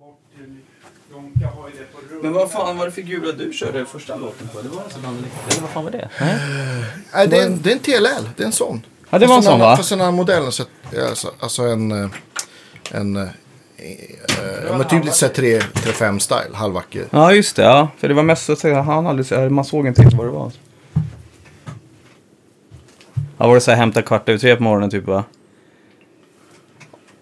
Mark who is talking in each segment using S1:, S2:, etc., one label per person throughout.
S1: bort till... Jonka har ju det på rummet.
S2: Men vad fan var det för gula du körde första låten på? Det var alltså bland Eller vad fan var det? Nej.
S3: Nej, det är en, det är en TLL. Det är en sån.
S4: Ja, det var en
S3: Fast
S4: sån, va?
S3: Fast den här modellen, så, alltså, alltså en... eh, en eh, eh, men tydligt sett 3-5 style, halvvacker.
S4: Ja, just det. Ja. För det var mest så att säga, han hade, så här- man såg inte riktigt vad det var. Ja, var det så här hämta kvart över tre på morgonen typ va?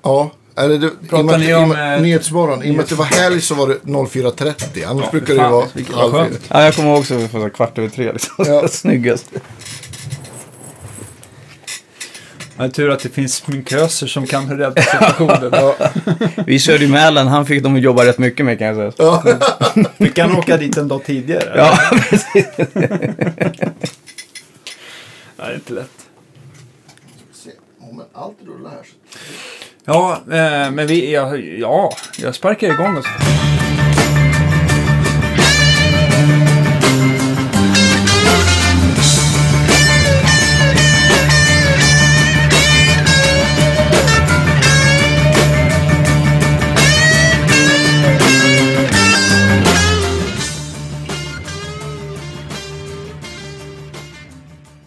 S3: Ja. Eller det,
S2: Pratar
S3: i och med-
S2: ni
S3: i och
S2: om,
S3: med-
S2: eh,
S3: Nyhetsmorgon. I och med att det var helg så var det 04.30. Annars brukar det ju
S2: fan,
S3: vara
S2: vilket- vad
S3: halv
S2: skönt.
S3: fyra.
S4: Ja, jag kommer ihåg så för så här kvart över tre liksom.
S3: Ja.
S4: Snyggast.
S5: Ja, tur att det finns sminköser som kan rädda situationen.
S4: Vi körde ju Mälen, han fick dem att jobba rätt mycket med kan jag säga.
S5: Vi kan åka dit en dag tidigare.
S4: Ja,
S5: Nej, det är inte lätt.
S3: Om allt rullar här så
S5: Ja, eh, men vi... Ja, ja, jag sparkar igång oss.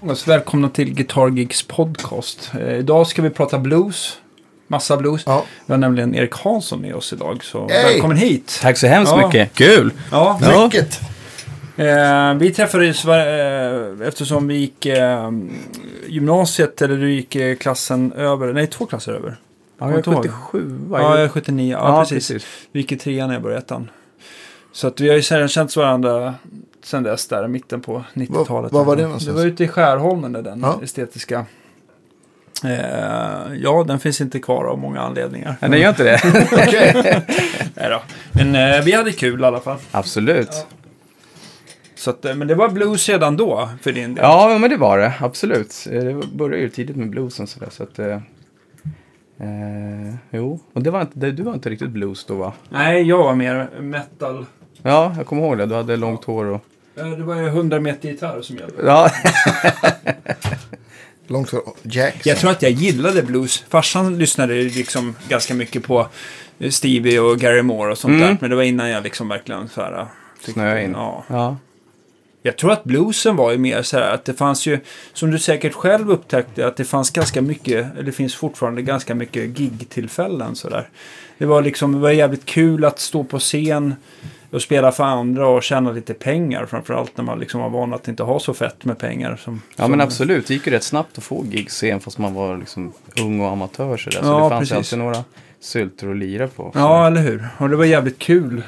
S5: oss. Välkomna till Guitar Gigs podcast. Eh, idag ska vi prata blues. Massa blues.
S3: Ja.
S5: Vi har nämligen Erik Hansson med oss idag, så
S3: Hey!
S5: välkommen hit.
S4: tack så hemskt
S5: Ja.
S4: mycket. Kul!
S5: Ja,
S4: Ja.
S3: Mycket.
S5: Eh, vi träffades va- eh, eftersom vi gick eh, gymnasiet, eller du gick eh, klassen över, nej två klasser över.
S4: Ja,
S5: jag är
S4: 77
S5: Ja, jag är
S4: Ja,
S5: 79, ja,
S4: ja,
S5: precis. Vi gick i trean när jag började i ettan. Så att vi har ju sedan känt varandra sedan dess, där i mitten på 90-talet.
S3: Vad- vad var det
S5: Det
S3: någonstans?
S5: var ute i Skärholmen, där den
S3: Ja.
S5: estetiska. Eh, ja, den finns inte kvar av många anledningar.
S4: Nej, det gör inte det.
S5: Nej då. Men eh, vi hade kul i alla fall.
S4: Absolut.
S5: Så att, eh, men det var blues redan då för din del.
S4: Ja, men det var det. Absolut. Eh, Det började ju tidigt med bluesen sådär. Så att, eh, eh, jo, och det var inte, det, du var inte riktigt blues då va?
S5: Nej, jag var mer metal.
S4: Ja, jag kommer ihåg det. Du hade långt hår och...
S5: Eh, Det var ju 100 meter gitarr som gällde.
S4: Ja,
S3: Långt för oh, Jackson.
S5: Jag tror att jag gillade blues. Farsan lyssnade ju liksom ganska mycket på Stevie och Gary Moore och sånt
S4: Mm.
S5: där. Men det var innan jag liksom verkligen så här... tyckte-
S4: Snöade in.
S5: Ja.
S4: ja.
S5: Jag tror att bluesen var ju mer så här att det fanns ju, som du säkert själv upptäckte, att det fanns ganska mycket, eller det finns fortfarande ganska mycket gig-tillfällen så där. Det var liksom, det var jävligt kul att stå på scen och spela för andra och tjäna lite pengar. Framförallt när man liksom var van att inte ha så fett med pengar. Som,
S4: ja,
S5: som,
S4: men absolut. Det gick ju rätt snabbt att få gig sen fast man var liksom ung och amatör sådär. Så
S5: Ja,
S4: det fanns ju
S5: precis.
S4: alltid några syltor att lira på.
S5: Ja, eller hur. Och det var jävligt kul.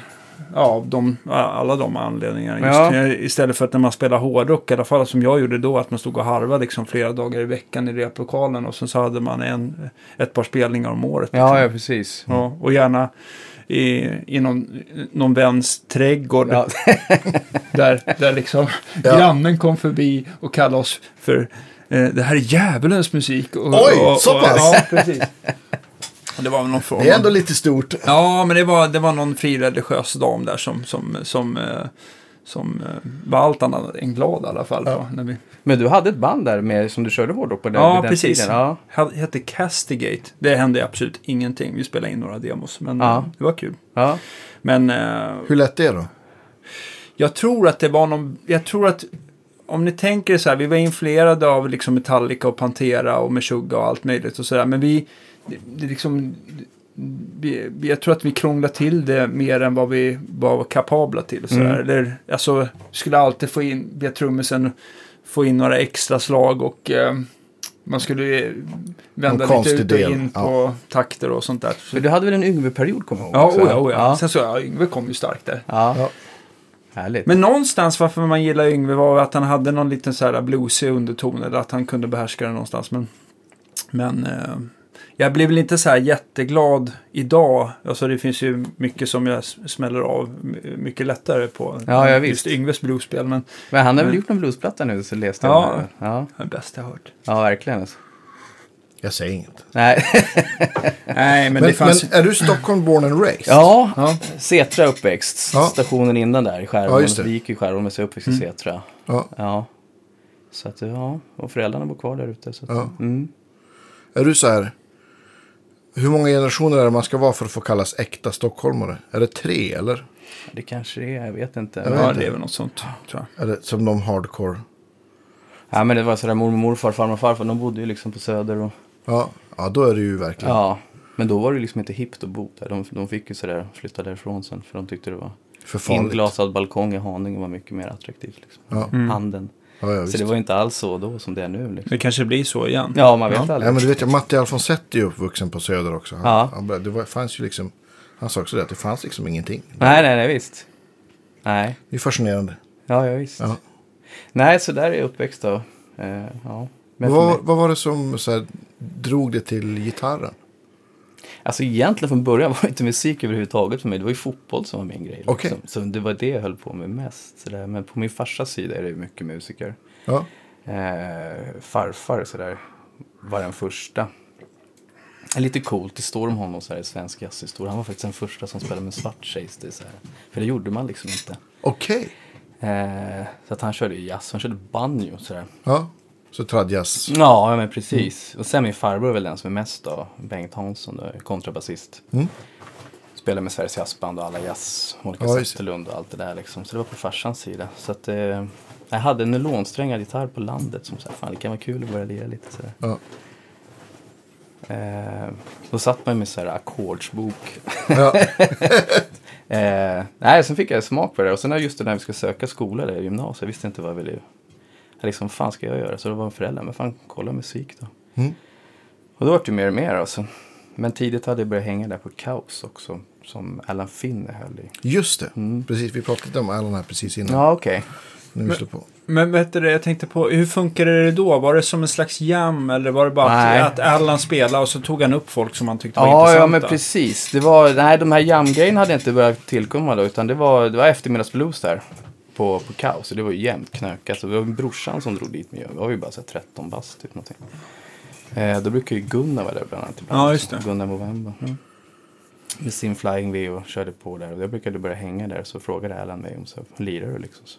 S5: Ja, av de, alla de anledningarna. Just,
S4: Ja.
S5: Istället för att när man spelar hårdrock, i alla fall som jag gjorde då, att man stod och harvade liksom flera dagar i veckan i replokalen och sen så hade man en, ett par spelningar om året. liksom.
S4: ja, ja precis.
S5: Ja, och gärna i, i någon, någon väns trädgård
S4: Ja.
S5: där, där liksom
S3: Ja.
S5: grannen kom förbi och kallade oss för eh, det här är djävulens musik. Och,
S3: Oj,
S5: och, och,
S3: så pass?
S5: Ja, precis. Och Det var väl någon form
S3: Det är
S5: av-
S3: ändå lite stort.
S5: Ja, men det var, det var någon frireligiös dam där som, som, som, eh, som eh, var allt annat än glad i alla fall.
S3: Ja.
S5: va, När vi,
S4: Men du hade ett band där med, som du körde hårdrock på där,
S5: Ja,
S4: vid den
S5: precis.
S4: tiden. Ja,
S5: ha- hette Castigate. Det hände absolut ingenting. Vi spelade in några demos, men
S4: Ja.
S5: eh, det var kul.
S4: ja.
S5: Men eh,
S3: Hur lätt är det då?
S5: jag tror att det var någon... Jag tror att... Om ni tänker så här, vi var influerade av liksom Metallica och Pantera och Meshuggah och allt möjligt och sådär. Men vi, det, det liksom, vi, vi- jag tror att vi krånglade till det mer än vad vi var kapabla till. Så
S4: Mm.
S5: Eller, alltså, skulle alltid få in, be trummisen få in några extra slag och eh, man skulle eh, vända
S3: Någon
S5: lite
S3: konstig
S5: ut och
S3: del,
S5: in
S3: ja.
S5: på takter och sånt där. Så,
S4: För du hade väl en Yngve-period kommer jag ihåg?
S5: ja,
S4: också?
S5: oja, oja.
S4: Ja.
S5: Sen så, ja, Yngve kom ju starkt där.
S4: Ja.
S3: Ja.
S4: Härligt.
S5: Men någonstans varför man gillar Yngve var att han hade någon liten så här bluesig underton eller att han kunde behärska det någonstans. Men, men eh, jag blev väl inte så här jätteglad idag. Alltså det finns ju mycket som jag s- smäller av my- mycket lättare på
S4: Ja, ja,
S5: just
S4: visst.
S5: Yngves bluesspel. Men
S4: Men han har väl
S5: Men-
S4: gjort någon bluesplatta nu, så läste jag.
S5: Ja.
S4: om det. Ja.
S5: det är bäst jag hört.
S4: ja, verkligen. Alltså.
S3: Jag säger inget.
S4: Nej.
S5: Nej, men,
S3: Men,
S5: det fanns...
S3: men är du Stockholm born and raised?
S4: Ja,
S5: Ja.
S4: Setra uppväxt.
S3: Ja.
S4: Stationen innan där i
S3: Ja,
S4: Skärholmen.
S3: just det. Mm.
S4: vi gick ju i Skärholmen, så jag är uppväxt i Setra.
S3: Ja.
S4: Ja. Så Mm. att, ja, och föräldrarna bor kvar där ute. Så att,
S3: Ja.
S4: mm.
S3: Är du så här Hur många generationer är det man ska vara för att få kallas äkta stockholmare? Är det tre eller?
S4: Det kanske det är, jag vet inte.
S3: vet
S5: Ja,
S3: inte.
S5: det är väl något sånt, tror jag.
S3: Är det som de hardcore?
S4: Ja, men det var sådär mormor, morfar, farmor, farfar. De bodde ju liksom på Söder och...
S3: Ja, ja då är det ju verkligen.
S4: Ja. Men då var det liksom inte hippt att bo där. De, de fick ju sådär flytta därifrån sen. För de tyckte det var...
S3: För farligt.
S4: Inglasad balkong i Haninge var mycket mer attraktivt. Liksom.
S3: Ja.
S4: Handeln.
S3: Ja, Mm. ja,
S4: Så
S3: visst.
S4: det var ju inte alls så då som det är nu. Liksom.
S5: Det kanske blir så igen.
S4: Ja, man vet aldrig.
S3: Nej, men du vet, jag, Matti Alfonsetti är uppvuxen på Söder också. Han,
S4: Ja.
S3: han, bara- det var, fanns ju liksom, han sa också det, att det fanns liksom ingenting.
S4: nej, nej, nej, visst. Nej,
S3: Det är fascinerande.
S4: ja, ja visst.
S3: Ja.
S4: Nej, så där är jag uppväxt då. Eh, ja. Men för
S3: Vad,
S4: mig,
S3: vad var det som så här, drog det till gitarren?
S4: alltså egentligen från början var det inte musik överhuvudtaget för mig. Det var ju fotboll som var min grej.
S3: Okej.
S4: Liksom. Så det var det jag höll på med mest. Så där. Men på min farsas sida är det ju mycket musiker.
S3: Ja,
S4: Eh, farfar sådär var den första. Det är lite coolt, det står om honom så här i svensk jazzhistoria. Han var faktiskt den första som spelade med svart sägs det så här. För det gjorde man liksom inte.
S3: okej.
S4: Eh, så att han körde ju jazz, han körde banjo sådär.
S3: Ja, så tradjazz.
S4: Ja, ja, men precis. Och sen min farbror är väl den som är mest då, Bengt Hansson, då, kontrabasist.
S3: Mm.
S4: Spelade med Sveriges jazzband och alla jazz, Monica
S3: Ja, just det.
S4: Zetterlund och allt det där liksom. Så det var på farsans sida. Så att, eh, jag hade en nylonsträngad gitarr på landet som så här, fan det kan vara kul att börja lira lite sådär.
S3: Ja.
S4: Eh, då satt man med så här ackordsbok.
S3: Ja.
S4: Eh, nej, sen fick jag smak på det där. och sen när just det när vi skulle söka skola där i gymnasiet, jag visste inte vad jag ville. Jag liksom, fan ska jag göra? Så då var föräldrar, men fan kolla musik då.
S3: Mm.
S4: Och då vart det mer och mer alltså. Men tidigt hade jag börjat hänga där på Kaos också, som Alan Finne höll i.
S3: Just det, precis. Vi pratade om Alan här precis innan.
S4: Ja, okej.
S3: När vi slår på.
S5: Men vet du det, jag tänkte på, hur funkade det då? Var det som en slags jam eller var det bara
S4: Nej.
S5: att, att Allan spelade och så tog han upp folk som han tyckte var
S4: Ja, ja,
S5: intressanta?
S4: men precis. Det var, nej, de här jamgrejerna hade inte börjat tillkomma då, utan det var, det var eftermiddagsblues där på, på Kaos. Så Det var ju jämnt knökat. Så det var brorsan som drog dit mig. Jag var ju bara så här 13 bast, typ någonting. Eh, då brukar ju Gunnar vara där bland annat. Ibland,
S5: Ja, just det. Mm.
S4: Gunnar Movember. Med sin Flying V och körde på där. Och jag brukade börja hänga där, så frågade Alan mig om så här, lirar du liksom? Så.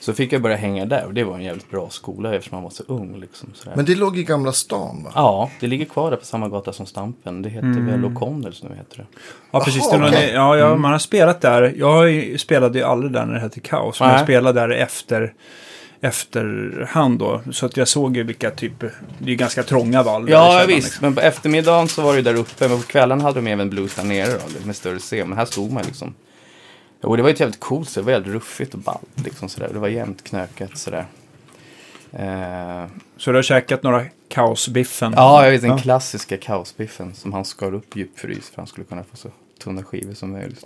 S4: så fick jag börja hänga där och det var en jävligt bra skola eftersom man var så ung liksom. Så där.
S3: Men det låg i Gamla stan va?
S4: Ja, Mm. det ligger kvar där på samma gata som Stampen. Det heter väl O'Connells nu heter det.
S5: Ja, precis.
S3: Jaha,
S5: det var-
S3: okej.
S5: ja,
S4: Mm.
S5: ja, man har spelat där. Jag har ju- spelade ju aldrig där när det hette Kaos. Men
S4: Nej.
S5: jag spelade där efter, efterhand då. Så att jag såg ju vilka typer... Det är ju ganska trånga valv.
S4: Ja,
S5: liksom.
S4: visst. liksom? Men på eftermiddagen så var det ju där uppe. Men på kvällen hade de även blues där nere då, med större scen. Men här stod man liksom. Och det var ju ett jävligt coolt så Det var jävligt ruffigt och ballt liksom sådär. Det var jämnt knökat sådär. Eh,
S5: Så du har käkat några Kaosbiffen?
S4: ja, jag vet den klassiska kaosbiffen som han skar upp i djupfrys för att han skulle kunna få så tunna skivor som möjligt.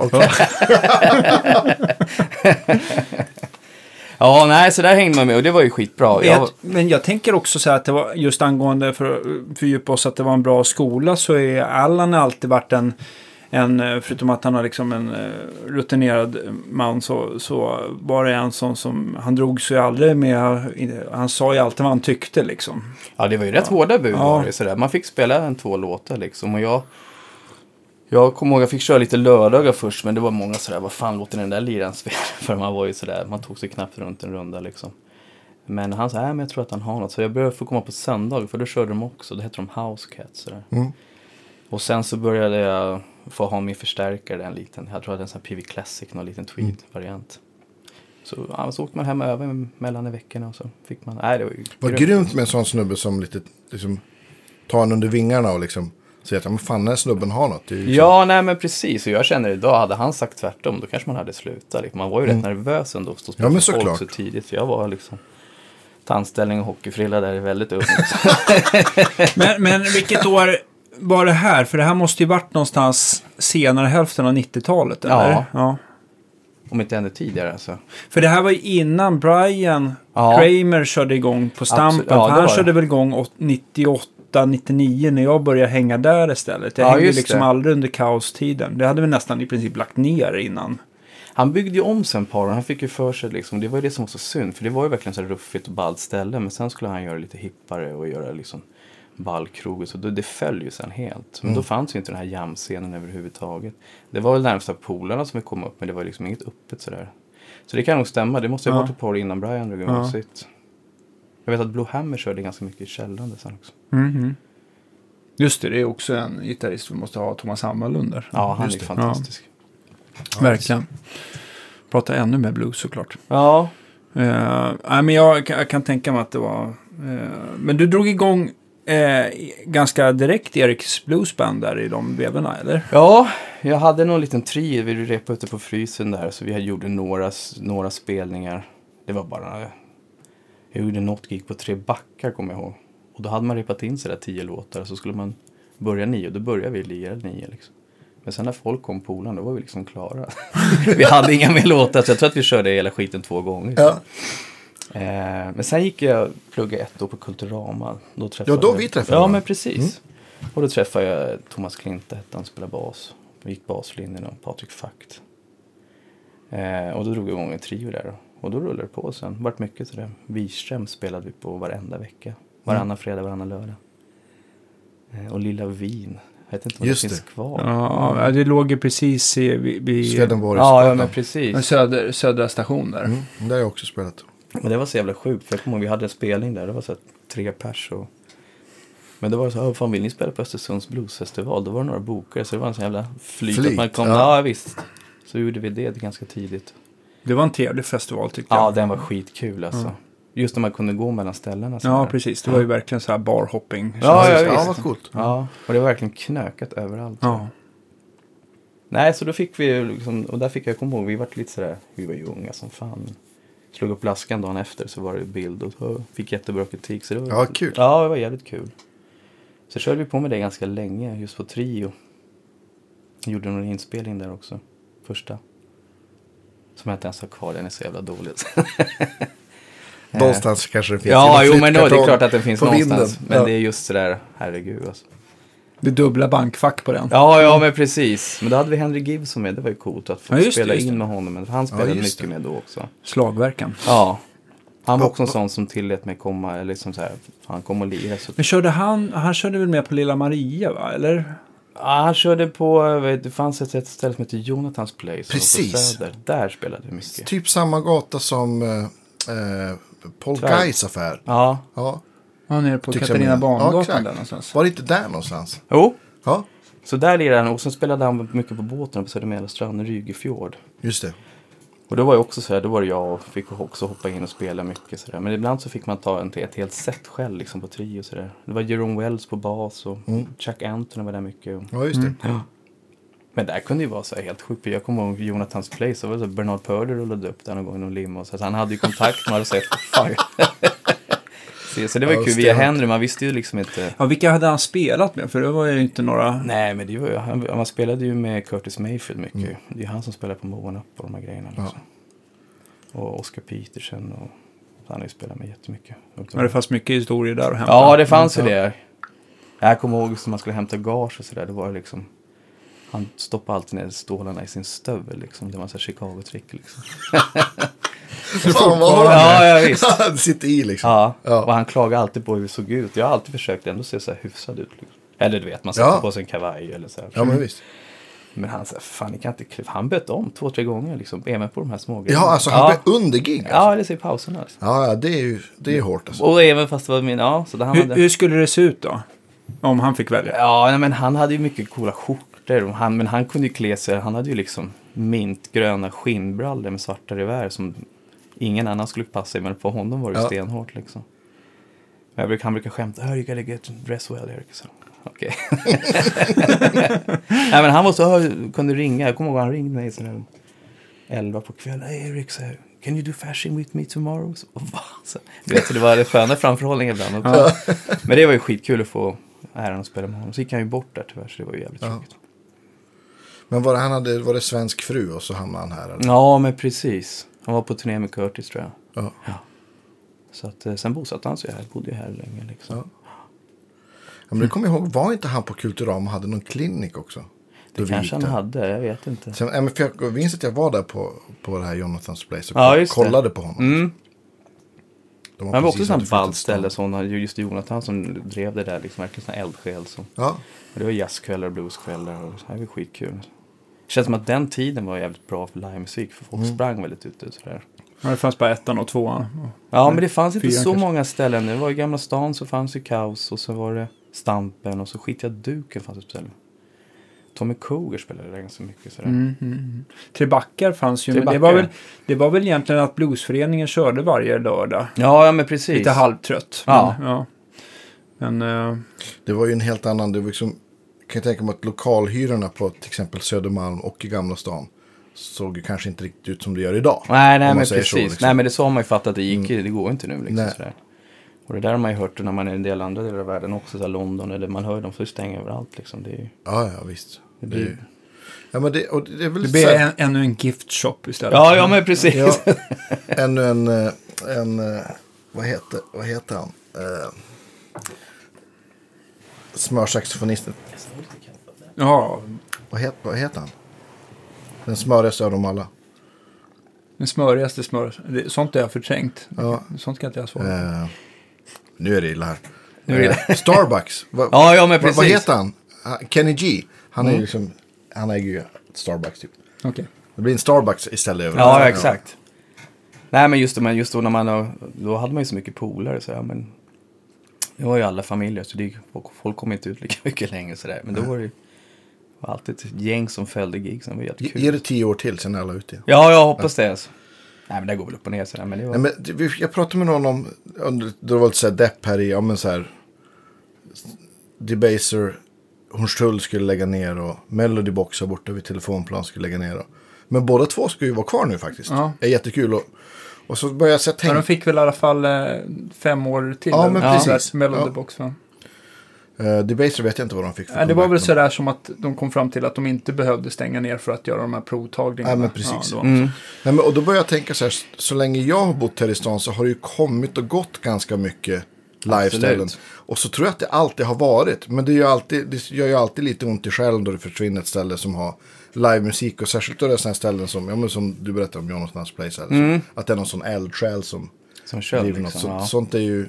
S4: Ja, nej, så där hängde man med och det var ju skitbra. Jag,
S5: Vet- Men jag tänker också så här att det var just angående för att fördjupa oss att det var en bra skola så är Allan alltid varit en, en eh, förutom att han har liksom en eh, rutinerad man så, så var det en sån som, han drog sig aldrig med, han sa ju alltid vad han tyckte liksom.
S4: Ja, det var ju rätt hårda bud
S5: Ja.
S4: var det, sådär. Man fick spela en två låtar liksom. Och jag, jag kommer ihåg, jag fick köra lite lördagar först, men det var många sådär, vad fan låter den där liraren spela? För man var ju sådär, man tog sig knappt runt en runda liksom. Men han sa, nej men jag tror att han har något. Så jag började få komma på söndag, för då körde de också, det hette de House Cats. Sådär.
S3: Mm.
S4: Och sen så började jag få ha min förstärkare, en liten, jag tror jag hade en sån här PV Classic, någon liten tweed-variant. Så, ja, så åkte man hem och övade mellan i veckorna och så fick man, nej det var ju
S3: Vad grymt med en sån snubbe som lite liksom, tar en under vingarna och liksom säger att "Ja, men fan, den här snubben har något. Det är ju liksom,
S4: Ja, nej men precis. Och jag känner idag, hade han sagt tvärtom, då kanske man hade slutat. Liksom. Man var ju rätt nervös ändå att stå och spela
S3: Mm. Ja, men
S4: för folk
S3: såklart.
S4: så tidigt. För jag var liksom tandställning och hockeyfrilla där väldigt ung.
S5: Men, men vilket år var det här? För det här måste ju varit någonstans senare hälften av 90-talet eller?
S4: Ja.
S5: ja.
S4: Om inte ännu tidigare alltså.
S5: För det här var ju innan Brian
S4: Ja.
S5: Kramer körde igång på Stampen.
S4: Absolut, ja,
S5: För
S4: det
S5: han
S4: var det.
S5: körde väl igång åt- 98, 99 när jag började hänga där istället. Jag
S4: Ja,
S5: hängde
S4: just
S5: liksom
S4: det.
S5: aldrig under kaostiden. Det hade vi nästan i princip lagt ner innan.
S4: Han byggde ju om sen par år. han fick ju för sig liksom, det var ju det som var så synd. För det var ju verkligen så här ruffigt och ballt ställe. Men sen skulle han göra lite hippare och göra liksom ballkrog och så. Det, det föll ju sen helt. Men då fanns ju inte den här jamscenen överhuvudtaget. Det var väl närmsta polarna som kom upp men det var liksom inget öppet sådär. Så det kan nog stämma, det måste ju ha varit ett par år innan Brian drog igång
S5: Ja.
S4: Mm-hmm. sitt. Jag vet att Blue Hammer körde ganska mycket i källaren där sen också.
S5: Just det, det är också en gitarrist vi måste ha, Thomas Hammarlund där.
S4: Ja, han är ju
S5: det.
S4: fantastisk.
S5: Verkligen. Prata ännu mer blues såklart.
S4: Ja,
S5: Eh, nej, men jag, kan- jag kan tänka mig att det var... eh, men du drog igång eh, i- ganska direkt Eriks bluesband där i de vevorna, eller?
S4: ja jag hade någon liten trio. Vi repade ute på frysen där. Så vi gjorde några, några spelningar. Det var bara... Jag gjorde något gig på Tre backar kommer jag ihåg. Och då hade man repat in sådär tio låtar. Så skulle man börja nio. Då började vi lira nio liksom. Men sen när folk kom på polaren, då var vi liksom klara. vi hade inga mer låtar, så jag tror att vi körde hela skiten två gånger.
S3: Ja.
S4: Eh, men sen gick jag plugga ett år på Kulturama. Då träffade
S3: Ja, då Mm.
S4: jag-
S3: vi träffade
S4: Ja,
S3: varandra.
S4: men precis. Och då träffade jag Thomas Klinte, hette han spelade bas. Vi gick baslinjen och Patrik Fakt. Eh, och då drog vi igång en trio där. då. Och då rullade det på sen. Det vart mycket till det. Wirström spelade vi på varenda vecka. Varannan fredag, varannan lördag. Eh, och Lilla Wien. Jag vet inte om
S3: Just
S4: det finns
S3: det.
S4: kvar.
S5: Ja, ja, det låg ju precis i, vid, vid
S4: Ja, ja,
S3: Swedenborgsgatan.
S4: men precis.
S5: söder, Södra station där.
S3: Mm, det har jag också spelat.
S4: Men det var så jävla sjukt, för jag kommer ihåg vi hade en spelning där, det var så här tre pers och... Men då var det så här, "Åh, fan vill ni spela på Östersunds bluesfestival? Då var det några bokare, så det var en sån jävla flyt,
S3: Flyt,
S4: att man kom,
S3: ja.
S4: ja. visst. Så gjorde vi det ganska tidigt.
S5: Det var en trevlig festival tyckte
S4: Ja,
S5: jag.
S4: den var skitkul alltså. Just när man kunde gå mellan ställena. så
S5: Ja,
S4: här.
S5: precis. Det var ju verkligen så här barhopping.
S4: Ja, ja,
S3: ja,
S4: visst.
S3: vad coolt.
S4: Ja, och det var verkligen knökat överallt.
S5: Ja.
S4: Nej, så då fick vi ju liksom, och där fick jag komma ihåg, vi var lite sådär, vi var ju unga som fan. Slog upp laskan dagen efter så var det bild och så fick jättebra kritik. Så det var,
S3: Ja, kul.
S4: Ja, det var jävligt kul. Så körde vi på med det ganska länge, just på Trio. Gjorde någon inspelning där också, första. Som jag inte ens har kvar, den är så jävla dålig.
S3: Någonstans kanske det finns.
S4: Eh. ja,
S3: en
S4: jo men då, det är
S3: flyttkartong
S4: klart att den finns
S3: på
S4: någonstans.
S3: vinden.
S4: Men
S3: Ja.
S4: det är just sådär, herregud alltså.
S5: Det är dubbla bankfack på den.
S4: Ja, ja men precis. Men då hade vi Henry Gibson med, det var ju coolt att få
S5: Ja, just det,
S4: spela
S5: just
S4: in
S5: det.
S4: med honom. Men han spelade
S3: just
S4: mycket
S3: det.
S4: med då också.
S5: Slagverkan.
S4: Ja. Han var också en sån som tillät mig komma, eller liksom så här, han kom och lirade. Så...
S5: Men körde han, han körde väl med på Lilla Maria va, eller?
S4: Ja, han körde på, jag vet, det fanns ett, ett ställe som hette Jonathans Place. som var på
S3: Precis.
S4: Söder. Där spelade vi mycket.
S3: Typ samma gata som eh, eh, Paul
S4: Tyvärr.
S3: Guys affär.
S4: Ja.
S3: Ja.
S5: Ja, nere på
S3: Tycks jag
S5: Katarina
S3: minnas. Ja,
S5: Bangatan
S3: exakt.
S5: där någonstans.
S3: Var det inte där någonstans?
S4: Jo,
S3: Ja,
S4: så där lirade han och sen spelade han mycket på båten på Södermälarstrand, Rygefjord.
S3: just det.
S4: Och då var jag också så här, då var det jag och fick också hoppa in och spela mycket så där. Men ibland så fick man ta en, ett helt set själv liksom på trio och så där. Det var Jerome Wells på bas och Chuck Anthony var där mycket. Och...
S3: Mm. Ja, just det.
S4: Men där kunde ju vara så här helt sjukt. Jag kommer ihåg Jonathans Place, så var det så här Bernard Purdy rullade upp där någon gång i någon limo. Så att han hade ju kontakt, man hade sett. Fan. Så- så det var ju
S3: Ja,
S4: kul, via
S3: stenhårt.
S4: Henry, man visste ju liksom inte.
S5: Ja, vilka hade han spelat med? För det var ju inte några...
S4: Nej, men det var ju, han, man spelade ju med Curtis Mayfield mycket. ju. Det är ju han som spelar på Moan Up och de här grejerna. Liksom. Och Oscar Peterson och han har ju spelat med jättemycket.
S5: Men det fanns mycket historier där att hämta.
S4: Ja, det fanns ju det. Jag kommer ihåg när man skulle hämta gage och sådär. Det var det liksom... Han stoppade alltid ner stålarna i sin stövel liksom. Det var så här Chicago-trick liksom.
S3: Fan vad har
S4: Ja, ja visst.
S3: han? Det sitter i liksom.
S4: Ja.
S3: Ja.
S4: och han klagade alltid på hur vi såg ut. Jag har alltid försökt ändå se så här hyfsad ut. Liksom. Eller du vet, man sätter
S3: Ja.
S4: på sig en kavaj eller så här.
S3: Ja, men visst.
S4: Men han sa, fan ni kan inte kliva. Han böt om två, tre gånger liksom. Även på de här små
S3: Ja, alltså han
S4: ja.
S3: blev under gig. Alltså.
S4: Ja, eller så i pauserna. Alltså.
S3: Ja, ja, det är ju det är hårt alltså.
S4: Och även fast det var min, ja. Så där han
S5: Hur,
S4: hade...
S5: hur skulle det se ut då? Om han fick välja?
S4: Ja, nej, men han hade ju mycket coola skjortor. och Han, men han kunde ju klä sig, han hade ju liksom mintgröna skinnbrallor med svarta revär som ingen annan skulle passa i, men på honom var det ju
S3: Ja.
S4: stenhårt liksom. Men jag brukar, han brukar skämta, oh, you gotta get dress well, Eric. Så, Okej. nej, men han var så, "Åh, kunde ringa, jag kommer ihåg han ringde mig sådär elva på kvällen. Hey, Eric, så här, can you do fashion with me tomorrow? Så, "Va?" så, du vet, så det var det sköna framförhållning ibland också. Men det var ju skitkul att få äran att spela med honom. Så gick han ju bort där tyvärr, så det var ju jävligt tråkigt.
S3: Men var det, han hade, var det svensk fru och så hamnade han här? Eller?
S4: Ja, men precis. Han var på turné med Curtis tror jag.
S3: Ja.
S4: Så att, eh, sen bosatte han sig här, bodde ju här länge liksom.
S3: Ja. Ja, men det kommer jag ihåg, var inte han på Kulturama och hade någon klinik också?
S4: det kanske han hade, jag vet inte.
S3: Sen, ja, men för jag minns att jag var där på, på det här Jonathans Place och
S4: Ja, just det.
S3: kollade på honom.
S4: Mm.
S3: De
S4: Han var
S3: precis
S4: också sån här
S3: hade flyttat
S4: ballt ställe,
S3: till
S4: sån, just Jonathan som drev det där, liksom, verkligen sån här eldsjäl. Som,
S3: stan. Ja,
S4: och det var jazzkvällar och blueskvällar och det här var skitkul. Det känns som att den tiden var jävligt bra för livemusik, för
S3: Mm.
S4: folk sprang väldigt ute sådär.
S5: Ja, det fanns bara ettan och tvåan.
S4: Ja, men det fanns inte
S5: fyran
S4: så
S5: kanske.
S4: många ställen. Det var i Gamla stan så fanns ju Kaos och så var det Stampen och så skitiga duken fanns det spel. Tommy Cougar spelade det ganska mycket sådär.
S5: Mm, mm, mm. Trebackar fanns ju, men det
S4: Trebackar,
S5: var,
S4: ja.
S5: väl, det var väl egentligen att bluesföreningen körde varje lördag.
S4: Ja, ja men precis.
S5: Lite halvtrött.
S4: Ja.
S5: Men, ja. men eh,
S3: Det var ju en helt annan, det var liksom, jag kan tänka mig att lokalhyrorna på till exempel Södermalm och i Gamla stan såg ju kanske inte riktigt ut som det gör idag.
S4: Nej,
S3: Om
S4: nej
S3: man
S4: men
S3: säger
S4: precis.
S3: så, liksom. Mm.
S4: Nej men det så har man ju fattat, det gick ju, det går ju inte nu liksom.
S3: Nej.
S4: Sådär. Och det där har man ju hört när man är i en del andra delar av världen också, såhär London eller man hör ju dem får ju stänga överallt liksom. Det är ju...
S3: Ja, ja visst.
S4: Det
S3: Det
S4: blir-
S3: är ju- Ja, men det, och det är väl
S5: det
S3: så
S5: blir
S3: här,
S5: en, ännu en gift shop istället.
S4: Ja, ja men precis.
S3: ja, ännu en, eh, en eh, vad, heter, vad heter han? Eh, Smörsaxofonisten.
S5: Ja,
S3: Vad, het, vad heter han? Den smörigaste av dem alla.
S5: den smörigaste smör. det- Sånt är jag förträngt.
S3: Ja.
S5: Sånt kan inte jag svara på.
S3: Eh, nu är det illa här.
S4: Nu är det-
S3: Eh, Starbucks. Va,
S4: Ja, ja, men
S3: va- Vad
S4: precis. Mm.
S3: heter han? Ha- Kenny G. Han är ju liksom, han äger ju Starbucks typ.
S5: Okej.
S3: Det blir en Starbucks istället. överallt.
S4: Ja, ja, exakt. Nej, men just, det, men just då när man, har- då hade man ju så mycket polare så ja, men det var ju alla familjer så det, gick- folk- folk kom inte ut lika mycket längre sådär. Men då var det ju var alltid ett gäng som följde gigsen, det var
S3: Ge,
S4: jättekul.
S3: ge det tio år till, sen är alla ute.
S4: Ja, jag hoppas det alltså. Nej, men det går väl upp och ner sådär, men det var...
S3: Nej, men det- vi- jag pratade med någon om, om det var lite så här depp här i, ja men så här, Debaser, Hornstull skulle lägga ner och Melody Box här borta vid Telefonplan skulle lägga ner. Och, men båda två ska ju vara kvar nu faktiskt.
S5: Ja.
S3: Det är jättekul. Och, och så började jag så här
S5: Men de
S3: tänka,
S5: fick väl i alla fall eh, fem år till.
S3: Ja,
S5: eller
S3: men
S5: något sånt där.
S3: precis.
S5: Melody
S3: Ja.
S5: Box, va?
S3: eh, Debaser vet jag inte vad de fick för
S5: Ja, det var väl
S3: comeback,
S5: sådär som att de kom fram till att de inte behövde stänga ner för att göra de här provtagningarna.
S3: Ja, men precis.
S5: det var-
S4: Mm.
S3: Nej, men, och då började jag tänka så här, så- så länge jag har bott här i stan så har det ju kommit och gått ganska mycket liveställen.
S4: Absolut.
S3: Och så tror jag att det alltid har varit. Men det gör, ju alltid, det gör ju alltid lite ont i själen då det försvinner ett ställe som har livemusik. Och särskilt då det är sådana ställen som, ja, men som du berättade om, Jonathan's Place. Eller så, Att det är någon sån eldsjäl som
S4: Som kör
S3: driver
S4: Mm. liksom.
S3: något. Så,
S4: ja.
S3: Sånt är ju,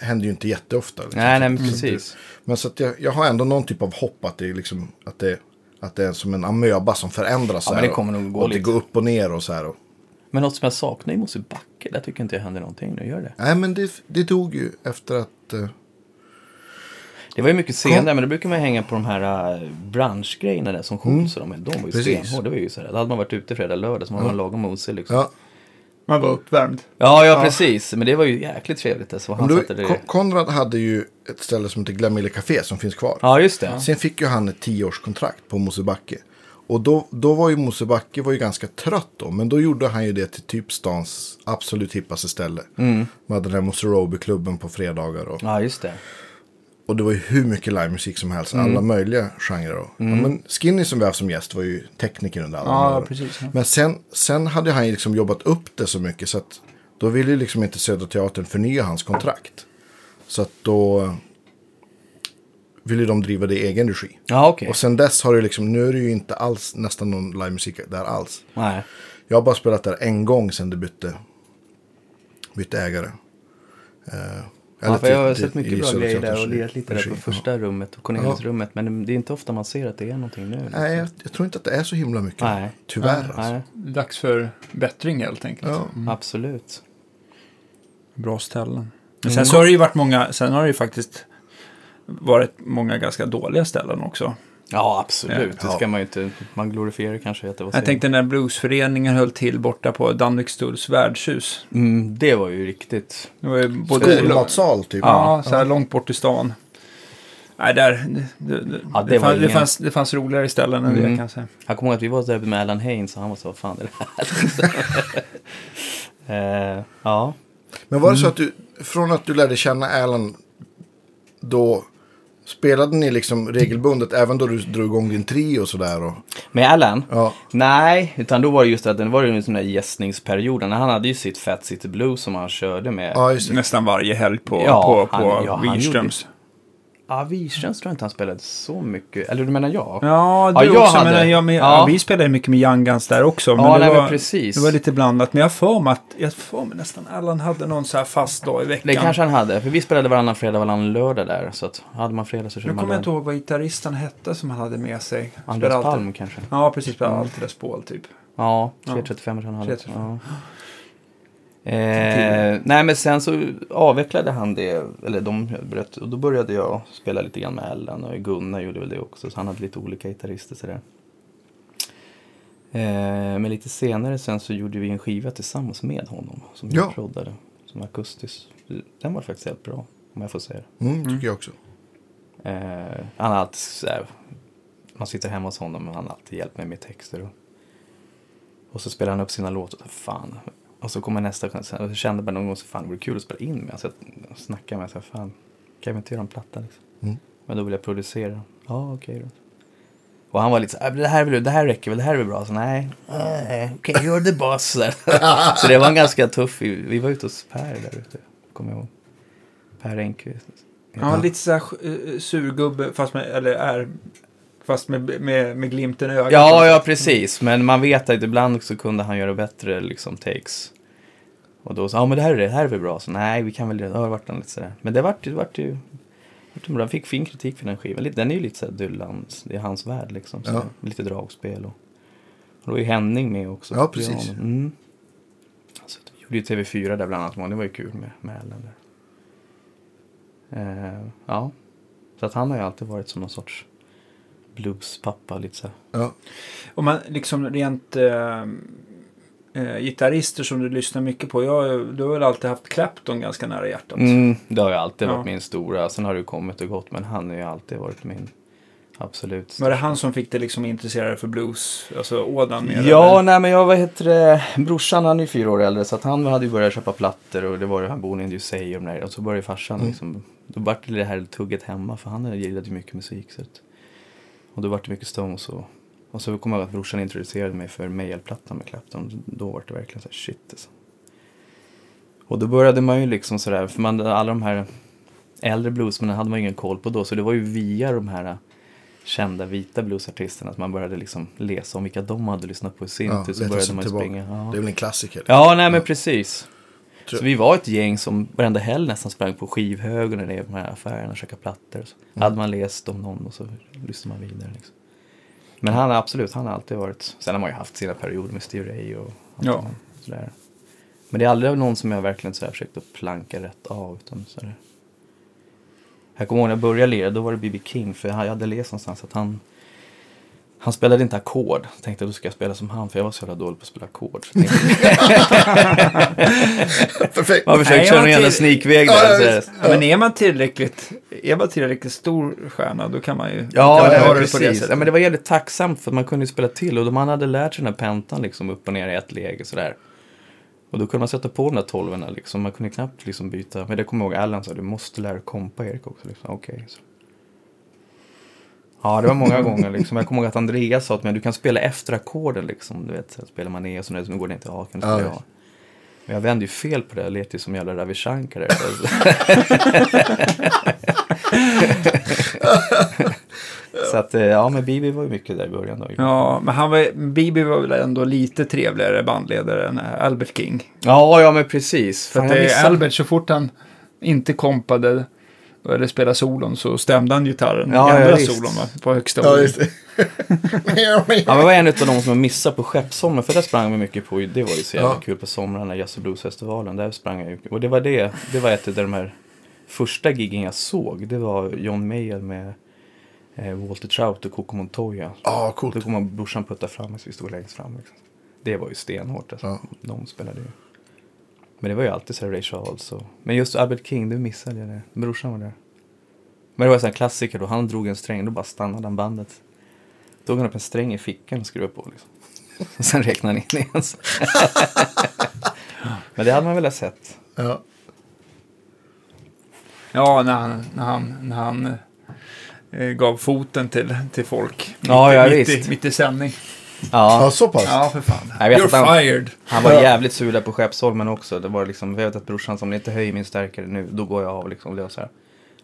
S3: händer ju inte jätteofta. Liksom.
S4: nej, nej, men precis.
S3: Men så att jag, jag har ändå någon typ av hopp att det är, liksom, att det, att det är som en amöba som förändras.
S4: Ja,
S3: så
S4: men
S3: här
S4: det kommer nog gå
S3: och, och det
S4: lite.
S3: går upp och ner och så här. Och,
S4: Men något som jag saknar i Mosebacke, där tycker jag inte det händer någonting nu, gör det?
S3: Nej, men det, det dog ju efter att... eh,
S4: Det var ju mycket senare, men då brukar man hänga på de här äh, branschgrejerna där som skjuts. och De, de var ju
S3: Precis.
S4: stenhårda. Det var ju så här, Då hade man varit ute fredag, lördag, så man var lagom mosig liksom. Ja.
S3: ja.
S5: Man var uppvärmd.
S4: ja, precis. Men det var ju jäkligt trevligt alltså. vad Han
S3: Men då,
S4: satte det...
S3: Kon- Konrad hade ju ett ställe som heter Glamille Café som finns kvar.
S4: Ja, just det.
S3: Sen fick ju han ett tioårskontrakt på Mosebacke. Och då, då var ju Mosebacke var ju ganska trött då. Men då gjorde han ju det till typ stans absolut hippaste ställe.
S4: Mm.
S3: Man hade den här Moserobe-klubben på fredagar. Och,
S4: Ja, just det.
S3: och det var ju hur mycket livemusik som helst.
S4: Mm.
S3: Alla möjliga genrer. Och, ja, men Skinny som vi har haft som gäst var ju tekniker under alla de
S5: Ja,
S3: åren.
S5: precis. Ja.
S3: Men sen, sen hade han ju liksom jobbat upp det så mycket så att då ville ju liksom inte Södra Teatern förnya hans kontrakt. Så att då ville de driva det i egen regi.
S4: Ja, okej.
S3: Och sen dess har det liksom, nu är det ju inte alls nästan någon livemusik där alls.
S4: Nej.
S3: Jag har bara spelat där en gång sen det bytte, bytte ägare. Eh, eller
S4: Ja, för jag har
S3: till-
S4: sett
S3: till-
S4: mycket
S3: i
S4: bra
S3: Södra
S4: grejer där
S3: Teaterns
S4: och lirat lite där
S3: regi.
S4: på
S3: Ja.
S4: första rummet och Cornelis-rummet. Men det är inte ofta man ser att det är någonting nu.
S3: Nej, jag, jag tror inte att det är så himla mycket.
S4: Nej.
S3: Tyvärr alltså.
S4: Nej,
S5: Dags för bättring helt enkelt.
S3: Ja.
S4: absolut.
S5: Bra ställen. Men
S3: Mm.
S5: sen så har det ju varit många, sen har det ju faktiskt varit många ganska dåliga ställen också.
S4: Ja, absolut. Det
S3: Ja.
S4: ska man ju inte... Man glorifierar kanske att det var
S5: Jag
S4: sent.
S5: tänkte när bluesföreningen höll till borta på Danvikstulls värdshus.
S4: Mm, det var ju riktigt...
S5: Det var ju både...
S3: Skolmatsal typ.
S5: Ja, så här långt bort i stan. Nej, där. Det, det, det,
S4: Ja, det
S5: det,
S4: var
S5: fanns, det,
S4: ingen-
S5: fanns, det fanns roligare ställen än det
S4: Mm.
S5: kan jag säga.
S4: Jag kommer ihåg att vi var där med Alan Haynes och han var så, vad fan är det här? liksom. eh, ja.
S3: Men var det så
S4: Mm.
S3: att du, från att du lärde känna Alan, då spelade ni liksom regelbundet även då du drog igång din trio och sådär? Och,
S4: Med Alan?
S3: ja.
S4: Nej, utan då var det just att det var ju en sån där gästningsperioden. Han hade ju sitt Fat City Blues som han körde med.
S3: ja, just det.
S5: Nästan varje helg på,
S4: Ja,
S5: på,
S4: han- ja,
S5: på
S4: han gjorde-
S5: Wirströms.
S4: Ja, Wirströms Ah, tror jag inte han spelade så mycket. Eller du menar jag?
S5: Ja,
S4: Ja,
S5: du
S4: jag
S5: också.
S4: hade.
S5: Men, ja, men, ja.
S4: Ja.
S5: vi spelade ju mycket med Young Guns där också. Men
S4: Ja,
S5: det,
S4: nej,
S5: var,
S4: men precis.
S5: det var lite blandat. Men jag har för mig att jag har för mig nästan Allan hade någon så här fast dag i veckan.
S4: Det kanske han hade, för vi spelade varannan fredag, varannan lördag där. Så att hade man fredag så körde
S5: nu
S4: man
S5: kommer jag
S4: lördag.
S5: inte ihåg vad gitarristen hette som han hade med sig.
S4: Andreas
S5: Spelade alltid-
S4: Palm kanske?
S5: Ja, precis. Spelade alltid Les Paul typ.
S4: Ja, 3.35 tror jag han hade.
S5: 3.35.
S4: Ja. Eh, nej men sen så avvecklade han det, eller de bröt, och då började jag spela lite grann med Ellen och Gunnar gjorde väl det också, så han hade lite olika gitarrister sådär. Eh, men lite senare sen så gjorde vi en skiva tillsammans med honom som
S3: Ja.
S4: jag proddade, som akustisk. Den var faktiskt helt bra, om jag får säga det.
S3: Mm, tycker jag också.
S4: Eh, han har alltid så här, man sitter hemma hos honom och han har alltid hjälpt mig med texter. Och, och så spelar han upp sina låtar, och fan. Och så kommer nästa chans. Jag kände bara någon gång så fan det vore kul att spela in med. Så jag snackade med honom, så här, fan kan vi inte göra en platta liksom?
S3: Mm.
S4: Men då vill jag producera. Ja, okej då. Och han var lite så här, "Äh, det här, vill, det här räcker väl, det här är väl bra? Så nej, nej, okej, gör det bara så där. Så det var en ganska tuff, vi vi var ute hos Per där ute, kommer jag ihåg. Per Enquist.
S5: Ja, lite så här eh, surgubbe fast med, eller är, fast med, med, med glimten i ögat.
S4: Ja, ja precis. Men man vet att ibland så kunde han göra bättre liksom, takes. Och då sa ja men det här är det, det här är väl bra. Så nej, vi kan väl göra det. har varit en lite sådär. Men det vart ju, det vart ju, vart ju bra. Han fick fin kritik för den skivan. Lite- Den är ju lite såhär Dylans, det är hans värld liksom. Så
S3: Ja.
S4: Lite dragspel och, och då är Henning med också.
S3: Ja,
S4: på piano.
S3: precis.
S4: Mm. Så vi gjorde ju TV4 där bland annat, men det var ju kul med, med Ellen där. Eh, ja, så att han har ju alltid varit som någon sorts bluespappa lite såhär.
S3: Ja.
S5: Om man liksom rent eh, eh, gitarrister som du lyssnar mycket på. Jag, du har väl alltid haft Clapton ganska nära hjärtat.
S4: Mm, det har ju alltid
S5: Ja.
S4: varit min stora. Sen har det ju kommit och gått, men han har ju alltid varit min absolut
S5: Var det han som fick dig liksom intresserad för blues? Alltså ådan mer?
S4: Ja,
S5: eller?
S4: nej men jag, vad heter det, brorsan han är ju fyra år äldre så att han hade ju börjat köpa plattor och det var ju han bor i Say och de där och så började farsan
S5: Mm.
S4: liksom, då vart det det här tugget hemma för han gillade ju mycket musik så att, och då vart det mycket Stones och, och så kommer jag ihåg att brorsan introducerade mig för Mayall-plattan med Clapton, då vart det verkligen så här shit alltså. Och då började man ju liksom sådär, för man, alla de här äldre bluesmännen hade man ju ingen koll på då så det var ju via de här kända vita bluesartisterna att man började liksom läsa om vilka de hade lyssnat på i sin
S3: Ja,
S4: tid.
S3: leta
S4: Så började
S3: sig
S4: man ju
S3: tillbaka.
S4: springa.
S3: Det är
S4: Ja.
S3: väl en klassiker.
S4: ja, nej men precis.
S3: Tror-
S4: Så vi var ett gäng som varenda helg nästan sprang på skivhögen eller i de här affärerna och käkade plattor. och Så. Hade man läst om någon och så lyssnade man vidare. Liksom. Men han har absolut, han har alltid varit, sen har man ju haft sina perioder med Steve Ray och allt
S5: Ja.
S4: annat sådär. Men det är aldrig någon som jag verkligen sådär försökt att planka rätt av. Utan sådär. Jag kommer ihåg när jag började lira, då var det B.B. King, för jag hade läst någonstans att han han spelade inte ackord. Jag Tänkte då ska jag spela som han för jag var så jävla dålig på att spela ackord. Så jag tänkte,
S3: Perfekt.
S4: Man försöker
S5: Nej, jag
S4: köra
S5: var
S4: någon jävla
S5: till-
S4: sneakväg
S3: Ja,
S4: där.
S3: ja,
S4: så-
S5: Ja, men är man tillräckligt, är man tillräckligt stor stjärna då kan man ju...
S4: Ja,
S5: det
S4: nej,
S5: har du på det
S4: precis.
S5: sättet.
S4: ja, men det var jävligt tacksamt för att man kunde ju spela till och då man hade lärt sig den här pentan liksom upp och ner i ett läge sådär. Och då kunde man sätta på de där tolvorna liksom. Man kunde knappt liksom byta. Men det kommer jag ihåg Allan sa, du måste lära dig kompa Erik också. Liksom. Okej. så. Ja, det var många gånger liksom. Jag kommer ihåg att Andreas sa att men du kan spela efter ackorden liksom. Du vet, så här, spelar man E och så nu går det inte A, kan du
S3: Ja,
S4: spela
S3: visst.
S4: A? Men jag vände ju fel på det, jag lät ju som jävla Ravi Shankar. där. så att, eh, ja men Bibi var ju mycket där i början då.
S5: Ja, men han var, Bibi var väl ändå lite trevligare bandledare än Albert King.
S4: Ja, ja men precis.
S5: För
S4: Fan,
S5: att
S4: jag
S5: det
S4: missade-
S5: är Albert, så fort han inte kompade eller spelade solon så stämde han gitarren
S4: Ja,
S5: i andra
S4: ja, visst.
S5: solon va? på högsta
S3: Ja,
S5: volym.
S3: just det.
S4: Ja, men var en av de som jag missade på Skeppsholmen, för där sprang vi mycket på, det var ju så jävla
S3: Ja.
S4: kul på somrarna, Jazz och Bluesfestivalen, där sprang jag ju. Och det var det, det var ett av de här första giggen jag såg, det var John Mayer med eh, Walter Trout och Coco Montoya.
S3: Ja,
S4: Då
S3: coolt.
S4: kom man, brorsan putta fram och vi stod längst fram. Liksom. Det var ju stenhårt, alltså.
S3: Ja.
S4: de spelade ju. Men det var ju alltid så här Ray Charles och... Men just Albert King, det missade jag det. Brorsan var där. Men det var en sån här klassiker då, han drog en sträng, då bara stannade han bandet. Tog han upp en sträng i fickan och skruvade på liksom. Och sen räknade han in igen. Men det hade man väl ha sett.
S3: Ja.
S5: Ja, när han, när han, när han eh, gav foten till, till folk.
S4: Ja, ja,
S5: mitt,
S4: visst.
S5: I, mitt i sändning.
S3: Ja,
S4: Ja.
S3: så pass.
S5: Ja, för fan.
S4: Jag vet
S5: You're
S4: att han-
S5: fired.
S4: Han var jävligt sur där på Skeppsholmen också. Det var liksom, jag vet att brorsan sa om ni inte höjer min stärkare nu, då går jag av liksom. Det var så här,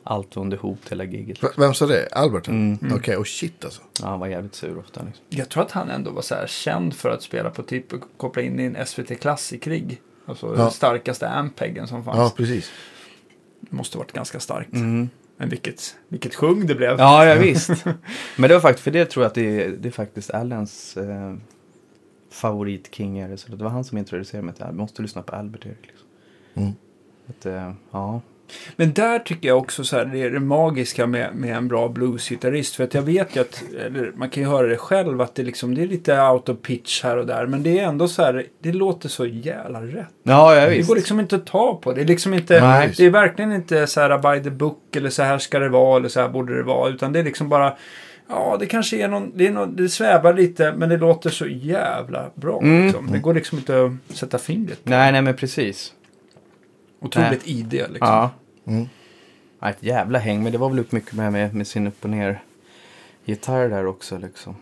S4: allt under hot hela giget.
S3: V- Vem sa det? Albert?
S4: Mm.
S3: Okej, och shit alltså.
S4: Ja, han var jävligt sur ofta. Liksom.
S5: Jag tror att han ändå var så här känd för att spela på typ, koppla in i en SVT Klassik-rigg. Alltså
S3: Ja.
S5: den starkaste ampeggen som fanns.
S3: Ja, precis.
S5: Det måste varit ganska starkt. Men vilket, vilket sjung det blev.
S4: Ja, ja, visst. Men det var faktiskt, för det tror jag att det är, det är faktiskt Allens eh, favoritkingar. Så det var han som introducerade mig till Albert. Måste lyssna på Albert Erik. Liksom.
S3: Mm.
S4: Att, eh, ja.
S5: Men där tycker jag också så här, det är det magiska med, med en bra bluesgitarrist. För att jag vet ju att, eller man kan ju höra det själv, att det, liksom, det är lite out of pitch här och där. Men det är ändå så här, det låter så jävla rätt.
S4: Ja, ja
S5: Det
S4: visst.
S5: går liksom inte att ta på. Det är liksom inte,
S3: Nej.
S5: det är verkligen inte så här by the book eller så här ska det vara eller så här borde det vara. Utan det är liksom bara, ja det kanske är någon, det, är någon, det svävar lite men det låter så jävla bra.
S4: Mm.
S5: Liksom. Det går liksom inte att sätta fingret.
S4: Nej, nej men precis.
S5: Otroligt id liksom.
S4: Ja.
S3: Mm.
S4: Ja, ett jävla häng, men det var väl upp mycket med, med, med sin upp och ner gitarr där också liksom.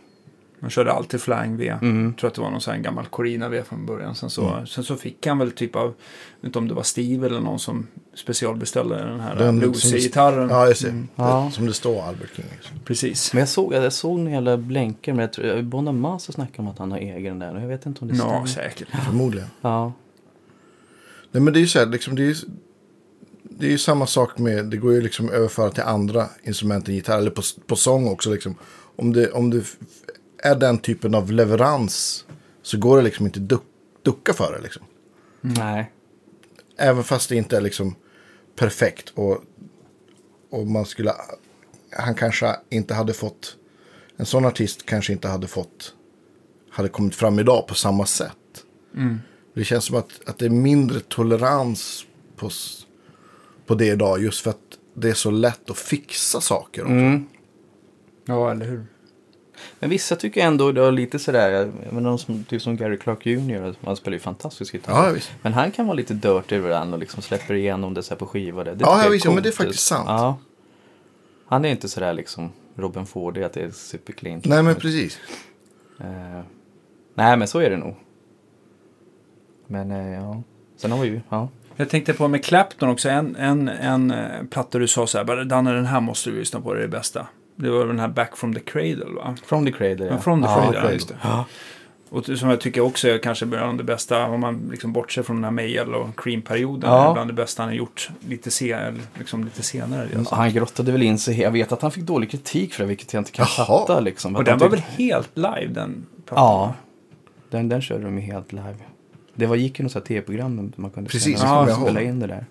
S5: Man körde alltid flying V.
S4: Mm.
S5: Jag tror att det var någon sån här gammal Corina V från början. Sen så,
S3: Mm.
S5: sen så fick han väl typ av, jag vet inte om det var Steve eller någon som specialbeställde den här
S3: Den som-
S5: bluesgitarren.
S3: Ja, jag ser.
S4: Ja.
S3: Det, som det står Albert King. Liksom.
S5: Precis.
S4: Men jag såg, jag såg några jävla blänker, men jag tror, Bonamassa snackade om att han har egen där. Jag vet inte om
S3: Mm.
S4: det stämmer.
S5: Ja, säkert.
S3: Förmodligen.
S4: Ja.
S3: Nej, men det är ju så här, liksom, det är ju, det är ju samma sak med, det går ju liksom att överföra till andra instrument än gitarr, eller på, på sång också liksom. Om det, om det f- är den typen av leverans så går det liksom inte duck, ducka för det liksom.
S4: Nej.
S3: Även fast det inte är liksom perfekt och, och man skulle, han kanske inte hade fått, en sån artist kanske inte hade fått, hade kommit fram idag på samma sätt. Mm. Det känns som att, att det är mindre tolerans på, s- på det idag just för att det är så lätt att fixa saker. också.
S4: Mm.
S5: Ja, eller hur.
S4: Men vissa tycker ändå det är lite sådär, men någon som, typ som Gary Clark Jr. Han spelar ju fantastisk gitarr.
S3: Ja, visst.
S4: Men han kan vara lite dirty ibland och liksom släpper igenom det så här på skiva. Det, det
S3: Ja,
S4: tycker jag
S3: visst, ja, men
S4: coolt.
S3: det är faktiskt sant.
S4: Ja. Han är inte sådär liksom Robin Ford, det att det är supercleant.
S3: Nej, men precis.
S4: Eh, nej, men så är det nog. Men eh, ja, sen har vi ju, ja.
S5: Jag tänkte på med Clapton också, en, en, en eh, platta du sa så här, bara, Danne den här måste du lyssna på, det är det bästa. Det var den här Back from the Cradle va?
S4: From the Cradle.
S5: Men From the
S4: ja,
S5: Cradle, ja, just det. Och som jag tycker också är kanske bland det bästa, om man liksom bortser från den här Mayall och Cream-perioden,
S4: Ja.
S5: är bland det bästa han har gjort lite, se, liksom lite senare.
S4: Mm,
S5: Alltså.
S4: Han grottade väl in sig, jag vet att han fick dålig kritik för det, vilket jag inte kan
S3: Jaha.
S4: fatta liksom.
S5: Och
S4: Att
S5: den
S4: han
S5: var
S4: tyckte-
S5: väl helt live den plattan?
S4: Ja, den, den körde de ju helt live. Det var, gick ju något sånt här tv-program man kunde
S3: Precis,
S4: se
S5: det
S4: när de
S5: kommer jag
S4: spelade
S3: ihåg.
S4: in det där.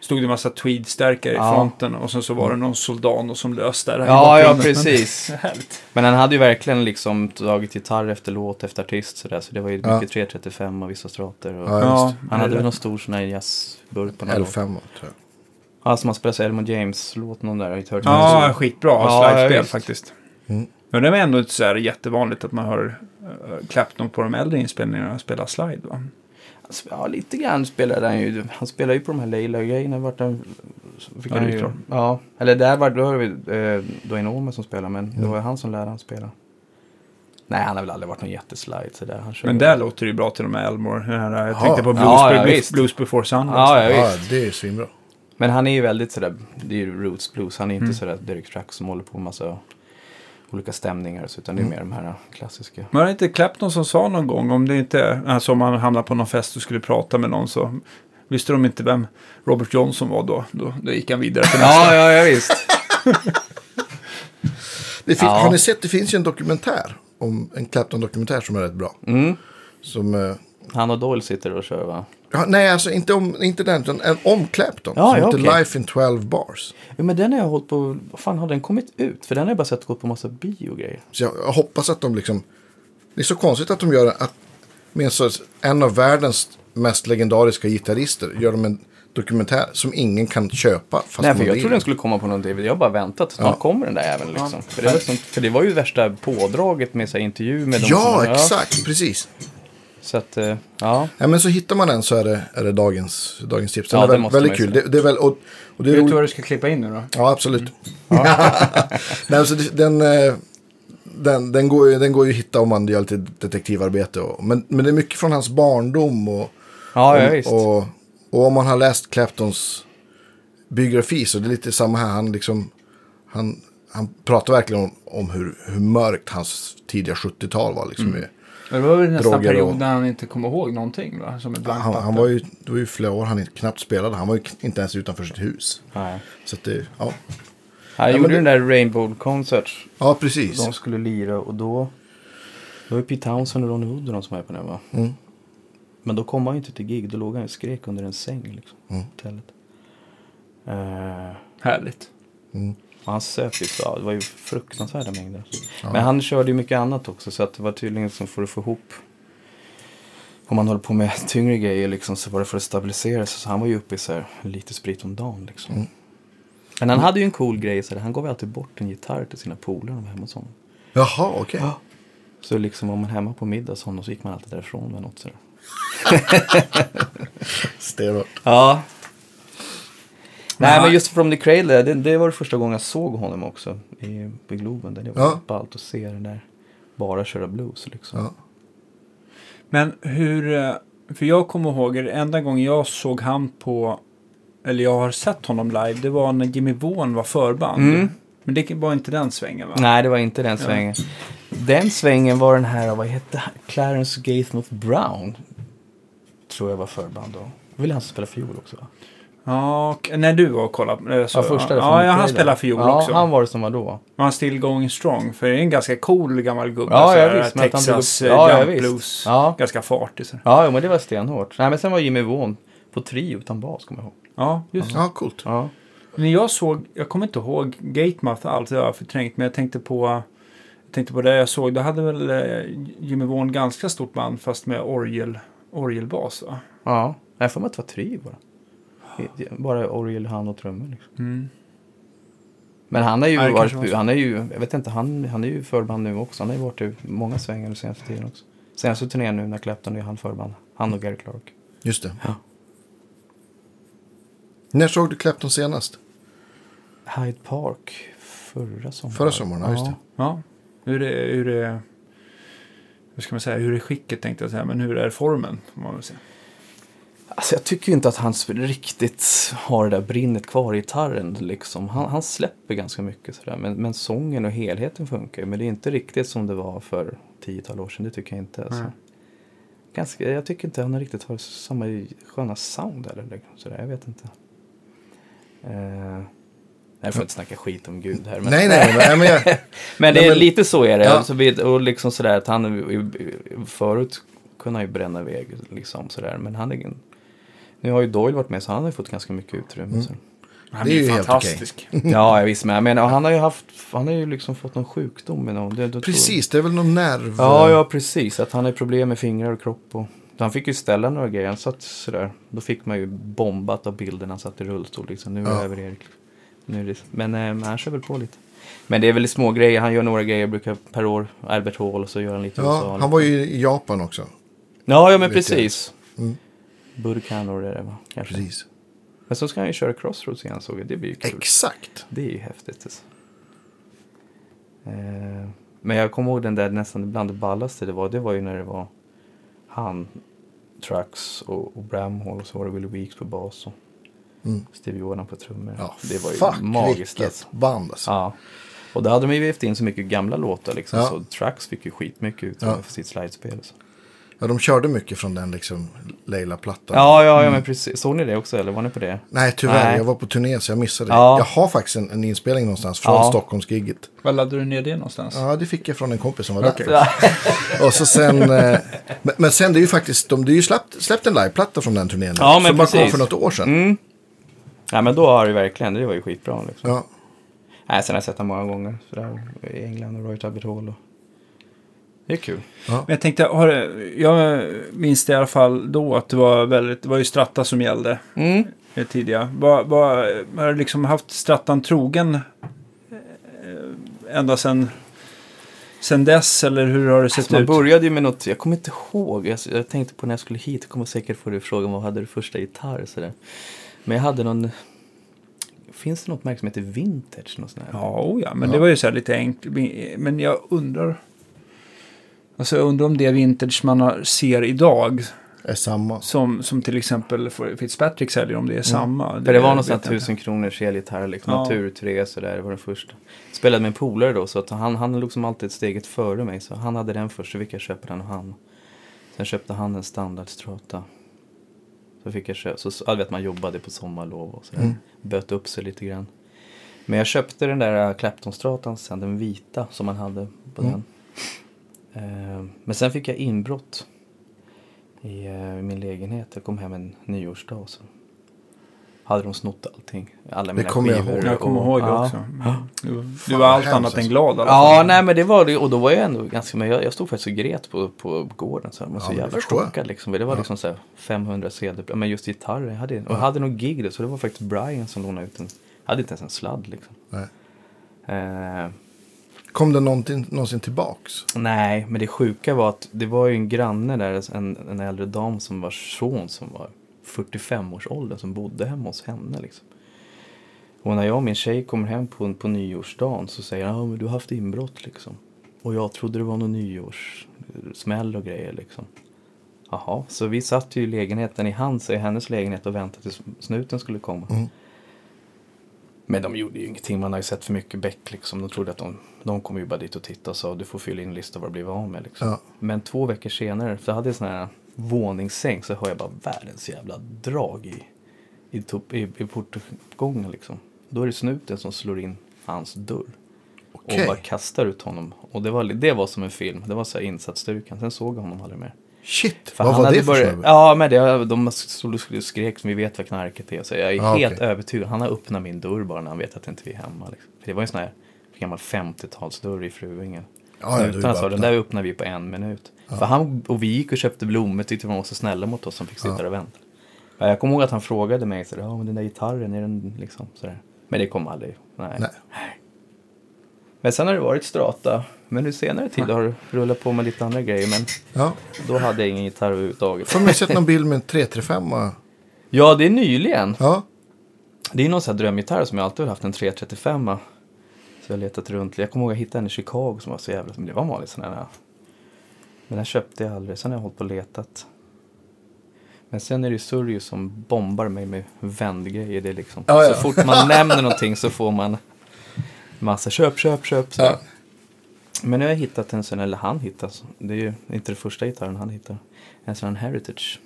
S5: Stod det en massa tweedstärkare
S4: Ja.
S5: i fronten och sen så var det någon Soldano som löste det. här i
S4: Ja, ja,
S5: bakgrunden.
S4: precis.
S5: Härligt.
S4: Men han hade ju verkligen liksom tagit gitarr efter låt efter artist sådär, så det var ju
S3: Ja.
S4: mycket 335 och vissa strater. Och
S3: Ja,
S5: Ja,
S4: Han hade väl någon stor sån här jazzburk på någon låt.
S3: L5 tror jag.
S4: Ja, som han spelade så Elmon James-låt, någon där. Jag hörde
S5: Ja, skitbra
S4: Ja,
S5: ja,
S4: ja,
S5: slidespel
S4: visst.
S5: faktiskt.
S3: Mm.
S5: Men det var ändå inte så här jättevanligt att man hör äh, Clapton på de äldre inspelningarna spela slide. Va?
S4: Alltså, Ja, lite grann spelade han ju. Han spelade ju på de här Leila-grejerna. Vart han, fick
S5: Ja,
S4: han
S5: det är
S4: ju,
S5: klart.
S4: ja, eller där var, då var det eh, en Ome som spelade, men det var ju han som lärde han spela. Nej, han har väl aldrig varit någon jätteslide sådär. Han körde-
S5: Men där låter det ju bra till och med Elmore. Den här, jag
S3: Ja.
S5: tänkte på Blues,
S4: Ja, ja,
S5: Blues,
S4: visst.
S5: Blues before sunrise.
S4: Ja, ja,
S3: Ja,
S4: visst.
S3: det är svinbra.
S4: Men han är ju väldigt sådär, det är ju roots blues. Han är inte
S5: Mm.
S4: sådär Derek Track som håller på med massa olika stämningar. Så, utan det är mer de här klassiska.
S5: Men var det inte Clapton som sa någon gång om det inte, alltså om man hamnar på någon fest och skulle prata med någon så visste de inte vem Robert Johnson var då. Då, då gick han vidare till nästa.
S4: Ja, ja, ja visst.
S3: Det fin-
S4: Ja.
S3: Har ni sett, det finns ju en dokumentär, om, en Clapton-dokumentär som är rätt bra.
S4: Mm.
S3: Som, eh,
S4: Han och Doyle sitter och kör va?
S3: ja, nej, alltså inte, om, inte den, utan en om Clapton.
S4: Ja,
S3: som
S4: ja,
S3: heter
S4: okej.
S3: Life in 12 Bars.
S4: Ja, men den har jag hållit på, vad fan har den kommit ut? För den har jag bara sett gå på massa bio och grejer.
S3: Så jag hoppas att de liksom... Det är så konstigt att de gör att med en, sorts, en av världens mest legendariska gitarrister gör de en dokumentär som ingen kan köpa. Fast
S4: Nej, för
S3: man
S4: jag
S3: vill.
S4: trodde den skulle komma på någon DVD. Jag har bara väntat. Snart kommer den där även liksom. För, det var sånt, för det var ju värsta pådraget med så här, intervju med dem.
S3: Ja,
S4: som,
S3: exakt. Precis.
S4: Så att, eh, ja.
S3: Ja, men så hittar man den så är det, är det dagens, dagens tips. Den
S4: Ja,
S3: är
S4: det
S3: väldigt,
S4: måste
S3: väldigt
S4: man
S3: kul.
S4: ju
S3: Det, det är väl, och, och det är
S5: Vet du
S3: roligt.
S5: vad du ska klippa in nu då?
S3: Ja, absolut. Nej, alltså, det- den, eh, den, den, går ju, den går ju att hitta om man gör lite detektivarbete. Och, men, men det är mycket från hans barndom och,
S4: Ja, ja,
S3: Om-
S4: visst.
S3: Och, och om man har läst Claptons biografi så det är lite samma här. Han, liksom, han, han pratar verkligen om, om hur, hur mörkt hans tidiga 70-tal var. Liksom.
S5: Det var väl nästan
S3: Droger och-
S5: period när han inte kom ihåg någonting va? Som ett blankt
S3: Han,
S5: papper.
S3: han var ju, det var ju flera år han knappt spelade. Han var ju kn- inte ens utanför sitt hus.
S4: Nej.
S3: Så att det, ja.
S4: Han
S3: men
S4: gjorde
S3: det-
S4: den där Rainbow Concert.
S3: ja, precis.
S4: De skulle lira och då Det var ju Pete Townsend och Ronny Wood och de som var på den va?
S3: Mm.
S4: Men då kom han ju inte till gig, då låg han och skrek under en säng liksom. på
S3: Mm.
S4: Hotellet. Eh,
S5: Härligt.
S3: Mm.
S4: och han söp ju, så- ja, det var ju fruktansvärda mängder. Men han körde ju mycket annat också så att det var tydligen som för att få ihop. Om man håller på med tyngre grejer liksom så var det för att stabilisera sig. Så han var ju uppe i så här lite sprit om dagen liksom. Men han hade ju en cool grej, så här, han gav ju alltid bort en gitarr till sina polare när de var hemma hos honom.
S3: Jaha, okej.
S4: Så liksom om man hemma på middag hos honom så gick man alltid därifrån med något sådär.
S3: Stenhårt.
S4: Ja. Nej men just From the Cradle, där, det, det var det första gången jag såg honom också i, på Globen. Där det var
S3: Ja.
S4: ballt att se den där bara köra blues liksom.
S3: Ja.
S5: Men hur, eh, för jag kommer ihåg det enda gången jag såg han på, eller jag har sett honom live, det var när Jimmy Vaughan var förband.
S4: Mm.
S5: Men det var inte den svängen va?
S4: Nej det var inte den svängen. Den svängen var den här, vad hette han? Clarence Gatemoth Brown. Tror jag var förband då. Ville han spela fiol också va?
S5: Ja, och- när du var och kollade. eh, Så,
S4: Ja, första där From
S5: ja,
S4: the
S5: ja, han
S4: Cradle.
S5: spelar fiol
S4: ja,
S5: också.
S4: han var det som var då.
S5: Man still going strong. För det är en ganska cool gammal gubbe.
S4: Ja,
S5: så
S4: ja,
S5: här,
S4: visst, men att han drog
S5: alltså, Texas
S4: upp-
S5: eh,
S4: ja, ja,
S5: jump
S4: visst.
S5: blues.
S4: Ja.
S5: Ganska fartig. Så.
S4: Ja, jo, men det var stenhårt. Nej, men sen var Jimmy Vaughan på trio utan bas, kommer jag ihåg.
S5: Ja, just det.
S3: Ja, coolt.
S4: Ja.
S5: När jag såg, jag kommer inte ihåg Gatemouth alls, det har jag förträngt. Men jag tänkte på, jag tänkte på det jag såg. Då hade väl eh, Jimmy Vaughan ganska stort band fast med orgel, orgelbas va?
S4: Ja. Nej, för mig att det var trio bara. Bara orgel, han och trummor liksom.
S5: Mm.
S4: Men han har ju
S5: Ja, det kanske var
S4: varit,
S5: så.
S4: han är ju, jag vet inte, han, han är ju förband nu också. Han har ju varit i många svängar den senaste tiden också. Senaste turnén nu när Clapton är han förband. Han och Gary Clark.
S3: Just det.
S4: Ja.
S3: När såg du Clapton senast?
S4: Hyde Park förra sommaren.
S3: Förra sommaren, ja, just det.
S5: Ja, hur är, hur är, hur ska man säga, hur är skicket tänkte jag säga. Men hur är formen? Får man väl säga.
S4: Alltså jag tycker ju inte att han sp- riktigt har det där brinnet kvar i gitarren. Liksom. Han, han släpper ganska mycket sådär. Men, men sången och helheten funkar ju. Men det är inte riktigt som det var för tiotal år sedan. Det tycker jag inte. Alltså.
S5: Nej.
S4: Ganska, jag tycker inte han riktigt har samma sköna sound eller liksom, sådär. Jag vet inte. Eh, jag får inte snacka skit om Gud här. Men,
S3: Nej, nej, nej, nej men jag...
S4: men det
S3: Nej,
S4: är
S3: men-
S4: lite så är det.
S3: Ja.
S4: Alltså, vi- och liksom sådär att han förut kunde han ju bränna iväg liksom sådär. Men han är ingen... Nu har ju Doyle varit med så han har ju fått ganska mycket utrymme.
S3: Mm.
S4: Så.
S5: Han
S3: Det är ju helt
S4: Ja, jag visst. Men jag menar, och han har ju haft, han har ju liksom fått någon sjukdom med någon. Det, det
S3: Precis, det är väl någon nerv...
S4: Tror jag. Ja, ja, precis. Att han har problem med fingrar och kropp och... Han fick ju ställa några grejer, han satt sådär. Då fick man ju bombat av bilden han satt i rullstol liksom. Nu är det
S3: Ja.
S4: över Erik. Nu är det... Men eh, men han kör väl på lite. Men det är väl små grejer. han gör några grejer brukar per år. Albert Hall och så gör han lite i USA.
S3: Ja, han var ju i Japan också.
S4: Ja, ja men
S3: Lite.
S4: precis. Burkanor är det va? Kanske.
S3: Precis.
S4: Men så ska han ju köra Crossroads igen såg jag. Det blir ju kul.
S3: Exakt.
S4: Det är ju häftigt. Alltså. Eh, men jag kommer ihåg den där nästan bland det ballaste det var. Det var ju när det var han, Trucks och, och Bramhall och så var det Willie Weeks på bas och
S3: Mm.
S4: Stevie Jordan på trummor.
S3: Ja,
S4: det var ju
S3: fuck,
S4: magiskt
S3: vilket
S4: alltså.
S3: band alltså.
S4: Ja. Och då hade de ju vävt in så mycket gamla låtar liksom.
S3: Ja.
S4: Så Trucks fick ju skitmycket utrymme
S3: Ja.
S4: för sitt slidespel. alltså. Så.
S3: Ja, de körde mycket från den liksom Leila-plattan.
S4: Ja, ja, ja men precis. Såg ni det också eller var ni på det?
S3: Nej, tyvärr.
S4: Nej.
S3: Jag var på turné så jag missade det.
S4: Ja.
S3: Jag har faktiskt en, en inspelning någonstans från
S4: Ja.
S3: Stockholmsgigget.
S5: Var laddade du ner det någonstans?
S3: Ja, det fick jag från en kompis som var där. Och så sen, eh, men, men sen det är ju faktiskt, de det är ju släppt, släppt en liveplatta från den turnén.
S4: Ja, men
S3: som bara kom
S4: precis.
S3: för något år sedan.
S4: Mm. Ja men då har det verkligen, det var ju skitbra liksom.
S3: Ja,
S4: Nej, sen har jag sett honom många gånger. Sådär, I England och Royal Albert Hall. Och... Det är kul.
S5: Men jag tänkte, har, det- jag minns det i alla fall då att det var väldigt, det var ju Stratta som gällde
S4: Mm.
S5: eh, tidigare. Var, var, har du liksom haft Strattan trogen eh, ända sen, sen dess eller hur har det sett
S4: Man
S5: ut?
S4: började ju med något, jag kommer inte ihåg. Jag, jag tänkte på när jag skulle hit, jag kommer säkert få dig frågan vad hade du första gitarr sådär. Men jag hade någon, finns det något märke som heter Vintage? Något sånt här?
S5: Ja, oh ja, men det var ju så här lite enkelt. Men jag undrar. Alltså jag undrar om det vintage man har- ser idag
S3: är samma.
S5: som, som till exempel Fitzpatrick säljer om det är samma.
S4: För det var någon
S5: vet
S4: sån
S5: jag
S4: här
S5: inte.
S4: tusen kronors elgitarr, liksom.
S5: Ja.
S4: Natur 3 sådär, det var den första. Spelade med en polare då, så att han, han låg som alltid steget före mig. Så han hade den först, så fick jag köpa den och han. Sen köpte han en standard strata. Så fick jag köpa, så ja, du vet man jobbade på sommarlov och sådär.
S5: Mm.
S4: Böt upp sig lite grann.
S3: Mm.
S4: Men jag köpte den där äh, Clapton-stratan sen, den vita som man hade på den. Eh, Men sen fick jag inbrott i eh, min lägenhet. Jag kom hem en nyårsdag och så hade de snott allting. Alla mina
S3: kommer jag
S4: skivor
S3: ihåg.
S5: Jag kommer
S4: och-
S5: ihåg det
S4: ja.
S5: också. Du, du
S3: Fan,
S5: var allt
S3: hemskt
S5: annat än
S3: alltså.
S5: glad i alla fall.
S4: Ja, nej men det var det. Och då var jag ändå ganska, men jag, jag stod faktiskt och grät på, på gården. Så här. Man var
S3: Ja,
S4: så
S3: men det
S4: jävla
S3: förstår jag.
S4: chockad liksom. Det var liksom så här 500 CD, men just gitarrer. Jag hade, och jag hade nog gig där, så det var faktiskt Brian som lånade ut en. Jag hade inte ens en sladd liksom.
S3: Nej.
S4: Eh,
S3: Kom den någonsin, någonsin tillbaks?
S4: nej, men det sjuka var att det var ju en granne där, en, en äldre dam som var son som var 45 års ålder som bodde hemma hos henne liksom. Och när jag och min tjej kommer hem på, på nyårsdagen så säger han, ja men du har haft inbrott liksom. Och jag trodde det var någon nyårssmäll och grejer liksom. Jaha, så vi satt ju i lägenheten i hans, i hennes lägenhet och väntade tills snuten skulle komma.
S3: Mm.
S4: Men de gjorde ju ingenting, man har ju sett för mycket Beck liksom. De trodde att de, de kom ju bara dit och tittade och sa du får fylla in en lista vad du blivit av med liksom.
S3: Ja.
S4: Men två veckor senare, för jag hade en sån här våningssäng, så hör jag bara världens jävla drag i, i, top, i, i portgången liksom. Då är det snuten som slår in hans dörr.
S3: Okej.
S4: Och bara kastar ut honom. Och det var, det var som en film, det var så här insatsstyrkan. Sen såg jag honom aldrig mer.
S3: Shit,
S4: För
S3: vad
S4: han
S3: var
S4: hade
S3: det för
S4: börjat-
S3: snubbe?
S4: Ja, men det, de stod och skrek som vi vet vad knarket är. Så jag är
S3: Ja, Ah, okej.
S4: helt övertygad. Han har öppnat min dörr bara när han vet att inte vi är hemma. Liksom. För det var ju en sån här gammal 50-talsdörr i Fruängen.
S3: Ja, ja, du
S4: Mm, Utan han sa,
S3: bara
S4: den där öppnar vi på en minut. För han, och vi gick och köpte blommor, tyckte de var så snälla mot oss som fick sitta där och vänta. Men jag kommer ihåg att han frågade mig, så, där, ja men den där gitarren, är den liksom sådär. Men det kom aldrig. Nej.
S3: Nej.
S4: Men sen har det varit strata. Men nu senare tid har det rullat på med lite andra grejer. Men
S3: Ja.
S4: då hade jag ingen gitarr överhuvudtaget.
S3: För mig har jag sett någon bild med en 335. va?
S4: Ja, det är nyligen.
S3: Ja,
S4: Det är någon sån här drömgitarr som jag alltid har haft, en 335. Så jag har letat runt. Jag kommer ihåg att jag hittade en i Chicago som var så jävla... Men det var en vanlig sån här. ja. Men den köpte jag aldrig. Sen har jag hållit på och letat. Men sen är det Surju som bombar mig med vändgrejer. Det är liksom,
S3: Ja, ja.
S4: Så fort man nämner någonting så får man massa köp, köp, köp. Så.
S3: Ja.
S4: Men nu har jag hittat en sån, eller han hittar, det är ju inte den första gitarren han hittar. En sån här Heritage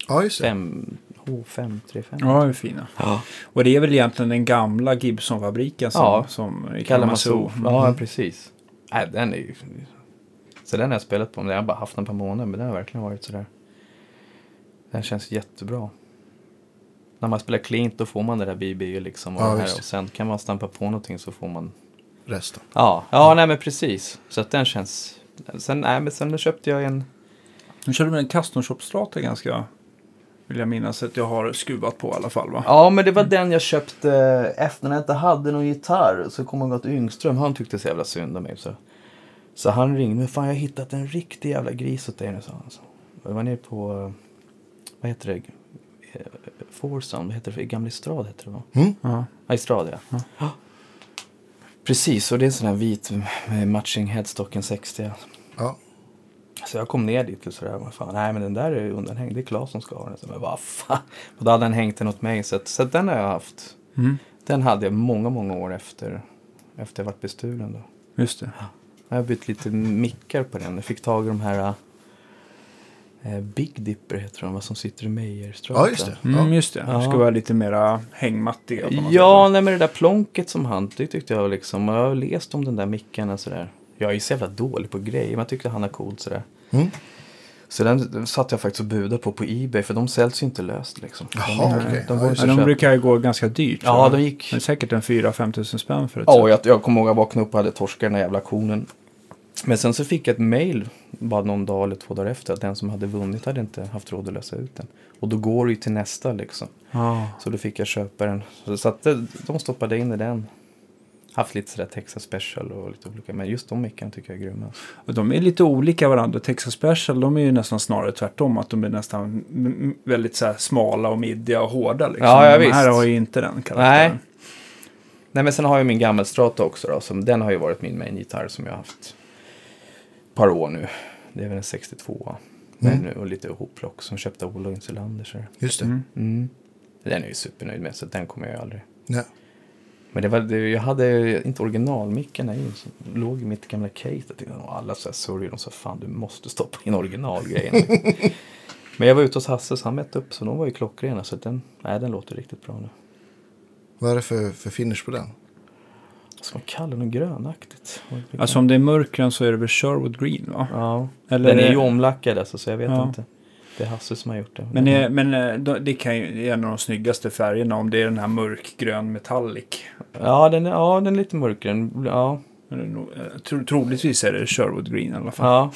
S4: oh,
S3: ja just det.
S4: 5, H535.
S5: Ja, hur fina.
S4: Ja.
S5: Och det är väl egentligen den gamla Gibson-fabriken som,
S4: Ja.
S5: som i
S4: Kalamazoo.
S5: Kalamazoo.
S3: Mm.
S4: Ja, precis. Nej, den är ju... Så den har jag spelat på, men jag har bara haft den på månader, men den har verkligen varit sådär. Den känns jättebra. När man spelar klint då får man det där BB liksom. Och,
S3: Ja,
S4: det här,
S3: visst.
S4: och sen kan man stampa på någonting så får man...
S3: Resten.
S4: Ja, ja nej men precis. Så att den känns... Sen, nej, men sen köpte jag en...
S5: Nu körde vi en custom shop strata ganska, vill jag minnas att jag har skruvat på i alla fall va?
S4: Ja, men det var den jag köpte eh, efter när jag inte hade någon gitarr. Så kom jag att Yngström, han tyckte så jävla synd om mig. Så, så han ringde mig, fan jag har hittat en riktig jävla gris åt dig nu, sa han. Så, jag var nere på, eh, vad heter det, Eh, Foursome, vad heter det, Gamlestrad heter det va?
S5: Ja.
S4: Ja, Estrad ja. Ja. Precis, och det är en sån här vit med matching headstocken 60.
S3: Ja.
S4: Så jag kom ner dit och sådär, vad fan, nej men den där är ju undanhängd, det är Claes som ska ha den. Så jag bara, vad fan. Och då hade han hängt den åt mig, så, att, så att den har jag haft.
S5: Mm.
S4: Den hade jag många, många år efter, efter jag varit bestulen då.
S5: Just det.
S4: Jag har bytt lite mickar på den, jag fick tag i de här eh, Big Dipper heter de, vad som sitter i Meijerström.
S3: Ja, just det.
S5: Mm,
S3: Ja.
S5: just det. Det ska
S4: Ja.
S5: vara lite mera hängmattiga på något
S4: Ja,
S5: sätt.
S4: nej men det där plonket som han, det tyckte jag liksom, och jag har läst om den där micken och sådär. Jag är ju så jävla dålig på grejer, men jag tyckte han är cool sådär.
S3: Mm.
S4: Så den den satt jag faktiskt och budade på på Ebay, för de säljs ju inte löst liksom.
S3: Jaha,
S4: de,
S3: okej.
S4: de
S3: Ja,
S4: går ju
S3: just
S5: Ja,
S4: så
S5: de
S4: köp-
S5: brukar ju gå ganska dyrt.
S4: Ja,
S5: så.
S4: de gick...
S5: Det är säkert en 4-5 tusen spänn för ett
S4: Ja,
S5: set.
S4: och jag, jag kommer ihåg att jag vaknade upp och hade torskat den där jävla konen. Men sen så fick jag ett mail bara någon dag eller två dagar efter att den som hade vunnit hade inte haft råd att lösa ut den. Och då går det ju till nästa liksom.
S5: Ja.
S4: Så då fick jag köpa den. Så- Så att det- de stoppade in i den. Haft lite sådär Texas special och lite olika. Men just de mickarna tycker jag är grymma.
S5: Och de är lite olika varandra. Texas Special de är ju nästan snarare tvärtom. Att de är nästan m- m- väldigt så här smala och middiga och hårda. Liksom.
S4: Ja, ja,
S5: de här
S4: visst.
S5: har ju inte den karaktären.
S4: Nej men sen har jag min gammal Strata också då. Som, den har ju varit min main-gitarr som jag har haft ett par år nu. Det är väl en 62 men nu Och lite hopplock som köpte Ola Insulander. Så.
S3: Just det.
S5: Mm.
S4: Mm. Den är ju supernöjd med så den kommer jag ju aldrig.
S3: Nej.
S4: Men det var, det, jag hade inte originalmickarna i. Så låg i mitt gamla case. Jag tyckte, och alla så här sörjer. De sa fan du måste stoppa in originalgrejen. Men jag var ute hos Hasse så han mätte upp. Så de var ju klockrena. Så den, nej, den låter riktigt bra nu.
S3: Vad är det för, för finish på den?
S4: Som var kall och något grönaktigt.
S5: Alltså om det är mörkgrön så är det väl Sherwood Green va?
S4: ja.
S5: Eller,
S4: Den är ju omlackad alltså, så jag vet
S5: Ja.
S4: inte. Det är Hasse som har gjort det.
S5: Men, eh, men eh, då- det kan ju det är en av de snyggaste färgerna om det är den här mörkgrön metallic.
S4: Ja, den är, ja, den är lite mörkgrön. Ja.
S5: Eller nog- eh, tro- Troligtvis är det Sherwood Green i alla fall.
S4: ja.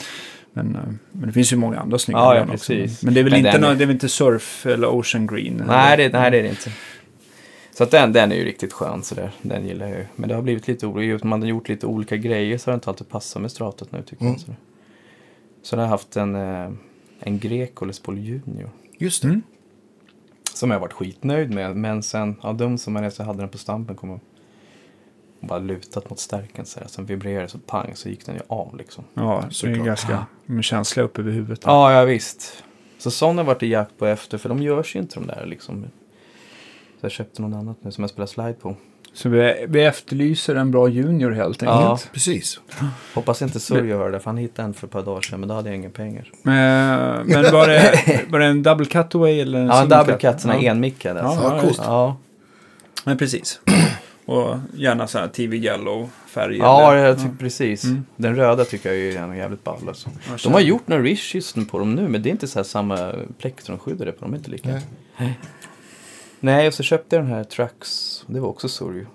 S5: Men, eh, men det finns ju många andra snygga
S4: Ja, ja,
S5: gröna
S4: precis.
S5: Men det är väl
S4: Men
S5: inte,
S4: den
S5: nå-
S4: är-
S5: det är väl inte surf eller ocean green?
S4: Nej,
S5: eller?
S4: det, nej, det är det inte. Så att den, den är ju riktigt skön sådär. Den gillar jag ju. Men det har blivit lite olika. Man har gjort lite olika grejer så har det inte alltid passat med stratet nu tycker
S3: Mm.
S4: jag. Sådär. Så den har jag haft en, eh, en Greco Les Paul Junior.
S3: Just det.
S5: Mm.
S4: Som jag varit skitnöjd med. Men sen, ja dum som jag är så hade den på stampen kom och och bara lutat mot stärken så här. Sen vibrerade det så pang så gick den ju av liksom.
S5: Ja, så det är
S3: Såklart.
S5: ganska med känsla uppe vid huvudet.
S4: Ja, ja visst. Så sådana har varit i jakt på efter för de görs ju inte de där liksom. Så jag köpte någon annat nu som jag spelar slide på.
S5: Så vi, vi efterlyser en bra junior helt
S4: Ja.
S5: enkelt.
S3: Precis.
S4: Hoppas inte Surjo hör det, för han hittade en för ett par dagar sedan, men då hade jag inga pengar.
S5: Eh, Men var det, var det en double cutaway eller en
S4: Ja, en
S5: single
S4: double cut, sån här
S5: Ja.
S4: enmickad alltså.
S3: Ja, coolt.
S4: Ja,
S5: Men precis. Och gärna så här TV yellow färg.
S4: ja
S5: eller-
S4: jag tycker precis.
S5: Mm.
S4: Den röda tycker jag är en jävligt ball alltså.
S5: Ja,
S4: De har gjort några rishis på dem nu, men det är inte så här samma plektronskydd på dem, de är inte lika.
S3: Nej.
S4: Nej. Nej, och så köpte jag den här Trax, det var också Surjo.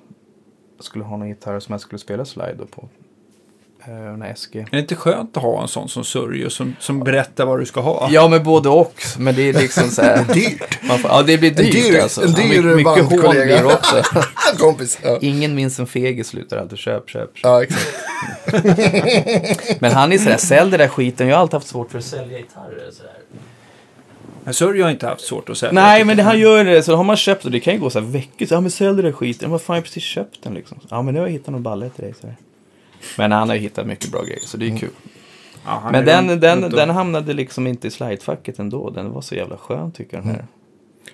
S4: Jag skulle ha någon gitarr som jag skulle spela slide då på. Eh, Den här SG.
S5: Är det inte skönt att ha en sån som Sörjo som, som berättar vad du ska ha?
S4: Ja, men både och. Men det är liksom så här.
S3: Dyrt.
S4: Man får, ja, det blir dyrt
S3: dyr-
S4: alltså.
S3: en
S4: Ja,
S3: dyr
S4: mycket- mycket hån
S3: bandkollega.
S4: blir det också.
S3: Ah, kompis. Ja,
S4: Ingen minns en fegis slutar alltid köp, köp, köp.
S3: ja exakt.
S4: Men han är sådär, sälj det där skiten. Jag har alltid haft svårt för att sälja gitarrer sådär.
S5: Men Sörjo har inte haft svårt att sälja.
S4: Nej, men det han gör det. Så har man köpt och det kan ju gå så här veckor. Så, ja, men sälj det där skiten. Vad fan, jag har precis köpt den liksom. Ja, men nu har jag hittat någon balle till dig. Så här. Men han har ju hittat mycket bra grejer, så det är kul.
S5: Ja, han
S4: Men
S5: är
S4: den,
S5: runt-
S4: den,
S5: runt
S4: den
S5: och-
S4: hamnade liksom inte i slidefacket ändå. Den var så jävla skön tycker jag den här.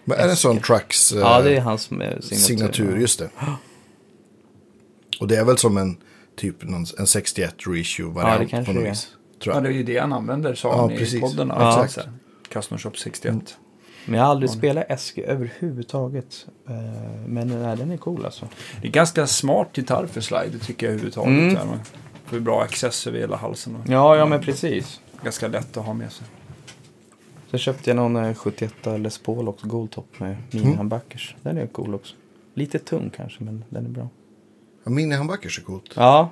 S3: Men är det en sån Trucks eh,
S4: Ja, det är hans eh, signatur.
S3: signatur? Just det. Och det är väl som en typ någon, en 61
S4: Ja, det
S3: reissue-variant
S4: kanske
S3: på något
S4: är.
S3: vis. Tror
S5: Ja,
S3: jag.
S5: det är ju det han använder, sa
S3: Ja,
S5: han i
S3: precis.
S5: podden.
S3: Ja,
S5: Ja,
S3: exakt.
S5: Custom Shop 61.
S4: Mm. Men jag har aldrig spelat Eske överhuvudtaget. Eh, Men nej, den är cool alltså.
S5: Det är ganska smart gitarr för slide, tycker jag överhuvudtaget.
S4: Mm.
S5: så här. Man får ju bra access över hela halsen. Och
S4: Ja, ja men precis.
S5: Ganska lätt att ha med sig.
S4: Sen köpte jag någon eh, 71 Les Paul också, Goldtop med
S5: Mm.
S4: mini-handbackers. Den är cool också. Lite tung kanske, men den är bra.
S3: Ja, Mini-handbackers är coolt.
S4: Ja,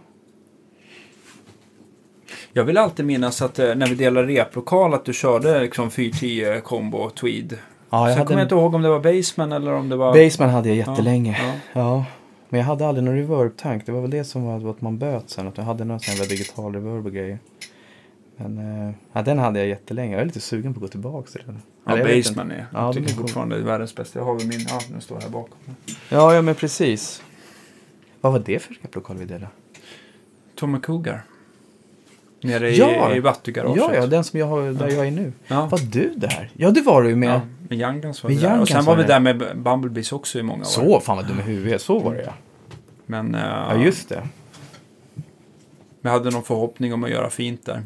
S5: Jag vill alltid minnas att eh, när vi delade replokal att du körde liksom 410 combo tweed.
S4: ja jag
S5: Sen
S4: hade
S5: kommer jag
S4: en...
S5: inte ihåg om det var baseman eller om det var...
S4: Baseman hade jag
S5: Ja,
S4: jättelänge. Ja,
S5: ja.
S4: Men jag hade aldrig någon reverb-tank. Det var väl det som var att man böt sen. Att jag hade någon sån här digital reverb och grejer. Men eh, ja, den hade jag jättelänge. Jag är lite sugen på att gå tillbaka till den.
S5: Ja,
S4: Eller jag vet
S5: Baseman är.
S4: Ja,
S5: jag
S4: de
S5: tycker
S4: är coola.
S5: fortfarande det är världens bästa. Jag har väl min, ja, den står här bakom.
S4: inte. Ja, ja, men precis. Vad var det för replokal vi delade?
S5: Tommy Cougar. Nere i,
S4: Ja.
S5: i Battugaraget.
S4: Ja, ja, den som jag har, där jag är nu.
S5: ja.
S4: Var du där? Ja, det var du ju med.
S5: Ja, med Young Guns var
S4: Med
S5: vi där.
S4: Young
S5: Och sen
S4: Guns
S5: var
S4: var
S5: vi
S4: det.
S5: där med Bumblebees också i många år.
S4: Så, fan vad dum i huvudet. Så var det ja.
S5: Men eh,
S4: Ja, just det.
S5: vi hade någon förhoppning om att göra fint där.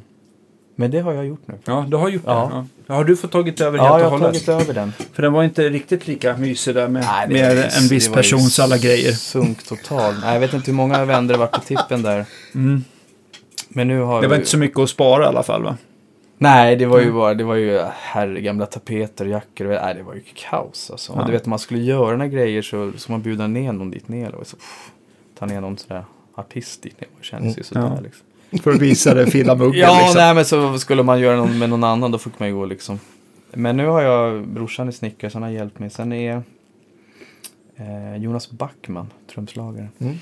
S4: Men det har jag gjort nu.
S5: Ja, du har gjort
S4: Ja.
S5: det. Ja. Har du fått tagit över
S4: Ja,
S5: helt
S4: jag
S5: och
S4: har
S5: hållet?
S4: tagit över den.
S5: För den var inte riktigt lika mysig där med,
S4: Nej, det-
S5: med
S4: det-
S5: en viss
S4: det var ju
S5: persons alla grejer.
S4: Sunk total. Nej, jag vet inte hur många vänder det varit på tippen där.
S5: Mm.
S4: Men nu har
S5: Det var
S4: vi-
S5: inte så mycket att spara i alla fall va?
S4: Nej, det var ju bara, det var ju herre, gamla tapeter, jackor och nej, det var ju kaos alltså.
S5: Ja.
S4: Och du vet, om man skulle göra några grejer så, så man bjuda ner någon dit ner. Och så, pff, ta ner någon sådär artist dit ner. Det känns ju sådär
S5: Mm, Ja.
S4: liksom.
S5: För att visa den fina muggen
S4: Ja,
S3: liksom.
S4: nej men så skulle man göra någon med någon annan då fick man ju gå liksom. Men nu har jag brorsan i snickare som har hjälpt mig. Sen är eh, Jonas Backman, trumslagare.
S3: Mm.
S4: Han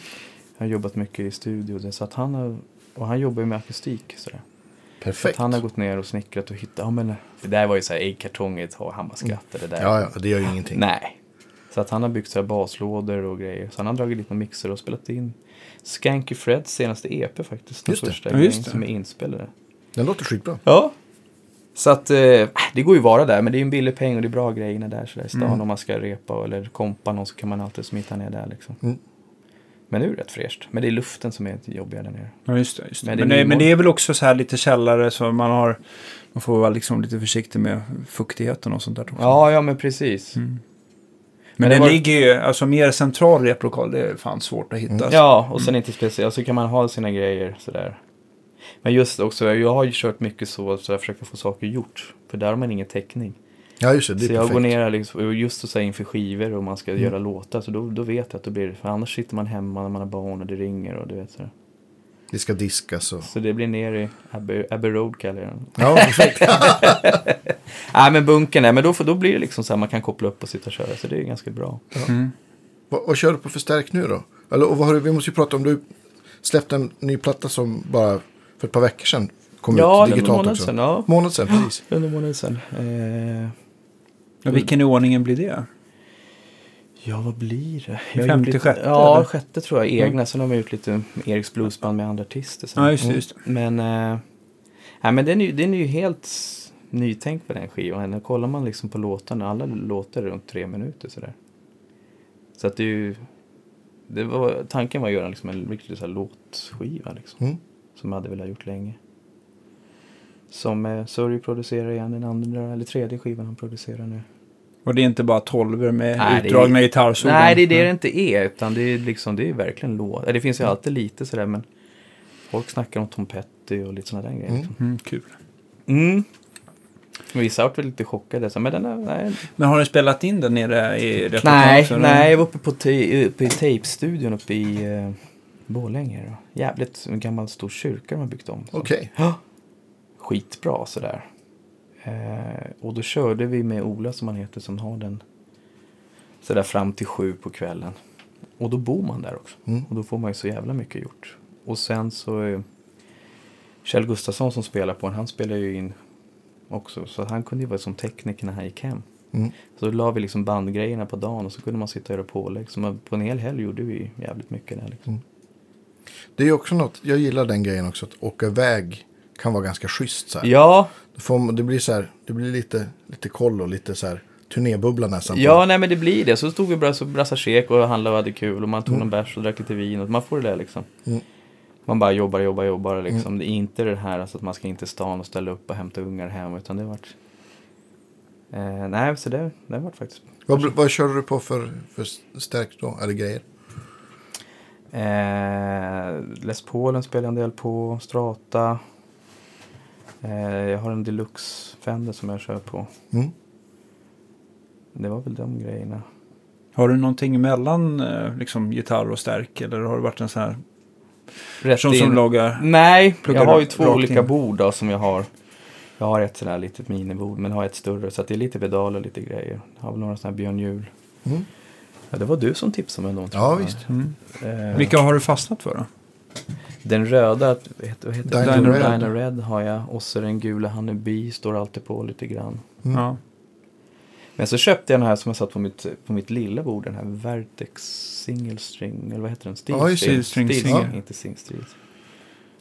S4: har jobbat mycket i studio. Så att han har, och han jobbar ju med akustik. Sådär. Så att
S3: Perfekt.
S4: han har gått ner och snickrat och hittat, ja men det där var ju såhär äggkartongigt och han bara skrattade där.
S3: Mm. Ja, ja, det gör ju ingenting.
S4: Nej. Så att han har byggt så här baslådor och grejer. Så han har dragit dit några mixer och spelat in Skanky Freds senaste EP faktiskt. Den
S3: Just det.
S4: första
S5: Ja, just
S4: grejen
S5: det.
S4: som är inspelade.
S3: Den låter skitbra.
S4: Ja. Så att eh, det går ju att vara där, men det är ju en billig peng och det är bra grejer när det är sådär i stan.
S3: Mm.
S4: Om man ska repa eller kompa någon så kan man alltid smita ner där liksom.
S3: Mm.
S4: Men nu är det rätt fräscht. Men det är luften som är jobbigare där nere.
S5: Ja, just det. Just det.
S4: Men
S5: Men,
S4: det är
S5: det, men
S4: minimal.
S5: det är väl också så här lite källare så man har... Man
S4: Mm.
S5: får vara liksom lite försiktig med fuktigheten och sånt där också.
S4: Ja, ja men precis.
S5: Men
S4: det
S5: det
S4: var-
S5: ligger ju, alltså mer central replokal, det är fan svårt att
S4: Mm.
S5: hitta. alltså.
S4: Ja, och sen inte speciellt, så kan man ha sina grejer sådär. Men just också, jag har ju kört mycket så att jag försöker få saker gjort. För där har man ingen täckning.
S3: Ja, just det. Det är
S4: så jag går
S3: perfekt. Mm.
S4: ner här liksom, och just och säger inför skivor och man ska göra låtar, så då, då vet jag att det blir För annars sitter man hemma när man har barn och det ringer och du vet sådär.
S3: Det ska diskas och...
S4: Så det blir ner i Abbey, Abbey Road kallar jag den.
S3: Ja, perfekt.
S4: Nej men bunkern, nej men då, får- då blir det liksom så här, man kan koppla upp och sitta och köra, så det är ju ganska bra.
S5: Mm.
S3: vad, vad kör du på för stärk nu då? Eller, och vad har du, vi måste ju prata om, du släppte en ny platta som bara för ett par veckor sedan kom
S4: Ja,
S3: ut
S4: det var en
S3: digitalt
S4: månad
S3: också.
S4: sedan, ja.
S3: Månad sedan, precis.
S4: Under månaden sedan. Eh,
S5: Ja, vilken i ordningen blir det?
S4: Mm. Ja, vad blir det?
S5: Femte,
S4: gjorde lite-
S5: sjätte,
S4: Ja,
S5: eller?
S4: sjätte tror jag. Egna. Sen har man gjort lite Eriks bluesband med andra artister. Sen. Mm.
S5: Ja, just det. Just. det.
S4: Men, eh, nej, men den, är, ju- den är ju helt s- nytänkt på den skivan. Och Kollar man liksom på låtarna, alla låtar är runt tre minuter sådär. Så att det är ju, det var, tanken var att göra liksom en riktig så här låtskiva liksom.
S3: Mm.
S4: Som jag hade velat gjort länge. Som eh, Sörj producerar igen, den andra eller tredje skivan han producerar nu.
S5: Och det är inte bara tolvor med
S4: Nej, det är-
S5: utdragna Mm. gitarrsolon.
S4: Nej, det är det det inte är. Utan det är liksom, det är verkligen låt. Det finns ju alltid lite sådär, men folk snackar om Tom Petty och lite sådana där grejer. liksom.
S5: Mm, kul.
S4: Mm. Vissa har varit lite chockade, så, men den är, nej.
S5: Men har du spelat in den nere i replokalen?
S4: Nej,
S5: också, eller?
S4: nej, jag var uppe, på ta- uppe i tejpstudion uppe i eh, Borlänge. Då. Jävligt en gammal stor kyrka de har byggt om. Så.
S3: Okej.
S4: Skitbra sådär. Eh, och då körde vi med Ola som han heter som har den sådär fram till sju på kvällen. Och då bor man där också.
S3: Mm.
S4: Och då får man ju så jävla mycket gjort. Och sen så eh, Kjell Gustafsson som spelar på den, han spelar ju in också. Så han kunde ju vara som tekniker när han gick hem.
S3: Mm.
S4: Så då la vi liksom bandgrejerna på dagen och så kunde man sitta och göra pålägg. Så man, på en hel helg gjorde vi jävligt mycket där. Liksom.
S3: Det är ju också något, jag gillar den grejen också, att åka iväg kan vara ganska schysst så här.
S4: Ja,
S3: Då får man- Det blir så här, det blir lite, lite koll och lite så här turnébubbla nästan. på-
S4: Ja, nej men det blir det. Så stod vi och brass- brassade kek och handlade och hade kul och man
S5: Mm.
S4: tog någon bärs och drack lite vin och man får det där liksom.
S3: Mm.
S4: Man bara jobbar, jobbar, jobbar liksom.
S5: Mm.
S4: Det är inte det här alltså, att man ska in till stan och ställa upp och hämta ungar hem utan det har varit... Eh, nej, så det, det har varit faktiskt...
S3: Vad, vad kör du på för, för stärk då? Eller grejer?
S4: Eh, Les Paulen spelar jag en del på, Strata. Eh, jag har en deluxe Fender som jag kör på.
S3: Mm.
S4: Det var väl de grejerna.
S5: Har du någonting mellan eh, liksom, gitarr och stärk? Eller har det varit en sån här
S4: Rätt
S5: person som lagar?
S4: Nej,
S5: Pluggar
S4: jag har ju
S5: rakt-
S4: två
S5: rakt
S4: olika
S5: in.
S4: bord då, som jag har. Jag har ett sånt här litet minibord, men har ett större. Så att det är lite pedal och lite grejer. Jag har väl några sådana här Björn Hjul.
S3: Mm.
S4: Ja, det var du som tipsade mig om dem. tror
S3: Ja,
S4: jag.
S3: visst.
S5: Mm.
S4: Eh,
S5: Vilka har du fastnat för då?
S4: Den röda, vad heter vad heter den?
S3: Dino
S4: Dino
S3: Red.
S4: Red. har jag. Och så den gula Hanneby står alltid på lite grann.
S3: Mm.
S5: Ja.
S4: Men så köpte jag den här som jag satt på mitt, på mitt lilla bord. Den här Vertex Single String, eller vad heter den? Steel
S3: Ja, just det,
S4: Steel
S5: String
S4: Steel
S5: Single.
S4: String, inte Sing Street.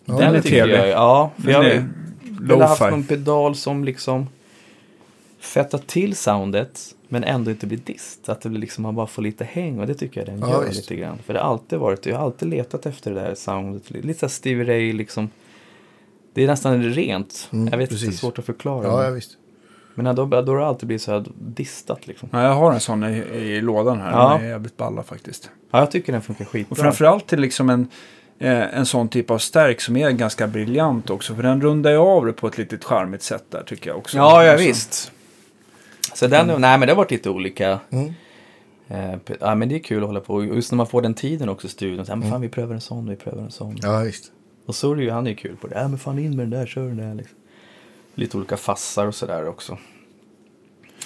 S3: Ja,
S5: Den är
S4: tycker
S5: trevlig.
S4: jag- Ja, för
S5: Den
S4: jag,
S5: är
S4: Jag har haft
S5: lo-fi.
S4: någon pedal som liksom fettar till soundet men ändå inte blir dist. Att det blir liksom, man bara får lite häng och det tycker jag den
S3: Ja,
S4: gör
S3: visst.
S4: lite grann. För det har alltid varit, jag har alltid letat efter det där soundet. Lite såhär Stevie Ray liksom. Det är nästan rent.
S3: Mm,
S4: jag vet inte, det är
S3: precis.
S4: svårt att förklara.
S3: Ja, ja,
S4: men-
S3: visst.
S4: Men då, då har det alltid blivit så här distat liksom.
S5: Ja, jag har en sån i, i lådan här.
S4: Ja.
S5: Den är jävligt balla faktiskt.
S4: Ja, jag tycker den funkar skitbra.
S5: Och framförallt är det liksom en, eh, en sån typ av stärk som är ganska briljant också. För den rundar ju av det på ett litet charmigt sätt där tycker jag också.
S4: Ja, ja
S5: Alltså, Mm.
S4: visst. Så den, nej men det har varit lite olika.
S3: Mm.
S4: Eh, p- ja men det är kul att hålla på. Och Just när man får den tiden också i studion. Så, här, men
S3: Mm.
S4: fan vi prövar en sån, vi prövar en sån.
S3: Ja, visst.
S4: Och så är det ju, han är ju kul på det. Ja men fan in med den där, kör den där liksom. Lite olika fassar och sådär också.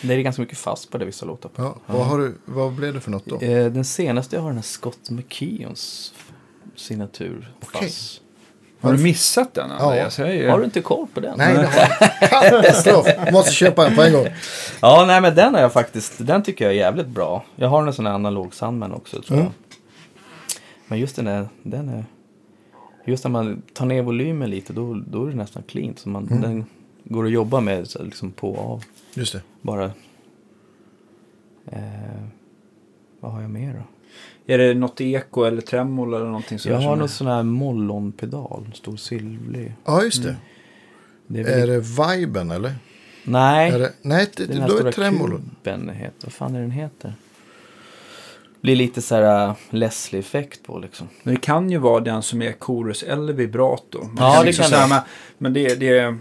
S4: Det är ganska mycket fass på det vissa låtar på.
S3: Ja. Vad, har du, vad blev det för något då?
S4: Eh, den senaste jag har den här Scott McKeons signatur. Fass.
S5: Har du missat den? Andreas?
S3: Ja.
S5: Jag säger ju-
S4: Har du inte koll på den?
S3: Nej, det har jag. Katastrof! Måste köpa en på en gång.
S4: Ja, nej men den har jag faktiskt, den tycker jag är jävligt bra. Jag har en sån här analog Sandman också tror
S3: Mm.
S4: jag. Men just den där, den är, just när man tar ner volymen lite då, då är det nästan cleant. Så man,
S3: Mm.
S4: den går att jobba med så här, liksom på och av.
S3: Just det.
S4: Bara, eh, vad har jag mer då?
S5: Är det något eko eller tremolo eller någonting
S4: jag har
S5: känner-
S4: någon sån här mollonpedal, en stor silvrig.
S3: Ja, just det.
S4: Det är väl,
S3: Är Mm. det viben eller?
S4: nej,
S3: Är det, nej, det,
S4: den här
S3: då är
S4: stora
S3: det tremolo.
S4: kuben heter, vad fan är den heter? blir lite så här äh, Leslie-effekt på liksom.
S5: Men det kan ju vara den som är chorus eller vibrato. Man
S4: Ja, det kan det.
S5: så här med- Men det, det är... Jag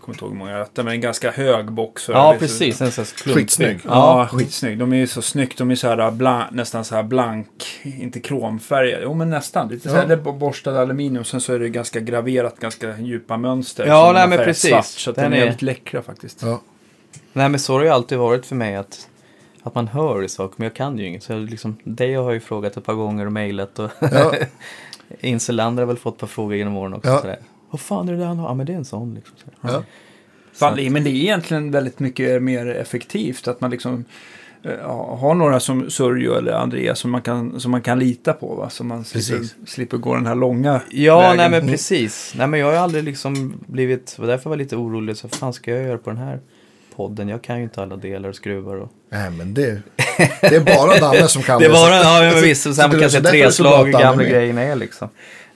S5: kommer inte ihåg hur många rätter, men en ganska hög box.
S4: Ja,
S5: Lite-
S4: precis. En sån här klumpig.
S3: Skitsnygg.
S5: Ja, skitsnygg. De är ju så snyggt. De är så här blank, nästan så här blank, inte kromfärgade. Jo, men nästan. Lite så här,
S3: Ja.
S5: det är borstad aluminium. Sen så är det ganska graverat, ganska djupa mönster.
S4: Ja,
S5: som
S4: nej,
S5: har
S4: men
S5: färgat
S4: precis.
S5: Svart, så att den,
S4: Den
S5: är
S4: är-
S5: jävligt läckra faktiskt.
S3: Ja.
S4: Nej, men så har det ju alltid varit för mig att, att man hör saker, men jag kan ju inget. Så jag liksom, dig har jag ju frågat ett par gånger och mejlat och
S3: Ja.
S4: Inselander har väl fått ett par frågor genom åren också.
S3: Ja.
S4: Sådär. Vad fan är det där han har? Ja, men det är en sån liksom. Sådär.
S3: Ja.
S5: Fan, det- men det är egentligen väldigt mycket mer effektivt att man liksom eh, ja, har några som Sörjo eller Andreas som man kan, som man kan lita på. Va? Så man slipper,
S3: Precis.
S5: slipper gå den här långa
S4: Ja,
S5: vägen.
S4: nej men precis. Nej men jag har ju aldrig liksom blivit, det var därför jag var lite orolig, så vad fan ska jag göra på den här podden? Jag kan ju inte alla delar och skruvar och...
S3: Nej, men det, det är bara Danne som kan
S4: Det
S3: det.
S4: är bara, ja men visst, och
S3: så
S4: sen
S3: det-
S4: man kan
S3: så
S4: se
S3: därför är det så bra
S4: treslag hur
S3: att Danne är
S4: gamla
S3: med.
S4: grejerna är liksom.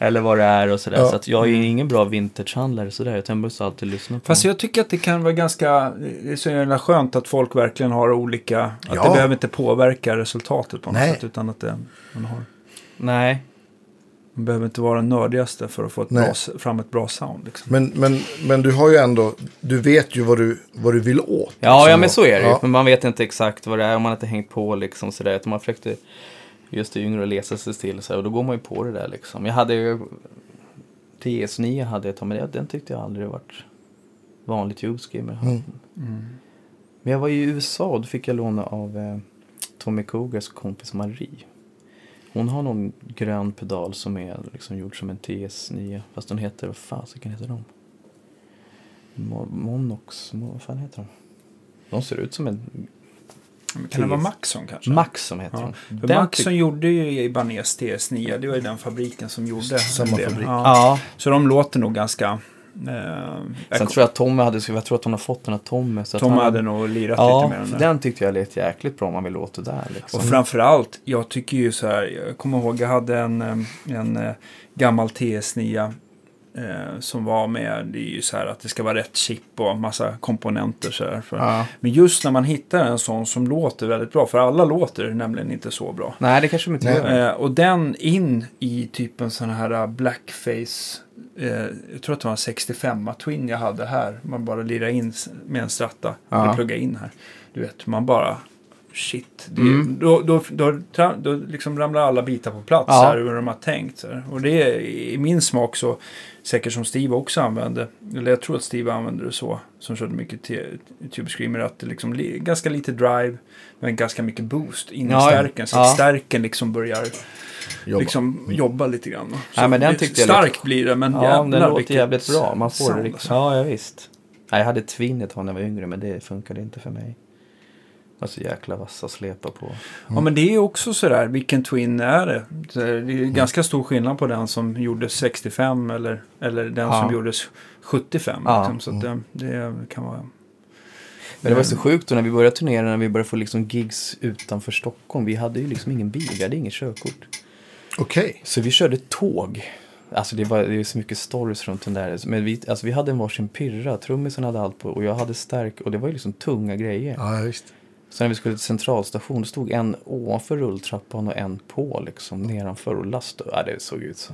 S4: Eller vad det är och sådär.
S3: Ja.
S4: Så att jag är ju ingen bra vintagehandlare sådär, utan jag måste alltid lyssna på
S5: Fast jag tycker att det kan vara ganska det är så jävla skönt att folk verkligen har olika, att det
S3: Ja.
S5: behöver inte påverka resultatet på något
S3: Nej.
S5: sätt. Utan att det, man, har,
S4: Nej,
S5: man behöver inte vara den nördigaste för att få ett
S3: Nej.
S5: bra, s- fram ett bra sound. Liksom.
S3: Men, men, men du har ju ändå, du vet ju vad du, vad du vill åt.
S4: Ja,
S3: liksom.
S4: ja men så är det ju.
S3: Ja.
S4: Men man vet inte exakt vad det är om man inte hängt på liksom sådär. Utan man försökte just det yngre att läsa sig till så här, och då går man ju på det där liksom. Jag hade ju TS9 hade jag ett tag, men jag- den tyckte jag aldrig varit vanligt ljudskimmer.
S3: Mm.
S4: Men jag var i USA och då fick jag låna av eh, Tommy Cougars kompis Marie. Hon har någon grön pedal som är liksom gjord som en TS9. Fast den heter, vad fasiken heter de? Mo- Monox, Mo- vad fan heter de? De ser ut som en
S5: Kan det vara
S4: precis.
S5: Maxon kanske?
S4: Max som heter
S5: Ja.
S4: de.
S5: För
S4: Den
S5: Maxon
S4: tyck-
S5: gjorde ju Ibanez TS9, det var ju den fabriken som gjorde
S3: Samma
S5: det.
S3: fabrik.
S5: Ja.
S4: Ja.
S5: Så de låter nog ganska... Eh,
S4: Sen tror jag att Tommy hade, jag tror att hon har fått den av Tommy. Så att
S5: Tom
S4: han-
S5: hade nog lirat
S4: ja,
S5: lite med
S4: för
S5: den där.
S4: den tyckte jag lät jäkligt bra om man vill åt det där liksom.
S5: Och framförallt, jag tycker ju så här, jag kommer ihåg jag hade en, eh, en eh, gammal TS9 eh, som var med, det är ju så här att det ska vara rätt chip och massa komponenter så här. För,
S4: ja.
S5: Men just när man hittar en sån som låter väldigt bra, för alla låter nämligen inte så bra.
S4: Nej, det kanske de inte
S3: Nej.
S4: gör.
S5: Eh, och den in i typ en sån här eh, blackface, eh, jag tror att det var en 65 Twin jag hade här. Man bara lirar in s- med en stratta,
S4: Ja.
S5: eller plugga in här. Du vet, man bara shit. Det,
S4: Mm.
S5: Då, då, då, tra- då liksom ramlar alla bitar på plats
S4: Ja.
S5: här, hur de har tänkt. Så här. Och det är i min smak så, säkert som Steve också använde, eller jag tror att Steve använde det så, som körde mycket te- Tube Screamer, att det liksom li- ganska lite drive, men ganska mycket boost in i
S4: Ja, ja.
S5: stärken. Så att
S4: Ja.
S5: stärken liksom börjar
S3: Jobba.
S5: liksom jobba lite grann. va.
S4: Nej, men den
S5: det-
S4: tyckte jag
S5: starkt blir det, men
S4: Ja,
S5: jävlar
S4: den låter
S5: vilket
S4: jävligt bra. Man får liksom- det
S5: sound,
S4: riktigt.
S5: alltså.
S4: Ja, ja, visst. Nej, jag hade Twin ett tag när jag var yngre, men det funkade inte för mig. Det var så jäkla vassa att slepa på.
S5: Ja, men det är ju också sådär, vilken Twin är det? Det är ju ganska stor skillnad på den som gjordes 65 eller, eller den
S4: Ja.
S5: som gjordes 75.
S4: Ja.
S5: Liksom, så att det, det kan vara...
S4: Men det var så sjukt då när vi började turnera, när vi började få liksom gigs utanför Stockholm. Vi hade ju liksom ingen bil, vi hade inget körkort.
S3: Okej.
S4: Så vi körde tåg. Alltså det, var, det är så mycket stories runt den där. Men vi, alltså vi hade en varsin pyrra, trummisen hade allt på och jag hade stark och det var ju liksom tunga grejer.
S3: Ja, visst.
S4: Så när vi skulle till centralstation då stod en ovanför rulltrappan och en på liksom nedanför och last. Ja, det såg ut så.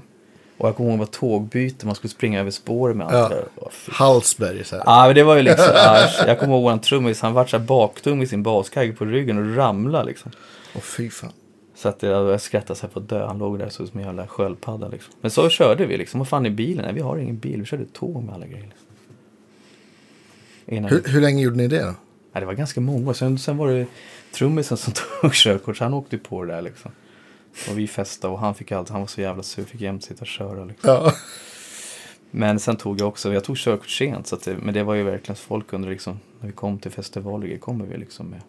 S4: Och jag kommer ihåg det var tågbyte, man skulle springa över spår med allt
S3: Ja.
S4: det där. Åh, fy.
S3: Hallsberg så här.
S4: Ja, men det var ju liksom, ja, jag kommer ihåg våran trummis, han vart så här baktung i sin baskagge på ryggen och ramlade liksom.
S3: Åh, fy fan.
S4: Så att jag, jag skrattade så här på att dö. Han låg där och såg ut som en jävla sköldpadda. Liksom. Men så körde vi liksom. Vad fan är bilen? Nej, vi har ingen bil. Vi körde tåg med alla grejer. Liksom. Innan
S3: Hur, hur länge gjorde ni det då?
S4: nej, det var ganska många. Sen, sen var det trummisen som tog körkort. Så han åkte ju på det där liksom. Och vi festade och han fick allt. Han var så jävla sur. Fick jämt sitta och köra liksom.
S3: Ja.
S4: Men sen tog jag också. Jag tog körkort sent. Så att det, men det var ju verkligen så folk under liksom. När vi kom till festivaler kommer vi liksom med.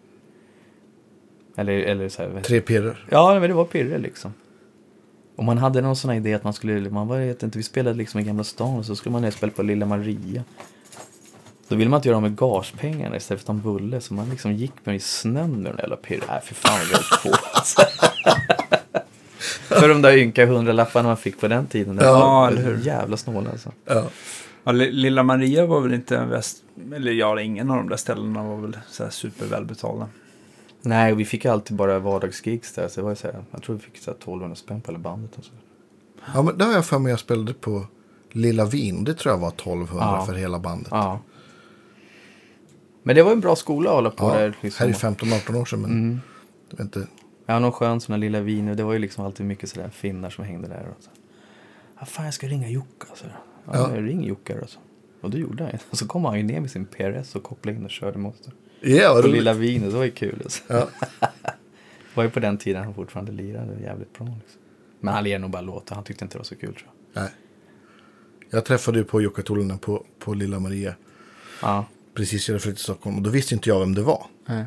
S4: Eller, eller så här,
S3: Tre pirrar.
S4: Ja, men det var pirre liksom. Och man hade någon sån här idé att man skulle, man var, jag vet inte, vi spelade liksom i Gamla stan och så skulle man ner och spela på Lilla Maria. Då ville man inte göra av med gagepengarna istället för att ta en bulle så man liksom gick med i snön med den där jävla pirren. Nej, för fan vad jag höll på alltså. För de där ynka hundralapparna man fick på den tiden. det
S5: Ja,
S4: var
S5: eller hur?
S4: Jävla snåla alltså.
S3: Ja.
S5: Ja, Li- Lilla Maria var väl inte en väst... Eller ja, ingen av de där ställena var väl så här supervälbetalda.
S4: Nej, vi fick alltid bara vardagsgigs där. Så det var ju så här, jag tror vi fick så här 1200 spänn på hela bandet. alltså. Och så.
S3: Ja, men där har jag för mig jag spelade på Lilla Vin. Det tror jag var 1200
S4: Ja.
S3: för hela bandet.
S4: Ja. Men det var en bra skola att hålla på
S3: Ja,
S4: där.
S3: Här
S4: Liksom.
S3: är 15-18 år sedan, men
S4: Mm.
S3: det var inte...
S4: Ja, någon skön sån där lilla vin. och Det var ju liksom alltid mycket sådär finnar som hängde där. Och så. Ja, fan, jag ska ringa Jocke. Så. Ja,
S3: Ja.
S4: Jag ring Jocke. då, så. Och det gjorde han ju. Så kom han ju ner med sin PRS och kopplade in och körde mot det.
S3: Ja,
S4: Och
S3: roligt.
S4: lilla vin, och det var ju kul. Alltså.
S3: Ja.
S4: var ju på den tiden han fortfarande lirade jävligt bra. Liksom. Men han lirade nog bara låtar. Han tyckte inte det var så kul tror jag.
S3: Nej. Jag träffade ju på Jukka Tolinen på, på Lilla Maria.
S4: Ja.
S3: Precis innan jag flyttade till Stockholm. Och då visste inte jag vem det var.
S4: Nej.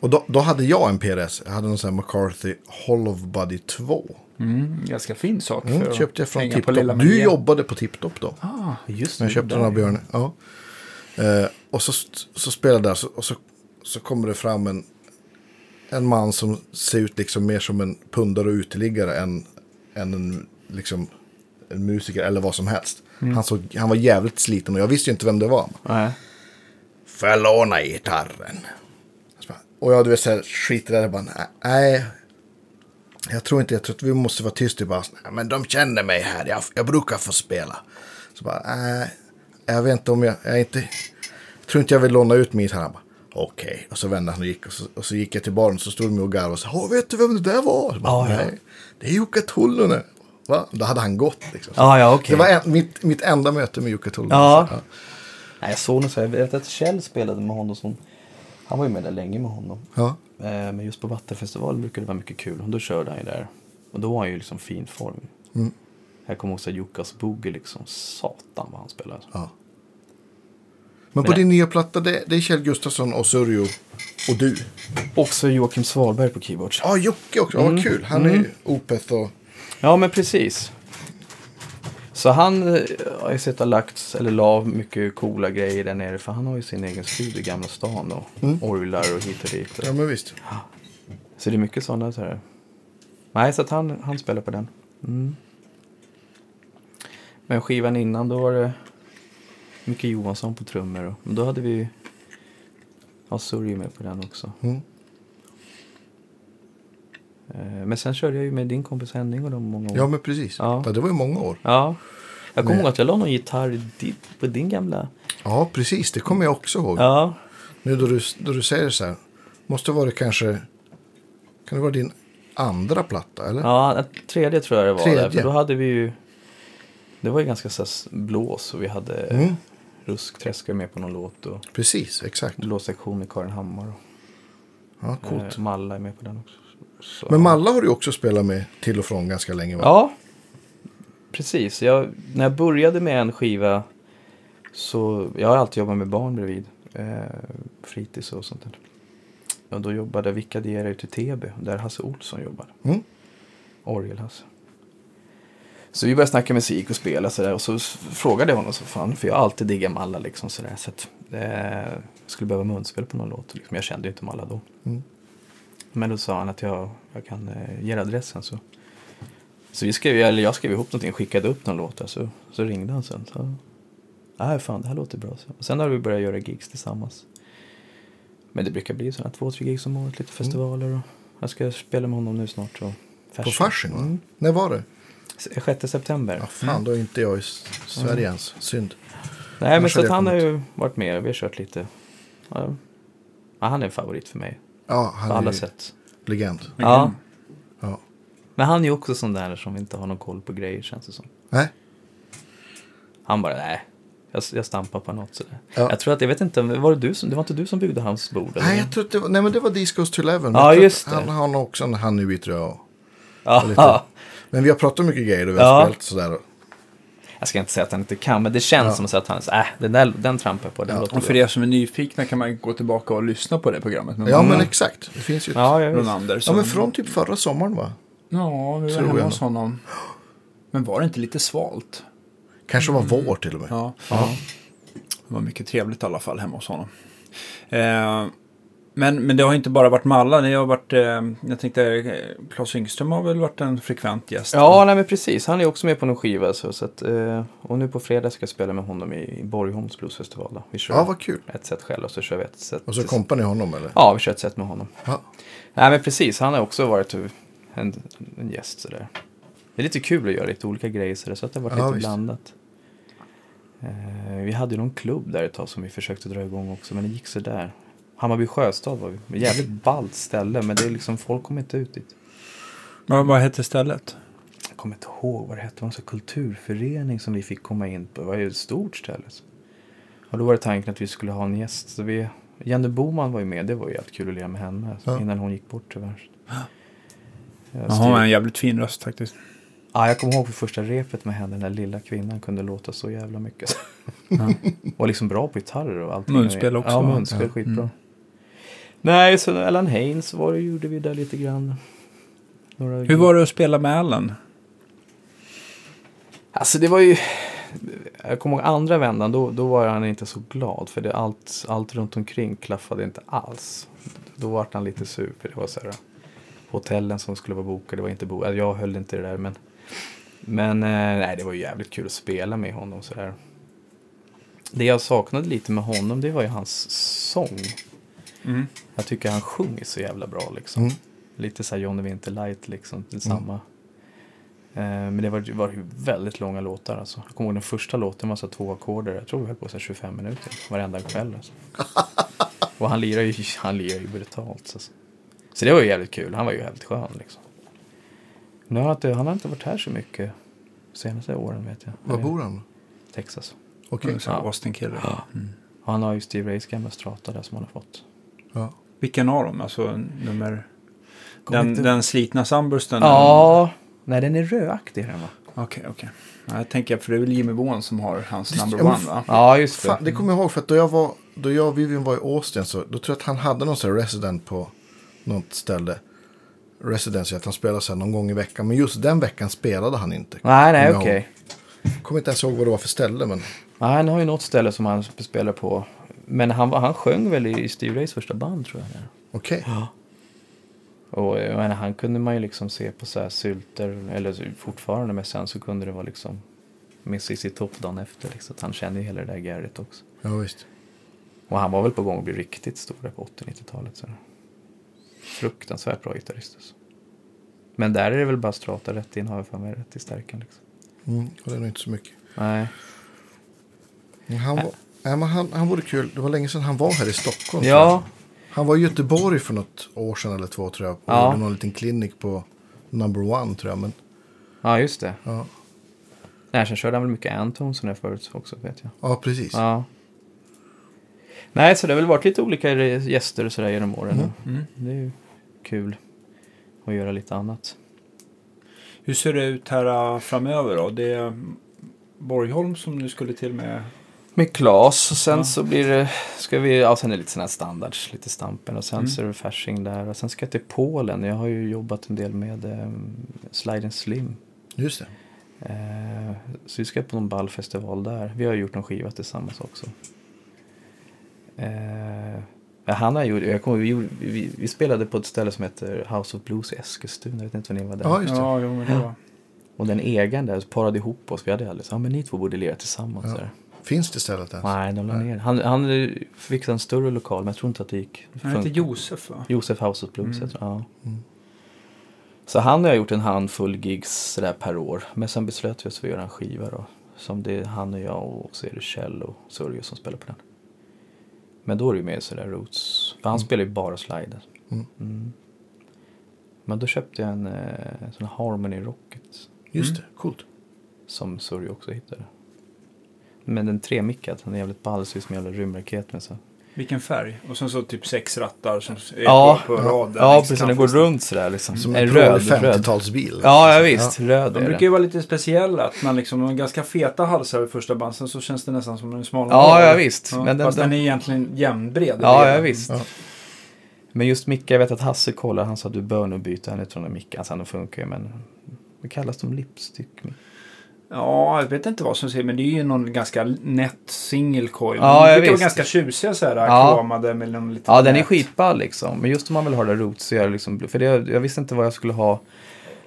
S3: Och då, då hade jag en PRS. Jag hade någon sån här McCarthy Hall of Buddy 2.
S5: Mm, ganska fin sak.
S3: Mm,
S5: för att
S3: köpte jag från
S5: hänga på
S3: Tiptop.
S5: Lilla
S3: Du
S5: Maria.
S3: jobbade på Tiptop då.
S5: Ah,
S4: Just
S3: När jag köpte den av Björne. Ja. Eh, och så, så spelade jag där så- och så, så kommer det fram en, en man som ser ut liksom mer som en pundare och uteliggare än, än en, liksom, en musiker eller vad som helst. Han, såg, han var jävligt sliten och jag visste ju inte vem det var.
S4: Nej.
S3: Får jag låna gitarren? Jag bara- Och jag du vet så här, skiter där bara "Nej, nej. Jag tror inte, jag tror att vi måste vara tysta. Jag Bara, "Nej, men de känner mig här, jag, jag brukar få spela. Så bara, nej. Jag vet inte om jag, jag är inte, jag tror inte jag vill låna ut min gitarr. Han bara, Okej, och så vände han och gick. Och så, och så gick jag till baren och så stod de och garvade och sa, "Åh, vet du vem det där var? Jag Bara,
S4: Ja, ja.
S3: "Nej, Det är Jukka Tollonen. Va? Då hade han gått liksom.
S4: Ja, ja, okej.
S3: Det var en, mitt, mitt enda möte med Jukka Tollonen.
S4: Ja.
S3: Så,
S4: Nej, jag såg nog så här, jag vet att Kjell spelade med honom. Som, han var ju med där länge med honom.
S3: ja.
S4: Eh, Men just på Vattenfestivalen brukade det vara mycket kul. Och då körde han ju där. Och då var han ju liksom fin form.
S3: Mm.
S4: Jag kommer också att Jukkas boogie liksom, satan vad han spelade. alltså.
S3: Ja. Men på
S4: Men-
S3: din nya platta, det, det är Kjell Gustafsson och Sörjo och du.
S4: Också Joakim Svalberg på keyboards.
S3: Ja, ah, Jocke också. Ja,
S4: Mm.
S3: vad kul. Han är ju Opeth och...
S4: Ja, men precis. Så han eh, har ju sett och lagt, eller la mycket coola grejer där nere. För han har ju sin egen studio i Gamla stan och orglar och hit och dit.
S3: Ja, men visst.
S4: Så det är mycket sådana. Så här. Nej, så att han, han spelar på den. Mm. Men skivan innan då var det Micke Johansson på trummor. Och, men då hade vi ju ja, Surjo med på den också.
S3: Mm.
S4: Eh, Men sen körde jag ju med din kompis Henning och dem många år.
S3: Ja, men precis.
S4: Ja.
S3: Ja. det var ju många år.
S4: Ja. Jag kommer
S3: Men-
S4: ihåg att jag la någon gitarr i di- på din gamla.
S3: Ja, precis. Det kommer jag också ihåg.
S4: Ja.
S3: Nu då du, då du säger så här. Måste vara det kanske... Kan det vara din andra platta, eller?
S4: ja, tredje tror jag det var. Där, för
S3: Tredje.
S4: då hade vi ju, det var ju ganska så här s- blås och vi hade mm.
S3: Mm.
S4: ruskträskare med på någon låt. Och,
S3: Precis, exakt.
S4: blåsektion med Karin Hammar. och,
S3: Ja, coolt.
S4: Eh, Malla är med på den också. Så.
S3: Men Malla har du ju också spelat med till och från ganska länge, va?
S4: Ja, precis. Jag, när jag började med en skiva så, jag har alltid jobbat med barn bredvid. Eh, fritids och sånt där. Och då jobbade jag, vikarierade ute i Täby, där Hasse Olsson jobbade.
S3: Mm.
S4: Orgelhasse. Så vi började snacka musik och spela sådär. Och så s- frågade jag honom så fan, för jag har alltid diggat Malla liksom sådär. Så att, eh, jag skulle behöva munspel på någon låt. Liksom. Jag kände ju inte Malla då.
S3: Mm.
S4: Men då sa han att jag, jag kan eh, ge adressen så. Så vi skrev, eller jag skrev ihop någonting, skickade upp någon låt där, så, så ringde han sen. Så, Nej, fan det här låter bra. Så. Och sen har vi börjat göra gigs tillsammans. Men det brukar bli sådana två, tre gigs om året, lite festivaler och jag ska spela med honom nu snart. Och
S3: Mm. På Fasching, va?
S4: Mm.
S3: När var det?
S4: S- 6 september.
S3: Ja, fan, då är inte jag i S-
S4: Mm.
S3: Sverige ens. Synd.
S4: Nej, men
S3: annars
S4: så att
S3: hade jag
S4: han har ju varit med, vi har kört lite. Ja. Ja, han är en favorit för mig,
S3: Ja,
S4: på
S3: han är
S4: alla
S3: ju
S4: sätt.
S3: legend.
S4: Ja.
S3: Ja.
S4: Men han är ju också sån där som inte har någon koll på grejer känns det som.
S3: Nej.
S4: Han bara, nej. Jag, jag stampar på något sådär.
S3: Ja.
S4: Jag tror att, jag vet inte, var det du som, det var inte du som byggde hans bord? eller?
S3: Nej, jag tror att det var, nej, men det var Discos to Eleven.
S4: Ja,
S3: Jag tror
S4: just
S3: att
S4: det.
S3: Han har nog också en Honeybee tror jag.
S4: ja.
S3: Men vi har pratat mycket grejer och vi har
S4: Ja.
S3: spelat sådär.
S4: Jag ska inte säga att han inte kan, men det känns som så att han, äh, den, där, den trampar jag på, den
S3: Ja,
S4: låter
S5: Och för
S4: bra.
S5: er som är nyfikna kan man gå tillbaka och lyssna på det programmet. Med
S3: Ja,
S5: Malla
S3: men exakt. Det finns ju ett... Ja,
S4: Mm. Ja, jag vet.
S5: Ronander.
S3: men
S5: som-
S3: från typ förra sommaren va?
S5: Ja, vi
S3: Tror
S5: var hemma
S3: jag
S5: hos honom. Men var det inte lite svalt?
S3: Kanske var
S4: Mm.
S3: vår till och med.
S5: Ja. Det var mycket trevligt i alla fall hemma hos honom. Eh, Men, men det har inte bara varit Malla. Det har varit, eh, jag tänkte, eh, Claes Yngström har väl varit en frekvent gäst?
S4: Ja, nej men precis. Han är också med på någon skiva. Så, så att, eh, och nu på fredag ska jag spela med honom i, i Borgholms bluesfestival. Då. Vi kör
S3: Ja, vad kul.
S4: ett set själv och så kör vi ett set.
S3: Och så kompar ni honom eller?
S4: Ja, vi kör ett set med honom.
S3: Ja.
S4: Nej men precis, han har också varit en, en gäst sådär. Det är lite kul att göra lite olika grejer sådär, så att det har varit
S3: Ja,
S4: lite
S3: visst.
S4: blandat. Eh, vi hade ju någon klubb där ett tag som vi försökte dra igång också, men det gick sådär. Hammarby sjöstad var vi. Jävligt ballt ställe, men det är liksom, folk kommer inte ut dit.
S5: Vad, vad hette stället?
S4: Jag kommer inte ihåg vad det hette, det var en sån kulturförening som vi fick komma in på. Det var ju ett stort ställe. Och då var det tanken att vi skulle ha en gäst. Så vi, Jenny Boman var ju med, det var ju jättekul att lira med henne. så
S3: Ja.
S4: Innan hon gick bort tyvärr. Jag,
S5: Han har
S4: styr,
S5: en jävligt fin röst faktiskt.
S4: ja, jag kommer ihåg för första repet med henne, den där lilla kvinnan kunde låta så jävla mycket. och liksom bra på gitarrer och allt.
S5: Munspel också,
S4: Ja,
S5: va? Mm.
S4: munspel, skitbra. Nej, så Alan Haynes var det, gjorde vi där lite grann. Några
S5: Hur var det att spela med Allen?
S4: Alltså det var ju... Jag kommer ihåg andra vändan, då, då var han inte så glad för det, allt, allt runt omkring klaffade inte alls. Då var han lite sur för det var så här, hotellen som skulle vara bokade var inte bokade. Jag höll inte det där men... Men eh, nej, det var ju jävligt kul att spela med honom så där. Det jag saknade lite med honom det var ju hans sång.
S5: Mm.
S4: Jag tycker han sjunger så jävla bra liksom.
S3: Mm.
S4: Lite så här Johnny Winter Light liksom, det är samma. Eh, men det var, det var ju väldigt långa låtar alltså. Jag kommer ihåg den första låten var så här två ackorder. Jag tror vi höll på så här 25 minuter varenda kväll alltså. Och han lirar ju, han lirar ju brutalt. Alltså. Så det var ju jävligt kul. Han var ju jävligt skön liksom. Nu har han inte, han har inte varit här så mycket senaste åren vet jag.
S3: Var
S4: Eller
S3: bor han?
S4: Texas.
S3: Okej.
S5: Så
S4: Ja.
S5: Austin Killer. Mm.
S4: Och han har ju Steve Rays gamla strata där som han har fått.
S3: Ja.
S5: Vilken av dem? Alltså nummer...
S4: Kommer
S5: Den,
S4: inte-
S5: den slitna sambursten?
S4: Ja, nej den är rödaktig den va?
S5: Okej, okej. Ja, jag tänker, för det är väl Jimmy Bowen som har hans number
S3: Ja, men
S5: one va?
S4: Ja, just det.
S3: Fan, det kommer jag ihåg för att då jag, var, då jag och Vivian var i Austin så då tror jag att han hade någon sån här resident på något ställe. Residence, att han spelade så här någon gång i veckan. Men just den veckan spelade han inte.
S4: Nej, nej,
S3: No.
S4: okej.
S3: Kommer inte ens ihåg vad det var för ställe men.
S4: Nej, han har ju något ställe som han spelar på. Men han, var- han sjöng väl i Steve Rays första band tror jag. där.
S3: Okej.
S4: Och jag menar, han kunde man ju liksom se på så här sylter, eller så- fortfarande, men sen så kunde det vara liksom Mississippi Top dagen efter. Liksom. Att Han kände ju hela det där garret också.
S3: Ja visst.
S4: Och han var väl på gång att bli riktigt stor där på 80-90-talet. Så. Fruktansvärt bra gitarrist. Alltså. Men där är det väl bara strata rätt in, har jag för mig, rätt i stärken. Liksom.
S3: Mm, och det är nog inte så mycket.
S4: Nej.
S3: Men han, var, nej, men han, han vore kul. Det var länge sedan han var här i Stockholm. tror jag.
S4: Ja,
S3: Han var i Göteborg för något år sedan eller två tror jag. Och
S4: Ja.
S3: gjorde någon liten klinik på number one tror jag. Men
S4: ja, just det.
S3: ja,
S4: Nej, sen körde han väl mycket Antones där förut också, vet jag.
S3: ja precis.
S4: Ja. Nej, så det har väl varit lite olika gäster och sådär genom åren.
S5: Mm.
S4: Det är ju kul att göra lite annat.
S5: Hur ser det ut här äh, framöver då? Det är Borgholm som nu skulle till med.
S4: Med Klas och sen
S5: Ja.
S4: så blir det, ska vi, ja sen är det lite sådana här standards, lite Stampen och sen
S5: Mm.
S4: så är det Fasching där och sen ska jag till Polen. Jag har ju jobbat en del med eh, Slide and Slim.
S3: Just det.
S4: Eh, så vi ska på någon ballfestival där. Vi har ju gjort någon skiva tillsammans också. Eh, ja, han har gjort, jag kommer, vi, gjorde- vi, vi spelade på ett ställe som heter House of Blues i Eskilstuna. Jag vet inte vad ni var där.
S3: Ja, just det.
S5: jo, men det var.
S4: Och den egen där parade ihop oss. Vi hade aldrig sagt, ja men ni två borde lira tillsammans.
S3: Ja.
S4: Där.
S3: Finns det stället ens?
S4: Nej, de la ner. Han, han eh, fixade en större lokal men jag tror inte att det gick.
S5: Han heter
S4: Fun-
S5: Josef va?
S4: Josef House of Blues,
S5: Mm.
S4: jag tror, ja. Så han har jag gjort en handfull gigs sådär per år. Men sen beslöt vi oss för att göra en skiva då. Som det är han och jag och så är det Kjell och Sörje som spelar på den. Men då är det ju mer sådär roots. För han spelar ju bara slide.
S3: Mm.
S4: Mm. Men då köpte jag en eh, sån här Harmony Rocket.
S3: Just det, coolt.
S4: Som Sörje också hittade. Men den tremickad, den är jävligt ball, ser ut som en jävla rymdraket med så.
S5: Vilken färg? Och sen så typ sex rattar som är
S4: Ja.
S5: på, liksom. på rad. där
S4: Ja,
S5: längst
S4: precis,
S5: fram.
S4: den Liksom går runt sådär liksom.
S3: Som
S4: Eh,
S3: en röd 50-talsbil.
S4: Ja, ja visst. Röd
S5: De
S4: är
S5: brukar
S4: det.
S5: ju vara lite speciella, att man liksom har ganska feta halsar i första band, sen så känns det nästan som en smal
S4: Ja, ja visst.
S5: Ja,
S4: men den,
S5: fast den,
S4: den,
S5: är egentligen jämnbred.
S4: ja,
S5: Det är
S4: ja
S5: den.
S4: visst.
S3: Ja.
S4: Men just Micke, jag vet att Hasse kollar, han sa du bör nog byta en utifrån den micken. Alltså den funkar ju men... Det kallas de lipstick.
S5: Ja, jag vet inte vad som säger, men det är ju någon ganska nätt singelcoil.
S4: Ja,
S5: de
S4: ja,
S5: brukar vara
S4: visst.
S5: ganska tjusiga så här,
S4: Ja.
S5: kromade med någon liten
S4: Ja, den är
S5: nät.
S4: skitball liksom. Men just om man vill ha det rotsiga, liksom, för det, jag visste inte vad jag skulle ha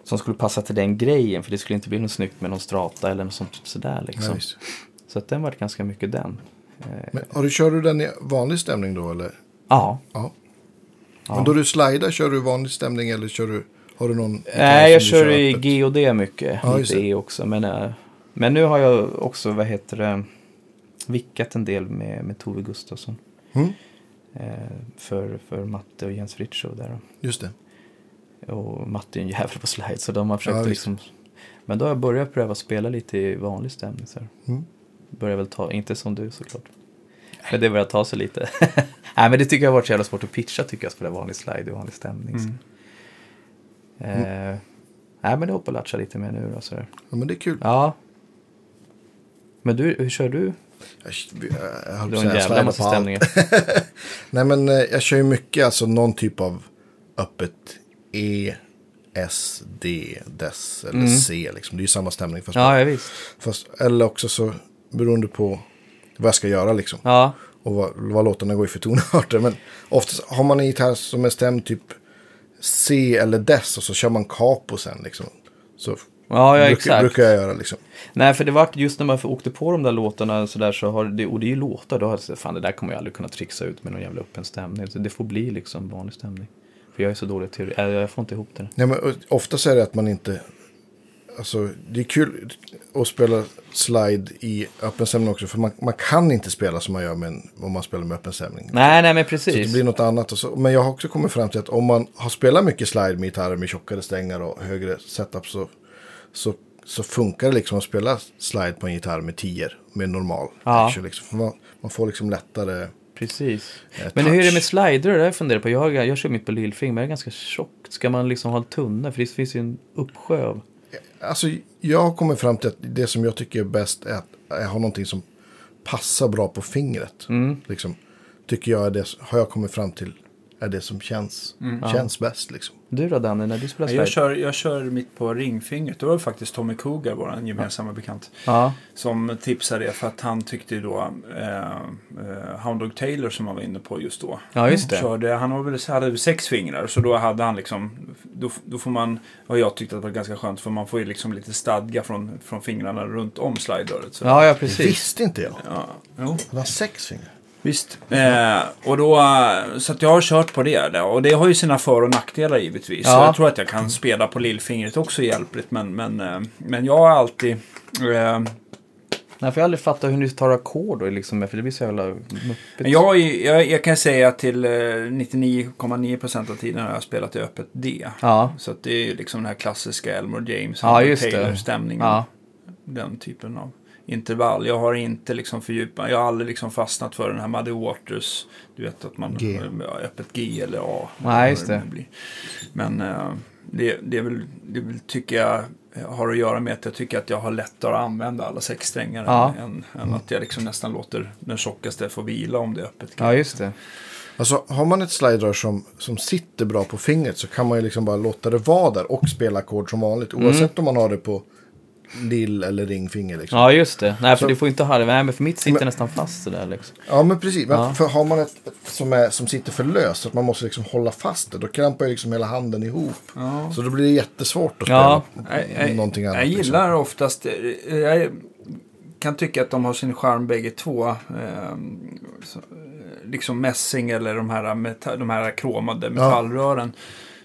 S4: som skulle passa till den grejen. För det skulle inte bli något snyggt med någon strata eller något sånt sådär liksom.
S3: Nice.
S4: Så att den vart ganska mycket den. Eh,
S3: Men, och du, kör du den i vanlig stämning då eller?
S4: ja.
S3: Ja.
S4: Ja.
S3: Men då du slidar, kör du i vanlig stämning eller kör du, har du någon?
S4: Nej,
S3: som
S4: jag
S3: du
S4: kör i
S3: öppet?
S4: G och D mycket.
S3: Ja, just
S4: lite
S3: det.
S4: E också. Men, eh, men nu har jag också, vad heter det, vickat en del med, med Tove Gustafsson.
S3: Mm,
S4: Eh, för, för Matte och Jens Fritzschow där.
S3: just det.
S4: Och Matte är en jävel på slide så de har
S3: Ja,
S4: försökt
S3: visst.
S4: liksom. Men då har jag börjat pröva spela lite i vanlig stämning så här.
S3: Mm.
S4: Börjar väl ta, inte som du såklart. Men det börjar ta sig lite. Nej men det tycker jag har varit så jävla svårt att pitcha tycker jag, spela vanlig slide i vanlig stämning. så.
S5: Mm.
S3: Mm.
S4: Eh, nej men det hoppar och latcha lite mer nu då sådär.
S3: Ja, men det är kul.
S4: Ja. Men du, hur kör du?
S3: Jag, jag, jag, höll
S4: Du
S3: på
S4: har
S3: att
S4: en
S3: säga, jag
S4: jävla
S3: slidar
S4: massa
S3: på allt.
S4: stämningar.
S3: Nej men eh, jag kör ju mycket, alltså någon typ av öppet E, S, D, DES eller C liksom. Det är ju samma stämning fast,
S4: Mm. Ja, ja visst.
S3: fast eller också så beroende på vad jag ska göra liksom.
S4: Ja.
S3: Och vad, vad låtarna går i för tonarter. Men oftast har man en gitarr som är stämd typ C eller DES och så kör man capo sen liksom. Så
S4: Ja, ja,
S3: bruk-
S4: exakt.
S3: brukar jag göra liksom.
S4: Nej, för det vart just när man åkte på de där låtarna så där så har det, och det är ju låtar, då har jag sagt, fan det där kommer jag aldrig kunna trixa ut med någon jävla öppen stämning. Så det får bli liksom vanlig stämning. För jag är så dålig till, äh, jag får inte ihop det.
S3: Nej, men ö- oftast är det att man inte... Alltså, det är kul att spela slide i öppen stämning också. För man, man kan inte spela som man gör med en, om man spelar med öppen stämning.
S4: Nej, nej men
S3: Så det
S4: precis.
S3: blir något annat. Och så, men jag har också kommit fram till att om man har spelat mycket slide med gitarrer med tjockare strängar och högre setup så, så, så funkar det liksom att spela slide på en gitarr med tior med normal
S4: Ja.
S3: action. Liksom. För man, man får liksom lättare...
S4: precis.
S3: Eh,
S4: Men hur är det
S3: touch.
S4: med slider? Det har jag funderat på. Jag, har- jag kör mitt på lillfingret, men det är ganska tjockt. Ska man liksom ha en tunna? För det finns ju en uppsjö av...
S3: Alltså, jag har kommit fram till att det som jag tycker är bäst är att ha någonting som passar bra på fingret.
S4: Mm.
S3: Liksom, tycker jag är det, har jag kommit fram till är det som känns,
S4: Mm.
S3: känns bäst. Liksom.
S4: Du då Danne, när du
S5: Ja,
S4: spelar slider?
S5: Jag kör, jag kör mitt på ringfingret. Det var faktiskt Tommy Cougar, vår gemensamma bekant,
S4: Ja,
S5: som tipsade det för att han tyckte ju då eh, eh, Hound Dog Taylor som han var inne på just då.
S4: ja just det.
S5: Körde, han var väl, hade väl sex fingrar så då hade han liksom, då, då får man, och jag tyckte att det var ganska skönt för man får ju liksom lite stadga från, från fingrarna runt om slidröret. Så.
S4: Ja, ja
S3: Det
S4: precis.
S3: visste inte jag.
S5: Ja, jo.
S3: Han har sex fingrar.
S5: Visst. Eh, och då, eh, så att jag har kört på det. Där. Och det har ju sina för och nackdelar givetvis. Så
S4: Ja.
S5: jag tror att jag kan spela på lillfingret också hjälpligt. Men, men, eh, men jag har alltid... Eh,
S4: Nej, för jag har aldrig fattat hur ni tar ackord då, liksom, för det blir så jävla muppigt.
S5: men jag, har ju- jag, jag kan säga att till eh, 99,9% av tiden har jag spelat i öppet D.
S4: Ja,
S5: Så att det är ju liksom den här klassiska Elmore James,
S4: Ja,
S5: Howard
S4: just det.
S5: Taylor-stämningen.
S4: ja.
S5: Den typen av intervall. Jag har inte liksom fördjupat, jag har aldrig liksom fastnat för den här Muddy Waters. Du vet att man
S3: G.
S5: ja, öppet G eller A.
S4: Nej,
S5: vad
S4: just det.
S5: nu blir. Men eh, det, det, är väl, det är väl, tycker jag har att göra med att jag tycker att jag har lättare att använda alla sex strängar
S4: Ja.
S5: än, än att jag liksom nästan låter den tjockaste få vila om det är öppet G.
S4: ja, just det.
S3: Alltså, har man ett sliderör som, som sitter bra på fingret så kan man ju liksom bara låta det vara där och spela ackord som vanligt.
S4: Mm.
S3: Oavsett om man har det på lill eller ringfinger. Liksom.
S4: Ja, just det. Nej, för
S3: Så-
S4: du får inte ha det. Nej, men för mitt sitter nästan fast sådär liksom.
S3: Ja, men precis. Men
S4: Ja.
S3: för har man ett ett som, är, som sitter för löst, så att man måste liksom hålla fast det, då krampar ju liksom hela handen ihop.
S5: Ja.
S3: Så då blir det jättesvårt att
S4: Ja.
S3: spela
S5: Jag, jag,
S3: någonting annat.
S5: jag
S3: liksom.
S5: gillar oftast, eh, jag kan tycka att de har sin charm bägge två. Eh, så, eh, liksom mässing eller de här, meta- de här kromade metallrören.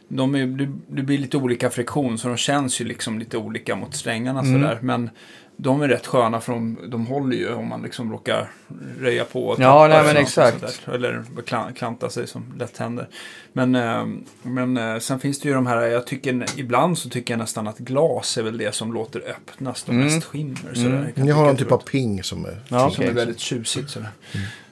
S5: De är, det, det blir lite olika friktion så de känns ju liksom lite olika mot strängarna
S4: Mm.
S5: sådär. Men de är rätt sköna för de, de håller ju om man liksom råkar röja på och
S4: Ja,
S5: tappa
S4: nej, men
S5: eller något
S4: exakt.
S5: sånt där. Eller kla- klanta sig som lätt händer. Men, eh, men eh, sen finns det ju de här, jag tycker ibland så tycker jag nästan att glas är väl det som låter öppnast och mest skimmer. Sådär. Jag kan
S3: Mm. Ni
S5: tycka
S3: har någon
S5: att det
S3: typ av Mm. ping som är...
S4: Ja,
S5: som
S4: okej.
S5: är väldigt tjusigt. Sådär.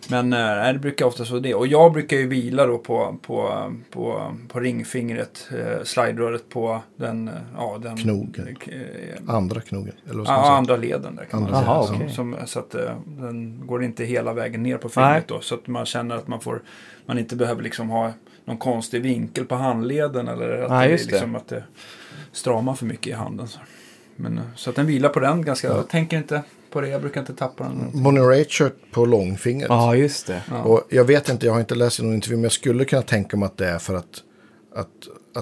S5: Men eh, nej, det brukar oftast vara det. Och jag brukar ju vila då på, på, på, på ringfingret, eh, slideröret på den... eh, Ja, den
S3: Knogen.
S5: Eh,
S3: Andra knogen. Eller vad ska man
S5: Ja,
S3: säga?
S5: andra leden där kan man
S3: Andra
S5: säga.
S4: leden,
S5: som,
S4: okej.
S5: som, så att eh, den går inte hela vägen ner på fingret då. Så att man känner att man får, man inte behöver liksom ha någon konstig vinkel på handleden eller att, det,
S4: Nej,
S5: är
S4: just det.
S5: liksom, att det stramar för mycket i handen. Så. Men, eh, så att den vilar på den ganska. Jag tänker inte på det. Jag brukar inte tappa den.
S3: Bonnie Raitt på långfingret.
S4: Ja, just det.
S3: Och jag vet inte, jag har inte läst i någon intervju, men jag skulle kunna tänka mig att det är för att, att,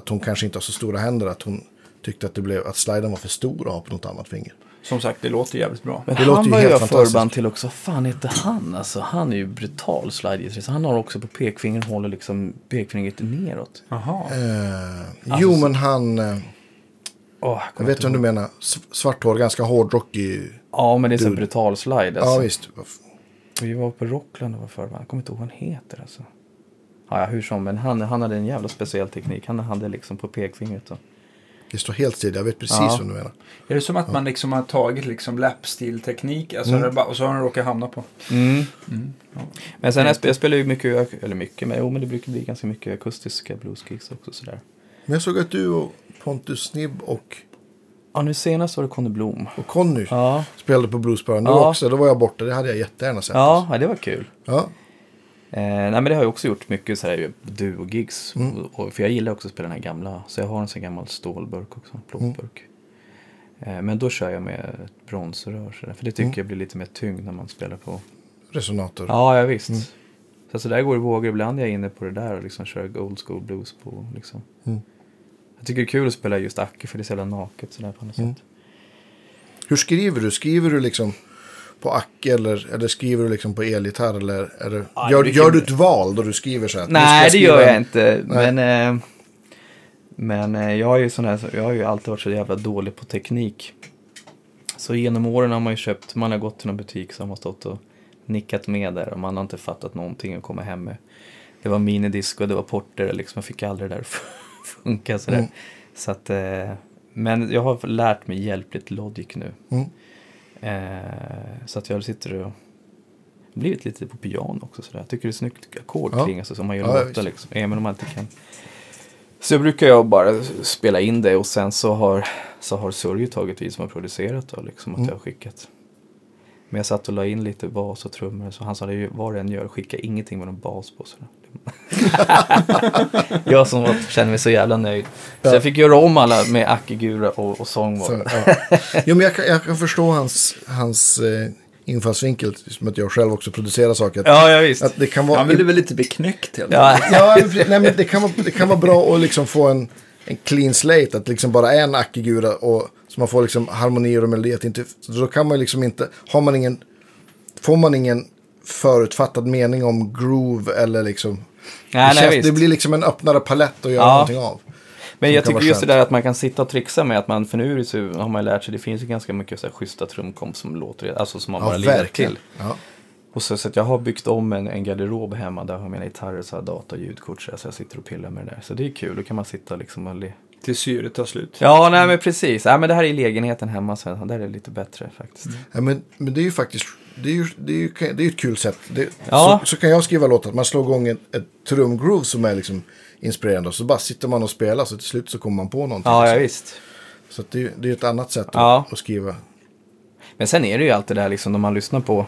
S3: att hon kanske inte har så stora händer. Att hon tyckte att, det blev, att sliden var för stor att ha på något annat finger.
S5: Som sagt, det låter jävligt bra.
S4: Men
S3: Det låter
S4: han
S3: ju
S4: var
S3: helt
S4: jag
S3: fantastiskt.
S4: förband till också. Fan heter han alltså? Han är ju brutal slidegitarrist. Han har också på pekfingret håller liksom pekfingret neråt.
S5: Jaha.
S3: Eh, jo, men han... Eh,
S4: Åh, jag
S3: jag
S4: kommer
S3: vet
S4: Alltså, inte
S3: vem
S4: ihåg.
S3: du menar. S- Svart hår, ganska hårdrockig.
S4: Ja, men det är så
S3: Dude.
S4: brutal slide
S3: Ja,
S4: alltså.
S3: visst. Vad f-
S4: Vi var på Rockland och var förband. Jag kommer inte ihåg vad han heter alltså. Ja, ja, hur som. Men han, han hade en jävla speciell teknik. Han hade liksom på pekfingret. Och...
S3: Det står helt still. Jag vet precis
S4: Ja.
S3: vem du menar.
S5: Är det som att man liksom har tagit liksom läppstilteknik alltså,
S4: Mm.
S5: är det bara- och så har den råkat hamna på? Mm.
S4: Men sen jag, sp- jag spelar ju mycket, ak- eller mycket, men, jo, men det brukar bli ganska mycket akustiska bluesgigs också sådär.
S3: Men jag såg att du och Pontus Snibb och,
S4: Ja, nu senast var det Conny Blom.
S3: och Conny
S4: Ja,
S3: spelade på Bluesbaren. Du
S4: Ja.
S3: också. Då var jag borta. Det hade jag jättegärna sett. alltså.
S4: ja, ja det var kul.
S3: Ja.
S4: Eh, nej men det har jag också gjort mycket så här duo-gigs. Och- Och, för jag gillar också att spela den här gamla. Så jag har en sån gammal stålburk också, en plåtburk. Eh, men då kör jag med ett bronsrör. Så där, för det tycker jag blir lite mer tyngd när man spelar på.
S3: Resonator.
S4: Ja, ja visst.
S3: Mm.
S4: Så, så där går det i vågor. Ibland är jag inne på det där och liksom kör old school blues på. Liksom.
S3: Mm.
S4: Jag tycker det är kul att spela just Aki för det är så jävla naket sådär på något
S3: Mm.
S4: sätt.
S3: Hur skriver du? Skriver du liksom på ack eller, eller skriver du liksom på elgitarr? Eller, eller,
S4: Ja,
S3: gör,
S4: det är
S3: gör
S4: kul.
S3: du ett val då du skriver så här? att nu ska
S4: Nej, det
S3: skriva
S4: gör jag
S3: en-
S4: inte.
S3: Nej.
S4: Men, eh, men eh, jag, är ju sån här, jag har ju alltid varit så jävla dålig på teknik. Så genom åren har man ju köpt, man har gått till någon butik som har stått och nickat med där och man har inte fattat någonting och kommit hem med. Det var minidisk och det var porter liksom, jag fick aldrig det där att funka sådär.
S3: Mm.
S4: Så att, eh, men jag har lärt mig hjälpligt Logic nu.
S3: Mm.
S4: Eh, så att jag sitter och blivit lite på piano också sådär. Jag tycker det är snyggt ackord
S3: Ja.
S4: kring alltså, som man gör
S3: Ja, ja,
S4: låtar
S3: visst.
S4: liksom. Även om man inte kan. Så brukar jag bara spela in det och sen så har, så har Surju tagit vid som har producerat då, liksom att
S3: Mm.
S4: jag har skickat. Men jag satt och la in lite bas och trummor så han sa det är ju vad du än gör, skicka ingenting med någon bas på. Sådär. jag som var, kände mig så jävla nöjd. Så jag fick göra om alla med Akigura och, och sång. var det.
S3: Så, ja. jo, men jag, kan, jag kan förstå hans, hans eh, infallsvinkel, som att jag själv också producerar saker. Att,
S4: Ja, ja visst.
S3: att det kan vara...
S5: väl lite beknäckt helt
S4: Ja.
S3: ja, men pre- nej, men det, kan vara, det kan vara bra att liksom få en, en clean slate, att liksom bara en ackigura och så man får liksom harmonier och melodi. Att inte, så då kan man liksom inte, har man ingen, får man ingen förutfattad mening om groove eller liksom.
S4: Nej,
S3: det,
S4: nej,
S3: känns,
S4: visst.
S3: det blir liksom en öppnare palett att göra
S4: Ja.
S3: någonting av.
S4: Men jag
S3: kan
S4: tycker
S3: vara
S4: just det
S3: skönt.
S4: där att man kan sitta och trixa med att man, för nu är det så, har man ju lärt sig, det finns ju ganska mycket så här schyssta trumkomp som låter, alltså som man
S3: Ja,
S4: bara lirar
S3: verkligen.
S4: till.
S3: Ja.
S4: Och så, så att jag har byggt om en, en garderob hemma där jag har mina gitarrer, så här data och ljudkort, så, här, så jag sitter och pillar med det där. Så det är kul, då kan man sitta liksom och le.
S5: Till syret tar slut.
S4: Ja, nej men precis, nej men det här är lägenheten hemma sen, där är det lite bättre faktiskt.
S3: Ja, men, men det är ju faktiskt, det är ju, det är ju, det är ju ett kul sätt. Det,
S4: Ja.
S3: så, så kan jag skriva låtar, att man slår igång ett, ett trumgroove som är liksom inspirerande. Och så bara sitter man och spelar, så till slut så kommer man på någonting.
S4: Ja, ja visst.
S3: Så att det, det är ett annat sätt att,
S4: Ja.
S3: att skriva.
S4: Men sen är det ju alltid det där liksom när man lyssnar på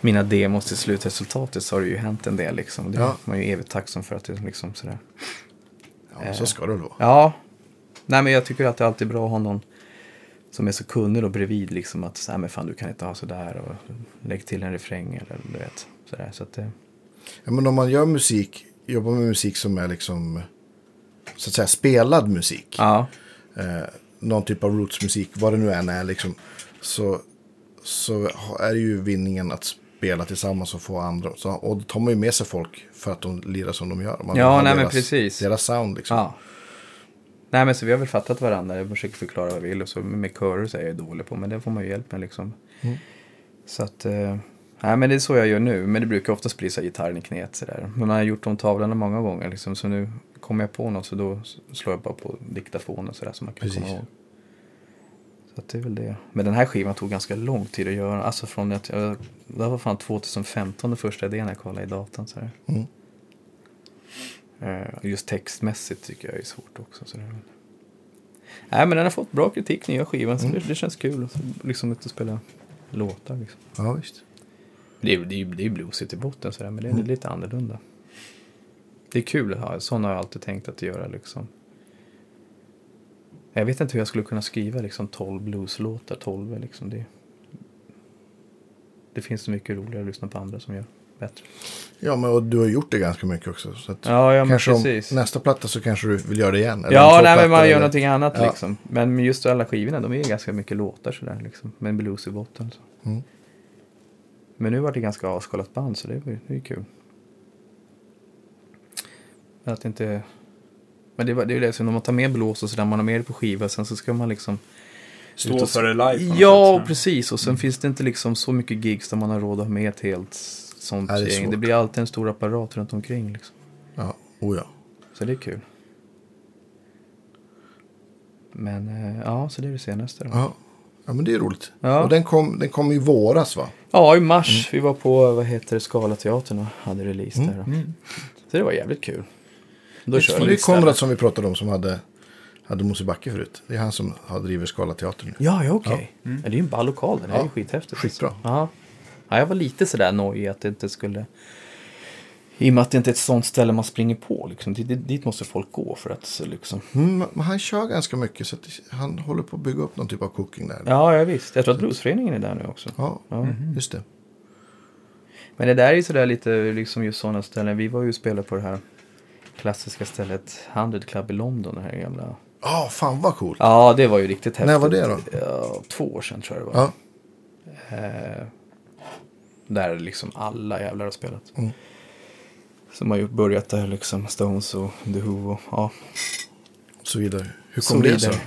S4: mina demos till slutresultatet så har det ju hänt en del liksom. Det
S3: Ja.
S4: är man ju evigt tacksam för att det liksom sådär.
S3: Ja,
S4: Eh.
S3: Så ska det väl vara.
S4: Ja. Nej, men jag tycker att det är alltid bra att ha någon som är så kunnig då bredvid. Liksom att så här, men fan du kan inte ha sådär och lägg till en refräng eller du vet. Sådär, så att det...
S3: Ja, men om man gör musik, jobbar med musik som är liksom så att säga spelad musik.
S4: Ja.
S3: Eh, någon typ av rootsmusik, vad det nu än är liksom. Så, så ha- är det ju vinningen att spela tillsammans och få andra. Så, och då tar man ju med sig folk för att de lirar som de gör. Man
S4: Ja,
S3: vill ha
S4: nej, men
S3: deras,
S4: precis.
S3: Deras sound liksom.
S4: ja. Nej, men så vi har väl fattat varandra. Jag försöker förklara vad jag vill och så med körer så är jag dålig på. Men det får man ju hjälp med liksom.
S3: Mm.
S4: Så att... Eh... Nej, men det är så jag gör nu. Men det brukar oftast bli så här gitarren i knät sådär. Men man har gjort de tavlorna många gånger liksom. Så nu kommer jag på något så då slår jag bara på diktafon och sådär så man kan
S3: Precis.
S4: komma ihåg. Så att det är väl det. Men den här skivan tog ganska lång tid att göra. Alltså från att jag, det var fan 2015 den första idén jag kollade i datorn. Så
S3: Mm.
S4: Just textmässigt tycker jag är svårt också. Så Nej men den har fått bra kritik nya skivan så det, det känns kul att liksom att spela låtar. Liksom.
S3: Ja, visst.
S4: Det är ju det är, det är bluesigt i botten sådär men det är lite annorlunda. Det är kul, att ha. sådana har jag alltid tänkt att göra liksom. Jag vet inte hur jag skulle kunna skriva liksom 12 blueslåtar, 12 liksom. Det, det finns så mycket roligare att lyssna på andra som gör bättre.
S3: Ja, men och du har gjort det ganska mycket också. Så att
S4: Ja, ja men
S3: kanske om
S4: precis.
S3: nästa platta så kanske du vill göra det igen. eller om
S4: Ja,
S3: två
S4: nej, men
S3: plattor,
S4: man gör
S3: eller-
S4: någonting annat
S3: Ja.
S4: liksom. Men just alla skivorna, de är ju ganska mycket låtar sådär liksom. Med en blues i botten. Så.
S3: Mm.
S4: Men nu var det ganska avskalat band så det var ju- det är ju kul. Men Att det inte... Men det, var, det är ju liksom, när man tar med blås och sådär, man har med det på skiva, sen så ska man liksom... ut
S5: Stå
S4: och-
S5: för det live på något
S4: Ja,
S5: sätt.
S4: precis. Och sen finns det inte liksom så mycket gigs där man har råd att ha med ett helt sånt
S3: Nej, det är
S4: gäng. Det
S3: svårt.
S4: blir alltid en stor apparat runt omkring liksom.
S3: Ja, oh ja.
S4: Så det är kul. Men eh, ja, så det är det senaste då.
S3: ja. Ja, men det är roligt.
S4: Ja.
S3: Och den kom, den kom i våras va?
S4: Ja, i mars. Vi var på, vad heter det, Scalateatern och hade release där. Då. Så det var jävligt kul. Då
S3: Det
S4: körde
S3: är
S4: vi
S3: ju Konrad
S4: istället.
S3: som vi pratade om som hade, hade Mosebacke förut. Det är han som har driver Skala teater nu.
S4: Ja, ja okej. Ja, det är ju en ball lokal, den är ju
S3: Mm. Ja,
S4: skithäftig.
S3: skitbra.
S4: alltså. Ja. ja, jag var lite sådär nojig att det inte skulle... I och med att det inte är ett sånt ställe man springer på liksom. Dit, dit dit måste folk gå för att så, liksom...
S3: Mm, men han kör ganska mycket så att han håller på att bygga upp någon typ av cooking där.
S4: Ja, ja visst. Jag tror att Bluesföreningen är där nu också.
S3: Ja,
S4: Ja.
S3: just det.
S4: Men det där är ju sådär lite liksom just sådana ställen. Vi var ju och spelade på det här klassiska stället Hundred Club i London. Det här gamla.
S3: Ja, fan vad coolt.
S4: Ja, det var ju riktigt häftigt.
S3: När var det då?
S4: Ja, två år sedan tror jag det var.
S3: Ja.
S4: Eh, där liksom alla jävlar har spelat.
S3: Mm.
S4: Som har ju börjat där liksom. Stones och The Who och ja.
S3: Och så vidare. Hur
S4: Så
S3: kom det
S4: vidare.
S3: sig?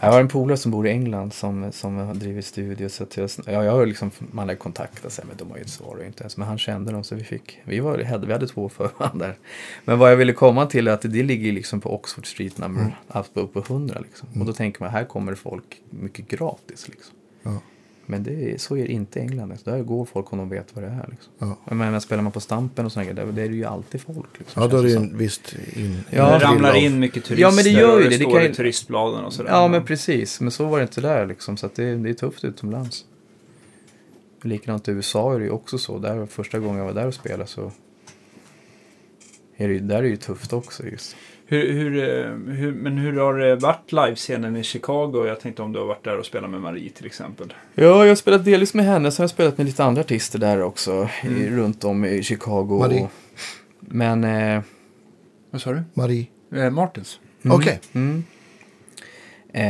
S4: Jag har en polare som bor i England som, som har drivit studio. Så att jag, ja, jag har liksom, man har kontaktat sig, men de har ju inte svarat inte ens. Men han kände dem så vi fick, vi, var, vi hade, vi hade två förband där. Men vad jag ville komma till är att det ligger liksom på Oxford Street number,
S3: Mm.
S4: upp- upp på 100 liksom. Och då tänker man, här kommer folk mycket gratis liksom.
S3: Ja.
S4: Men det, är- så är det inte i England. Alltså. Där går folk om de vet vad det är. Liksom.
S3: Ja.
S4: Jag menar, spelar man på Stampen och sådana grejer, där, där är det ju alltid folk. Liksom,
S3: Ja, då är
S4: känns det
S3: det ju
S4: som.
S3: en visst in.
S4: Ja,
S5: det
S3: bild
S5: ramlar
S3: av-
S5: in mycket turister
S4: Ja, men det gör
S5: och
S4: ju det. Det
S5: står
S4: kan ju-
S5: i turistbladen och sådär.
S4: Ja, men precis. Men så var det inte där liksom. Så att det, det är tufft utomlands. Likadant i USA är det ju också så. Där, första gången jag var där och spelade så är det, ju- där är det ju tufft också just.
S5: Hur, hur, eh, hur, men hur har det varit livescenen i Chicago? Jag tänkte om du har varit där och spelat med Marie till exempel.
S4: Ja, jag har spelat delvis med henne. Sen har jag spelat med lite andra artister där också. I, runt om i Chicago.
S3: Marie.
S4: Och, men... Eh,
S5: Vad sa du?
S3: Marie.
S5: Eh, Martins.
S4: Mm.
S3: Okej.
S4: Mm. Eh,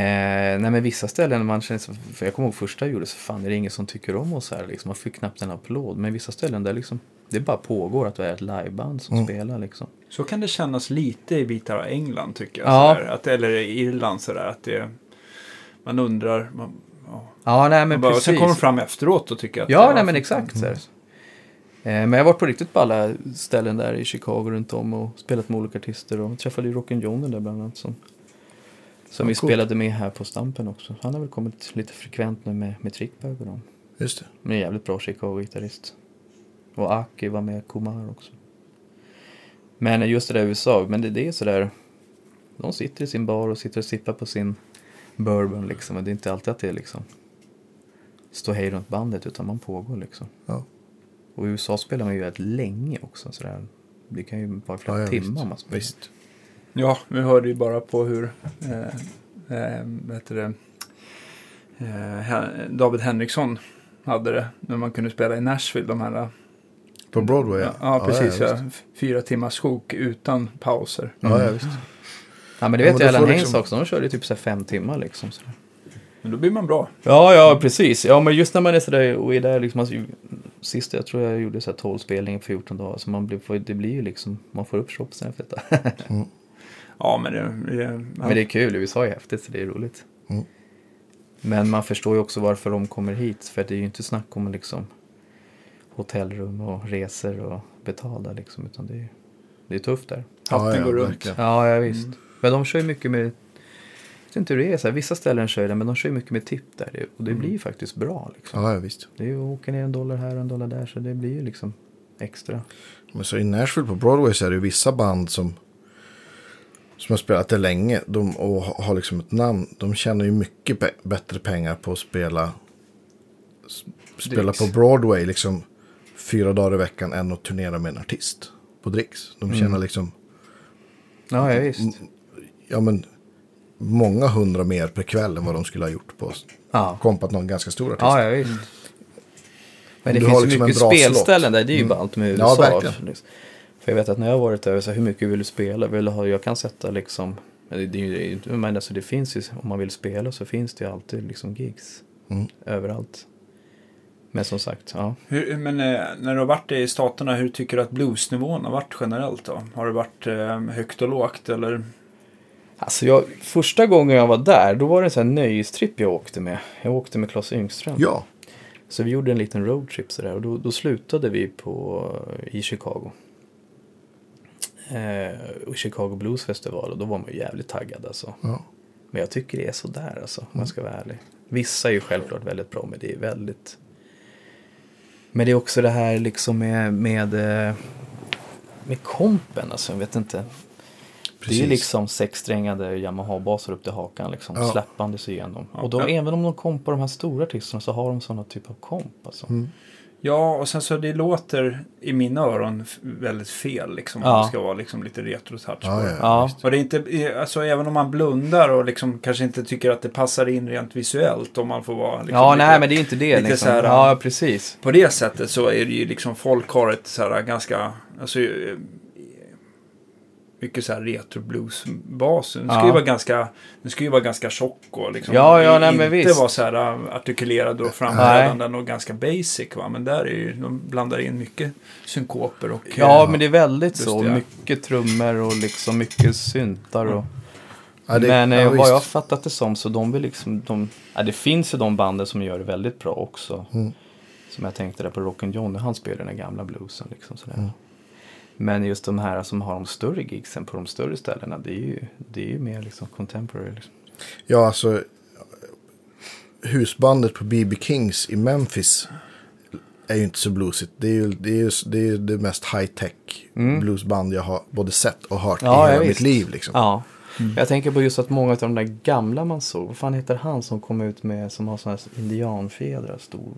S4: nej men vissa ställen man känner sig, för jag kommer ihåg första jag gjorde så fan är det ingen som tycker om oss här liksom. Man fick knappt en applåd. Men vissa ställen där liksom, det bara pågår att vi är ett liveband som
S3: Mm.
S4: spelar liksom.
S5: Så kan det kännas lite i bitar av England tycker jag.
S4: Ja.
S5: Sådär. Att, eller i Irland sådär. Att det, man undrar. Man, ja.
S4: Ja nej
S5: man
S4: men
S5: bara, och
S4: precis.
S5: sen kommer de fram efteråt och tycker att
S4: Ja,
S5: det
S4: nej
S5: var-
S4: men exakt. Så här. Eh, Men jag har varit på riktigt på alla ställen där i Chicago runt om och spelat med olika artister och träffade ju Rockin' Johnny där bland annat som, som vi
S3: coolt.
S4: spelade med här på Stampen också. Han har väl kommit lite frekvent nu med, med Trickbag och dem.
S3: Just det.
S4: Men en jävligt bra Chicago-gitarrist. Och Aki var med Kumar också. Men just det där i USA, men det, det är sådär. De sitter i sin bar och sitter och sippar på sin bourbon liksom. Och det är inte alltid att det är liksom stå hej runt bandet utan man pågår liksom.
S3: Ja.
S4: Och i USA spelar man ju väldigt länge också sådär. Det kan ju vara flera
S3: Ja, ja,
S4: timmar
S3: visst.
S4: man spelar.
S3: Visst.
S5: Ja, vi hörde ju bara på hur eh, eh, vad heter det? Eh, Hen- David Henriksson hade det när man kunde spela i Nashville. De här,
S3: På Broadway
S5: ja, ja, precis.
S3: Ja,
S5: Ja,
S3: ja, visst.
S5: Fyra timmars sjok utan pauser.
S3: Ja, ja, visst.
S4: Ja men det
S3: Ja,
S4: vet
S3: men
S4: jag
S3: då
S4: Alan
S3: får
S4: Haynes
S3: liksom-
S4: också. De körde ju typ såhär fem timmar liksom. Sådär.
S5: Men då blir man bra.
S4: Ja, ja, precis. Ja, men just när man är sådär och är där liksom, alltså, sist jag tror jag gjorde så här 12 spelningar på 14 dagar, så man blir, får- det blir ju liksom, man får upp shopsen efter detta.
S5: Ja, men det, det,
S4: Men det är kul, USA är häftigt så det är roligt.
S3: Mm.
S4: Men man förstår ju också varför de kommer hit, för det är ju inte snack om liksom hotellrum och resor och betalda liksom, utan det är, det är tufft där. Mm.
S5: hatten
S3: Ja, ja,
S5: går runt.
S3: verkligen.
S4: Ja, ja visst. Men de kör ju mycket med, jag vet inte hur det är, så här, vissa ställen kör ju det, men de kör ju mycket med tipp där och det blir ju faktiskt bra liksom.
S3: Ja, ja, visst.
S4: Det är ju åker ner en dollar här och en dollar där så det blir ju liksom extra.
S3: Men så i Nashville på Broadway så är det vissa band som, som har spelat det länge de, och ha- har liksom ett namn. De tjänar ju mycket pe- bättre pengar på att spela, s- spela
S5: Dricks.
S3: på Broadway liksom fyra dagar i veckan än att turnera med en artist
S4: Mm.
S3: på dricks. De tjänar liksom,
S4: Ja, ja visst.
S3: ja men många hundra mer per kväll än vad de skulle ha gjort på
S4: Ja.
S3: kompat någon ganska stor artist.
S4: Ja, ja visst. Men det
S3: Du har
S4: finns ju
S3: liksom en
S4: mycket
S3: bra slott.
S4: spelställen där, det är ju bara allt med
S3: Ja,
S4: USA.
S3: verkligen.
S4: liksom. För jag vet att när jag har varit där, så här, hur mycket vill du spela? Vill du ha, jag kan sätta liksom, men det, det, är ju- det är ju- men alltså det finns ju, om man vill spela så finns det ju alltid liksom gigs.
S3: Mm.
S4: Överallt. Men som sagt, ja.
S5: Hur, men eh, när du har varit i Staterna, hur tycker du att bluesnivån har varit generellt då? Har det varit eh, högt och lågt eller?
S4: Alltså jag, första gången jag var där, då var det en sån här nöjestripp jag åkte med. Jag åkte med Claes Yngström.
S3: Ja,
S4: Så vi gjorde en liten roadtrip sådär och då, då slutade vi på, i Chicago. Eh, och Chicago Blues Festival och då var man ju jävligt taggad alltså.
S3: ja.
S4: Men jag tycker det är sådär alltså, om jag ska vara ärlig. Vissa är ju självklart väldigt bra, men det är väldigt... Men det är också det här liksom med, med, eh, med kompen, alltså jag vet inte. Det är
S3: Precis.
S4: ju liksom sexsträngade Yamaha-baser upp till hakan, liksom,
S3: Ja.
S4: släppandes igenom.
S5: Ja.
S4: Och då,
S5: Ja.
S4: även om de kompar de här stora artisterna så har de sådana typ av komp. Alltså.
S3: Mm.
S5: Ja, och sen så det låter i mina öron f- väldigt fel liksom. Om
S4: Ja.
S5: det ska vara liksom lite retro-touch på
S3: Ja,
S5: det.
S3: ja.
S4: Ja,
S5: Och det är inte, eh, alltså även om man blundar och liksom kanske inte tycker att det passar in rent visuellt om man får vara liksom
S4: ja
S5: lite-
S4: nej men det är inte det.
S5: lite
S4: Liksom.
S5: så här,
S4: ja, precis.
S5: På det sättet så är det ju liksom folk har ett så här ganska, alltså eh, mycket så här retro-blues-bas. Den ska,
S4: Ja.
S5: ju vara ganska, den ska ju vara ganska tjock och liksom
S4: Ja, ja,
S5: i-
S4: nej,
S5: inte
S4: men visst.
S5: vara så här eh, artikulerad och framträdande och ganska basic. Va? Men där är ju, de blandar in mycket synkoper och... eh,
S4: Ja, men det är väldigt
S5: Just
S4: så.
S5: det, ja.
S4: Mycket trummor och liksom mycket syntar och...
S3: Ja, det-
S4: men eh,
S3: ja,
S4: vad
S3: visst.
S4: jag har fattat det som så de vill liksom, de, ja, det finns ju de banden som gör det väldigt bra också.
S3: Mm.
S4: Som jag tänkte där på Rock'n Johnny, han spelar den här gamla bluesen liksom sådär. Men just de här som har de större gigsen på de större ställena, det är ju, det är ju mer liksom contemporary. Liksom.
S3: Ja, alltså. Husbandet på BB Kings i Memphis är ju inte så bluesigt. Det är ju det, är ju, det, är ju det mest high-tech
S4: Mm.
S3: bluesband jag har både sett och hört i hela mitt liv. Liksom.
S4: Ja.
S5: mm.
S4: Jag tänker på just att många av de där gamla man såg, vad fan heter han som kom ut med, som har sådana här indianfjädrar, stor,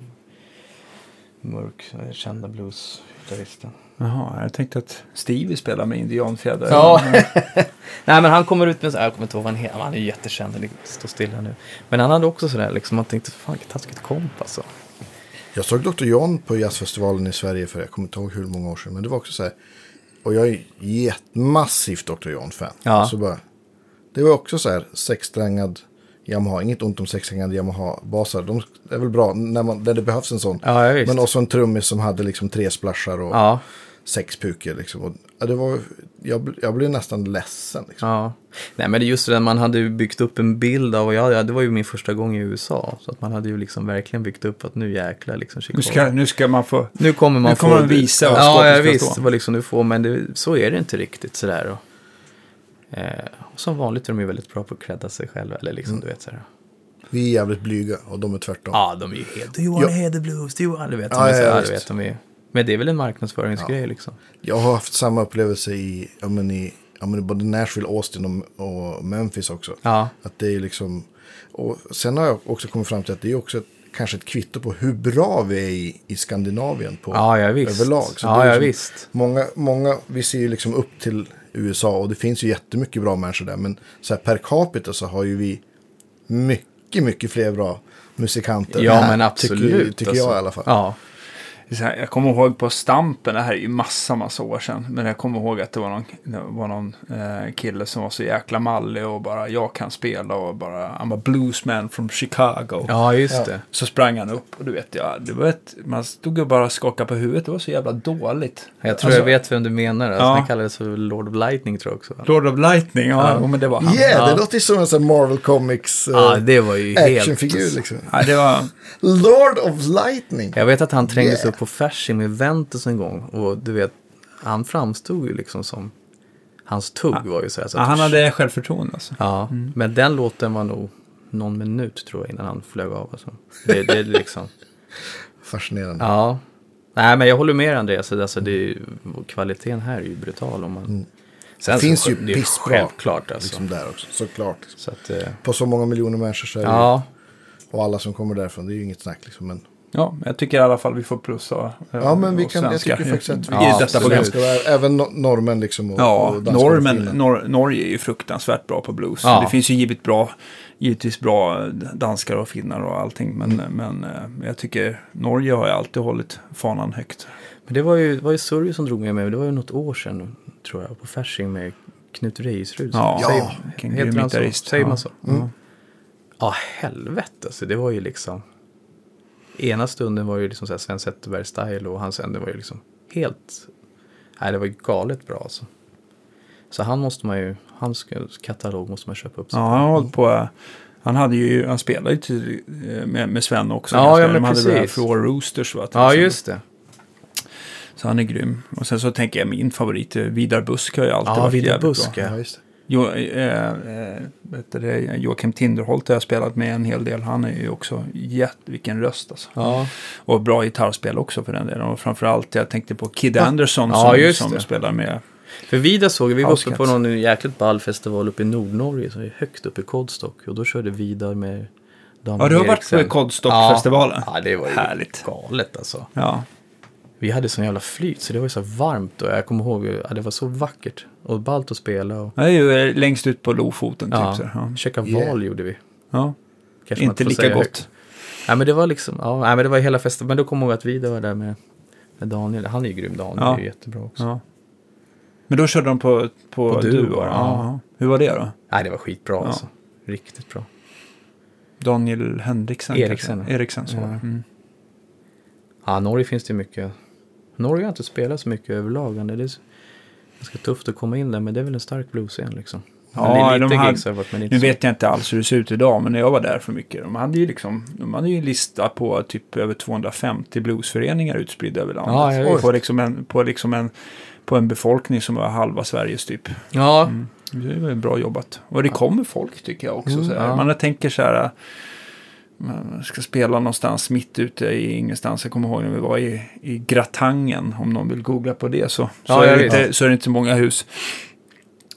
S4: mörk, eh, kända bluesgitarristen.
S5: Jaha, jag tänkte att Stevie spelar med indianfjädrar.
S4: Ja. Nej men han kommer ut med så här, jag kommer inte ihåg vad han heter, han är ju jättekänd, det står stilla nu. Men han hade också sådär liksom, man tänkte fan vilket taskigt komp alltså.
S3: Jag såg Dr. John på jazzfestivalen i Sverige för jag kommer inte ihåg hur många år sedan. Men det var också så här. Och jag är jätt- massivt Dr. John-fan.
S4: Ja.
S3: Så bara, det var också så här sexsträngad Yamaha. Inget ont om sexsträngade Yamaha-basar. De är väl bra när, man, när det behövs en sån.
S4: Ja, ja, visst.
S3: Men också en trummis som hade liksom tre splashar och
S4: Ja.
S3: sex puker. Liksom. Och, ja, det var, jag, bl- jag blev nästan ledsen. Liksom.
S4: Ja. Nej men det är just det där, man hade ju byggt upp en bild av, och jag, ja, det var ju min första gång i USA. Så att man hade ju liksom verkligen byggt upp att nu jäklar liksom Chicago.
S5: Nu ska, nu ska man få...
S4: Nu kommer man
S5: Nu kommer
S4: få...
S5: de visa vad
S4: Ja,
S5: skåpet
S4: ja
S5: ska
S4: visst.
S5: stå.
S4: Vad liksom du får, men det, så är det inte riktigt sådär. Och, eh, och som vanligt är de ju väldigt bra på att credda sig själva. Eller liksom, du vet sådär.
S3: Vi är jävligt blyga och de är tvärtom.
S4: Ja, de är ju helt... Do you wanna
S3: Ja.
S4: hear the blues? Do you wanna... Du vet,
S3: Ja,
S4: de är så
S3: ja,
S4: här, du
S3: visst.
S4: vet, de är... Men det är väl en marknadsföringsgrej liksom.
S3: Jag har haft samma upplevelse i, ja, men i ja, men i både Nashville, Austin och, och Memphis också.
S4: Ja.
S3: Att det är liksom, och sen har jag också kommit fram till att det är också ett, kanske ett kvitto på hur bra vi är i, i Skandinavien på
S4: Ja, ja, visst.
S3: överlag. Så
S4: Ja,
S3: det är
S4: ja,
S3: liksom-
S4: visst.
S3: Många, många, vi ser ju liksom upp till USA och det finns ju jättemycket bra människor där. Men så här per capita så har ju vi mycket, mycket fler bra musikanter.
S4: Ja,
S3: här,
S4: men absolut.
S3: Tycker, tycker
S4: alltså.
S3: jag i alla fall.
S4: Ja.
S5: Så här, jag kommer ihåg på Stampen, det här är ju massa, massa år sedan. Men jag kommer ihåg att det var någon, det var någon eh, kille som var så jäkla mallig och bara jag kan spela och bara han var bluesman from Chicago.
S4: ja, just det.
S5: Så sprang han upp och du vet, ja, det var ett, man stod och bara skakade på huvudet. Det var så jävla dåligt. Alltså,
S4: Jag tror jag vet vem du menar. Alltså,
S5: Ja.
S4: Den kallades för Lord of Lightning tror jag också. va?
S5: Lord of Lightning, ja, jo, men det var han.
S3: Yeah, det låter ju som en sån här Marvel Comics eh,
S4: Ja, det var ju helt...
S3: actionfigur liksom.
S5: Ja, det var,
S3: Lord of Lightning.
S4: Jag vet att han trängdes
S3: Yeah.
S4: upp på Fasching med Ventus en gång. Och du vet, han framstod ju liksom som... Hans tugg var ju så här. Så
S5: ja,
S4: att-
S5: han hade självförtroende alltså.
S4: Ja, men den låten var nog någon minut tror jag innan han flög av. Alltså. Det, det är liksom...
S3: Fascinerande.
S4: Ja. Nej, men jag håller med Andreas. Alltså, det är ju, kvaliteten här är ju brutal. Om man... Sen
S3: Det
S4: så-
S3: Mm. finns ju
S4: det är
S3: pissbra,
S4: Självklart alltså.
S3: Liksom där också, såklart.
S4: Så att, eh,
S3: På så många miljoner människor så är det,
S4: ja.
S3: och alla som kommer därifrån, det är ju inget snack liksom. Men
S5: Ja, men jag tycker i alla fall vi får plussa.
S3: Ja, men vi kan, jag tycker faktiskt att vi
S5: Ja,
S3: ja,
S5: i detta program.
S3: Även no- norrmän liksom. Och,
S5: Ja,
S3: och danskar och
S5: normen,
S3: finnar.
S5: nor Norge är ju fruktansvärt bra på blues.
S4: Ja.
S5: Det finns ju givet bra, givetvis bra eh, danskar och finnar och allting. Men,
S4: Mm.
S5: men eh, jag tycker Norge har ju alltid hållit fanan högt.
S4: Men det var ju, det var ju Surjo som drog med mig, det var ju något år sedan tror jag, på Fasching med Knut Reisrud. som-
S5: Ja,
S4: säger-
S5: vilken
S4: heter
S5: grym
S4: han så?
S5: gitarrist.
S4: Säger
S5: Ja.
S4: man så? Mm. Ja, helvete. Alltså, det var ju liksom... Ena stunden var ju liksom så här Sven Zetterberg-style och hans ände var ju liksom helt... Nej, det var ju galet bra alltså. Så han måste man ju... Hans katalog måste man köpa upp. sig
S5: Ja, han har hållit på. eh, Han, hade ju, han spelade ju till, eh, med, med Sven också.
S4: Ja,
S5: ganska.
S4: ja, men
S5: De hade det här
S4: precis.
S5: Four Roosters va? till
S4: Ja,
S5: exempel.
S4: just det.
S5: Så han är grym. Och sen så tänker jag min favorit, eh, Vidar Busk har ju alltid
S4: Ja,
S5: varit
S4: Vidar
S5: jävligt bra.
S4: Busk.
S3: Ja,
S4: Ja.
S3: just det.
S5: Jo, eh, eh, vet du det, Joakim Tinderholt har jag spelat med en hel del. Han är ju också jätte, vilken röst alltså.
S4: Ja.
S5: Och bra gitarrspel också för den delen. Och framförallt, jag tänkte på Kid Anderson
S4: Ja,
S5: som,
S4: just
S5: som
S4: det.
S5: spelar med.
S4: För Vida såg, vi var uppe på
S5: Housecats.
S4: någon jäkligt ball festival uppe i Nordnorge som är högt uppe i Kodstock. Och då körde Vidar med Daniel
S5: Ja, du har varit på
S4: Eriksen.
S5: Kodstockfestivalen.
S4: Ja, det var ju
S5: Härligt.
S4: galet alltså.
S5: Ja.
S4: Vi hade sån jävla flyt så det var ju så varmt och jag kommer ihåg, ja, det var så vackert och ballt att spela. Och,
S5: Det är ju eh, längst ut på Lofoten
S4: ja,
S5: typ. Så. här. Ja.
S4: käka val
S3: Yeah.
S4: gjorde vi.
S5: Ja.
S4: Kanske man
S5: Inte
S4: får
S5: lika
S4: säga
S5: gott.
S4: högt. Nej men det var liksom, ja, nej, men det var hela festen. Men då kommer jag ihåg att vi var där med, med Daniel, han är ju grym Daniel,
S5: Ja.
S4: är ju jättebra också.
S5: Ja. Men då körde de på, på,
S4: På
S5: duo.
S4: duo,
S5: ja.
S4: ja.
S5: Hur var det då?
S4: Nej det var skitbra alltså. Riktigt bra.
S5: Daniel Henriksen?
S4: Eriksen.
S5: kanske? Eriksen, så var det.
S4: Ja.
S5: Mm.
S4: Ja, Norge finns det ju mycket. Norge har inte spelat så mycket överlag. men Det är ganska tufft att komma in där men det är väl en stark blues-scen liksom.
S5: Ja,
S4: Men det är
S5: de
S4: lite
S5: hade-
S4: gigs har varit men inte
S5: Nu
S4: så-
S5: vet jag inte alls hur det ser ut idag, men när jag var där för mycket, de hade ju liksom, de hade ju en lista på typ över 250 bluesföreningar utspridda över landet.
S4: Ja, ja, visst.
S5: på, liksom en, på, liksom en, på en befolkning som var halva Sveriges typ.
S4: Ja,
S5: Det är väl bra jobbat. Och det kommer folk tycker jag också.
S4: Mm,
S5: så här.
S4: ja.
S5: Man tänker så här. äh, Man ska spela någonstans mitt ute i ingenstans. Jag kommer ihåg när vi var i, i Gratangen. Om någon vill googla på det så, så,
S4: Ja,
S5: är
S4: jag
S5: det
S4: vet.
S5: inte, så är det inte många hus.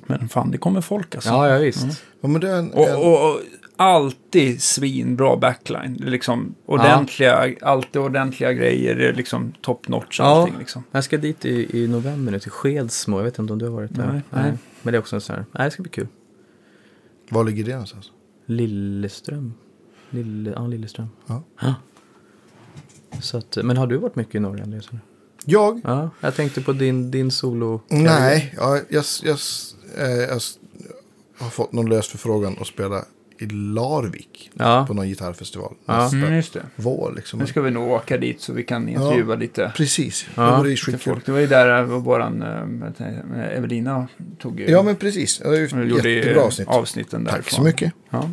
S5: Men fan, det kommer folk alltså.
S4: ja, ja visst.
S3: Ja, men det är en,
S5: Och,
S3: en,
S5: och, och alltid svinbra backline. Det är Liksom ordentliga, alltid ordentliga grejer. Det är liksom top notch
S4: Ja.
S5: allting. Liksom.
S4: Jag ska dit i, i november nu till Skedsmo. Jag vet inte om du har varit där?
S5: Nej, nej.
S4: Men det är också en sån här, nej det ska bli kul.
S3: Var ligger det någonstans?
S4: Lilleström. Lille, ja, Lilleström.
S3: Ja.
S4: Så att, men har du varit mycket i Norge Andreas?
S3: Jag?
S4: Ja, jag tänkte på din, din solo.
S3: Nej, ja, jag, jag, eh, jag s- har fått någon lös förfrågan att spela i Larvik
S4: Ja.
S3: på någon gitarrfestival
S4: Ja.
S3: nästa
S5: Mm, just det.
S3: vår. Liksom.
S5: Nu ska vi nog åka dit så vi kan intervjua lite.
S3: Precis,
S4: Ja,
S3: det vore ju
S5: till
S3: skitkul.
S5: folk. Det var ju där eh, våran eh, vet jag, eh, Evelina tog ju,
S3: Ja, men precis. Det var ju
S5: eh,
S3: ett
S5: gjorde ju
S3: jättebra avsnitt.
S5: avsnitten därifrån.
S3: Tack så mycket.
S5: Ja.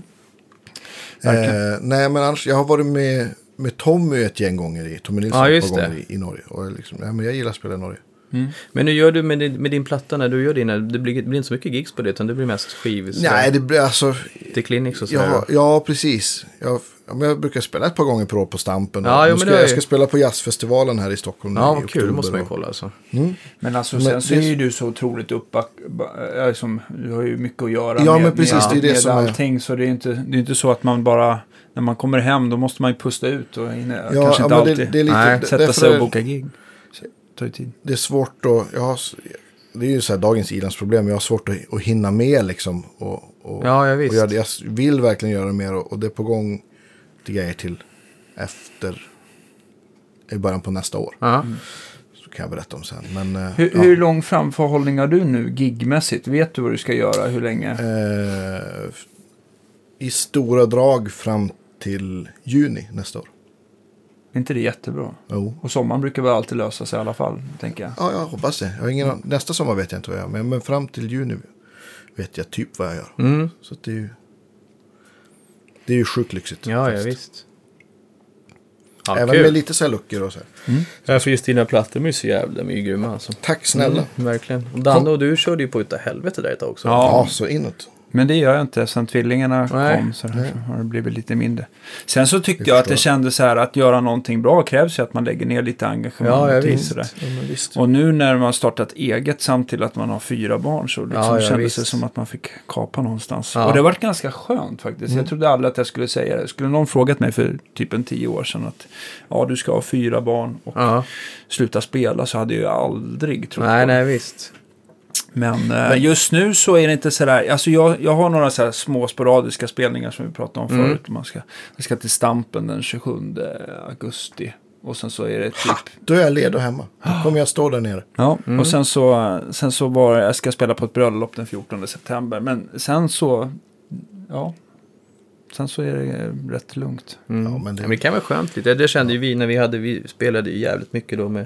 S5: Verkligen.
S3: Eh, nej, men annars, jag har varit med, med Tommy ett gäng gånger i, Tommy Nilsson
S4: Ja,
S3: ett
S4: just
S3: par
S4: det.
S3: gånger i, i Norge. Och jag liksom, nej, men jag gillar att spela i Norge.
S5: Mm.
S4: Men nu gör du med din, med din platta när du gör dina, det blir, det blir inte så mycket gigs på det utan det blir mest skiv. så
S3: Nej,
S4: där,
S3: det blir alltså...
S4: Till clinics och sådär.
S3: Ja, ja, precis. Jag, ja, men jag brukar spela ett par gånger per år på Stampen.
S4: Ja,
S3: Och
S4: jo,
S3: nu
S4: men
S3: ska,
S4: det är
S3: jag, jag
S4: ju-
S3: ska spela på jazzfestivalen här i Stockholm nu
S4: Ja,
S3: i
S4: vad kul. Det
S3: oktober Mm.
S4: måste man ju
S3: och-
S4: kolla alltså.
S5: Men alltså
S3: Men
S5: sen så
S3: det-
S5: är ju du så otroligt uppback... ba- eh, Liksom, du har ju mycket att göra
S3: Ja,
S5: med,
S3: men precis,
S5: med,
S3: det är det
S5: med
S3: som är-
S5: allting. Så det är, inte, det är inte så att man bara... När man kommer hem då måste man ju pusta ut och in,
S3: Ja,
S5: kanske inte
S3: ja, men det,
S5: alltid.
S3: det är lite...
S4: Nej,
S3: d-
S5: Sätta
S3: därför
S5: sig
S3: är-
S5: och boka gig. Så- tar ju tid.
S3: det är svårt att... Jag har, s- det är ju så här dagens ilandsproblem. Jag har svårt att, att hinna med liksom. Och, och,
S4: Ja, ja visst.
S3: och jag, jag vill verkligen göra mer och, och det är på gång till grejer till efter... I början på nästa år.
S4: Ja.
S3: Så kan jag berätta om sen. Men, eh,
S5: Hur,
S3: ja.
S5: hur lång framförhållning har du nu gigmässigt? Vet du vad du ska göra? Hur länge?
S3: Eh, I stora drag fram till juni nästa år.
S5: Är inte det jättebra?
S3: Jo.
S5: Och sommaren brukar väl alltid lösa sig i alla fall, tänker jag.
S3: Ja, jag hoppas det. Jag har ingen, an- nästa sommar vet jag inte vad jag gör. Men, men fram till juni vet jag typ vad jag gör.
S4: Mm.
S3: Så att det är ju... Det är ju sjukt lyxigt.
S4: Ja, ja
S3: faktiskt.
S4: visst. Ja,
S3: Även
S4: kul.
S3: med lite så här luckor och så här.
S4: Ja, för just dina plattor de är ju så jävla de är ju grymma alltså.
S3: Tack snälla.
S4: Verkligen. Och Danne och du körde ju på utav helvete där ett tag också.
S5: Ja.
S3: Ja, så inåt.
S5: Men det gör jag inte sen tvillingarna
S4: Nej.
S5: kom så,
S3: Nej.
S5: här, så har det blivit lite mindre. Sen så tyckte
S3: Jag
S5: jag att det
S3: förstår.
S5: kändes så här att göra någonting bra krävs ju att man lägger ner lite engagemang.
S4: Ja, ja
S5: till
S4: visst.
S5: sådär.
S4: Ja, men visst.
S5: Och nu när man har startat eget samt till att man har fyra barn så liksom
S4: Ja, ja,
S5: kändes
S4: visst.
S5: det som att man fick kapa någonstans.
S4: Ja. Mm.
S5: Och det har varit ganska skönt faktiskt. Jag trodde aldrig att jag skulle säga det. Skulle någon frågat mig för typ en tio år sedan att ja, du ska ha fyra barn och
S4: Ja.
S5: sluta spela så hade jag ju aldrig trott på
S4: Nej,
S5: det.
S4: nej visst.
S5: Men eh, just nu så är det inte sådär. Alltså jag, jag har några sådär små sporadiska spelningar som vi pratade om
S4: Mm.
S5: förut. Man ska, jag ska till Stampen den 27 augusti. Och sen så är det typ...
S3: Då är jag ledig hemma. Då kommer jag stå där nere.
S5: Ja, Mm. och sen så, sen så var jag ska spela på ett bröllop den 14 september. Men sen så, ja. Sen så är det rätt lugnt.
S4: Mm.
S3: Ja, men
S4: men, det...
S3: det-
S4: men det kan vara skönt lite. Det kände ju vi när vi, hade, vi spelade ju jävligt mycket då med,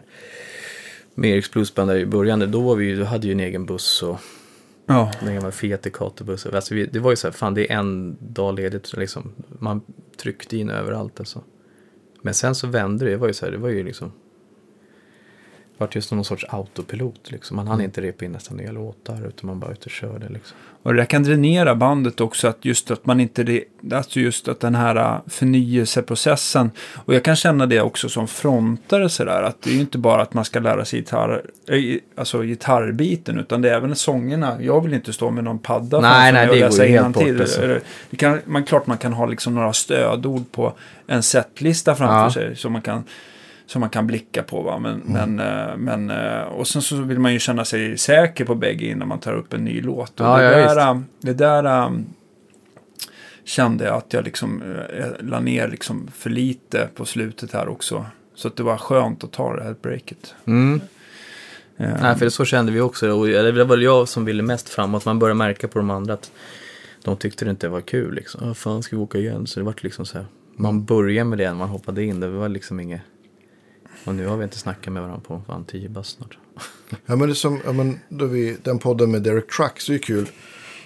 S4: med Eriks Bluesband där i början. Då, var vi, ju- då hade ju en egen buss och
S5: Ja,
S4: den gamla Fiat Ducato-buss. Alltså vi, det var ju så här, fan det är en dag ledigt. så Liksom. Man tryckte in överallt alltså. Men sen så vände det. Det var ju så här, det var ju liksom. Det vart just någon sorts autopilot liksom. Man hann inte repa in nästan nya låtar utan man bara ut och körde liksom.
S5: och det där kan dränera bandet också att just att man inte, re- alltså just att den här äh, förnyelseprocessen, och jag kan känna det också som frontare sådär, att det är ju inte bara att man ska lära sig gitarr, äh, alltså gitarrbiten, utan det är även sångerna. Jag vill inte stå med någon padda
S4: Nej,
S5: framför
S4: nej,
S5: mig och
S4: det går
S5: läsa
S4: ju helt
S5: innantill.
S4: bort, alltså.
S5: Eller- Det kan, man, klart man kan ha liksom några stödord på en setlista framför
S4: Ja.
S5: sig som man kan som man kan blicka på. Va? Men,
S4: Mm.
S5: men, eh, men, eh, och sen så vill man ju känna sig säker på bägge innan man tar upp en ny låt. Och
S4: Ja,
S5: det,
S4: ja,
S5: där,
S4: visst.
S5: eh, det där eh, kände jag att jag liksom eh, la ner liksom för lite på slutet här också. Så att det var skönt att ta det här breaket. Eh,
S4: Nej, för det så kände vi också. Och eller det var väl jag som ville mest framåt. Man började märka på de andra att de tyckte det inte var kul. Liksom. Ah, fan, ska vi åka igen? Så det vart liksom så här. Man började med det när man hoppade in. Det var liksom inget... Och nu har vi inte snackat med varandra på fan tio bast snart.
S3: Ja, men det är som, ja, men då vi, den podden med Derek Trucks är ju kul.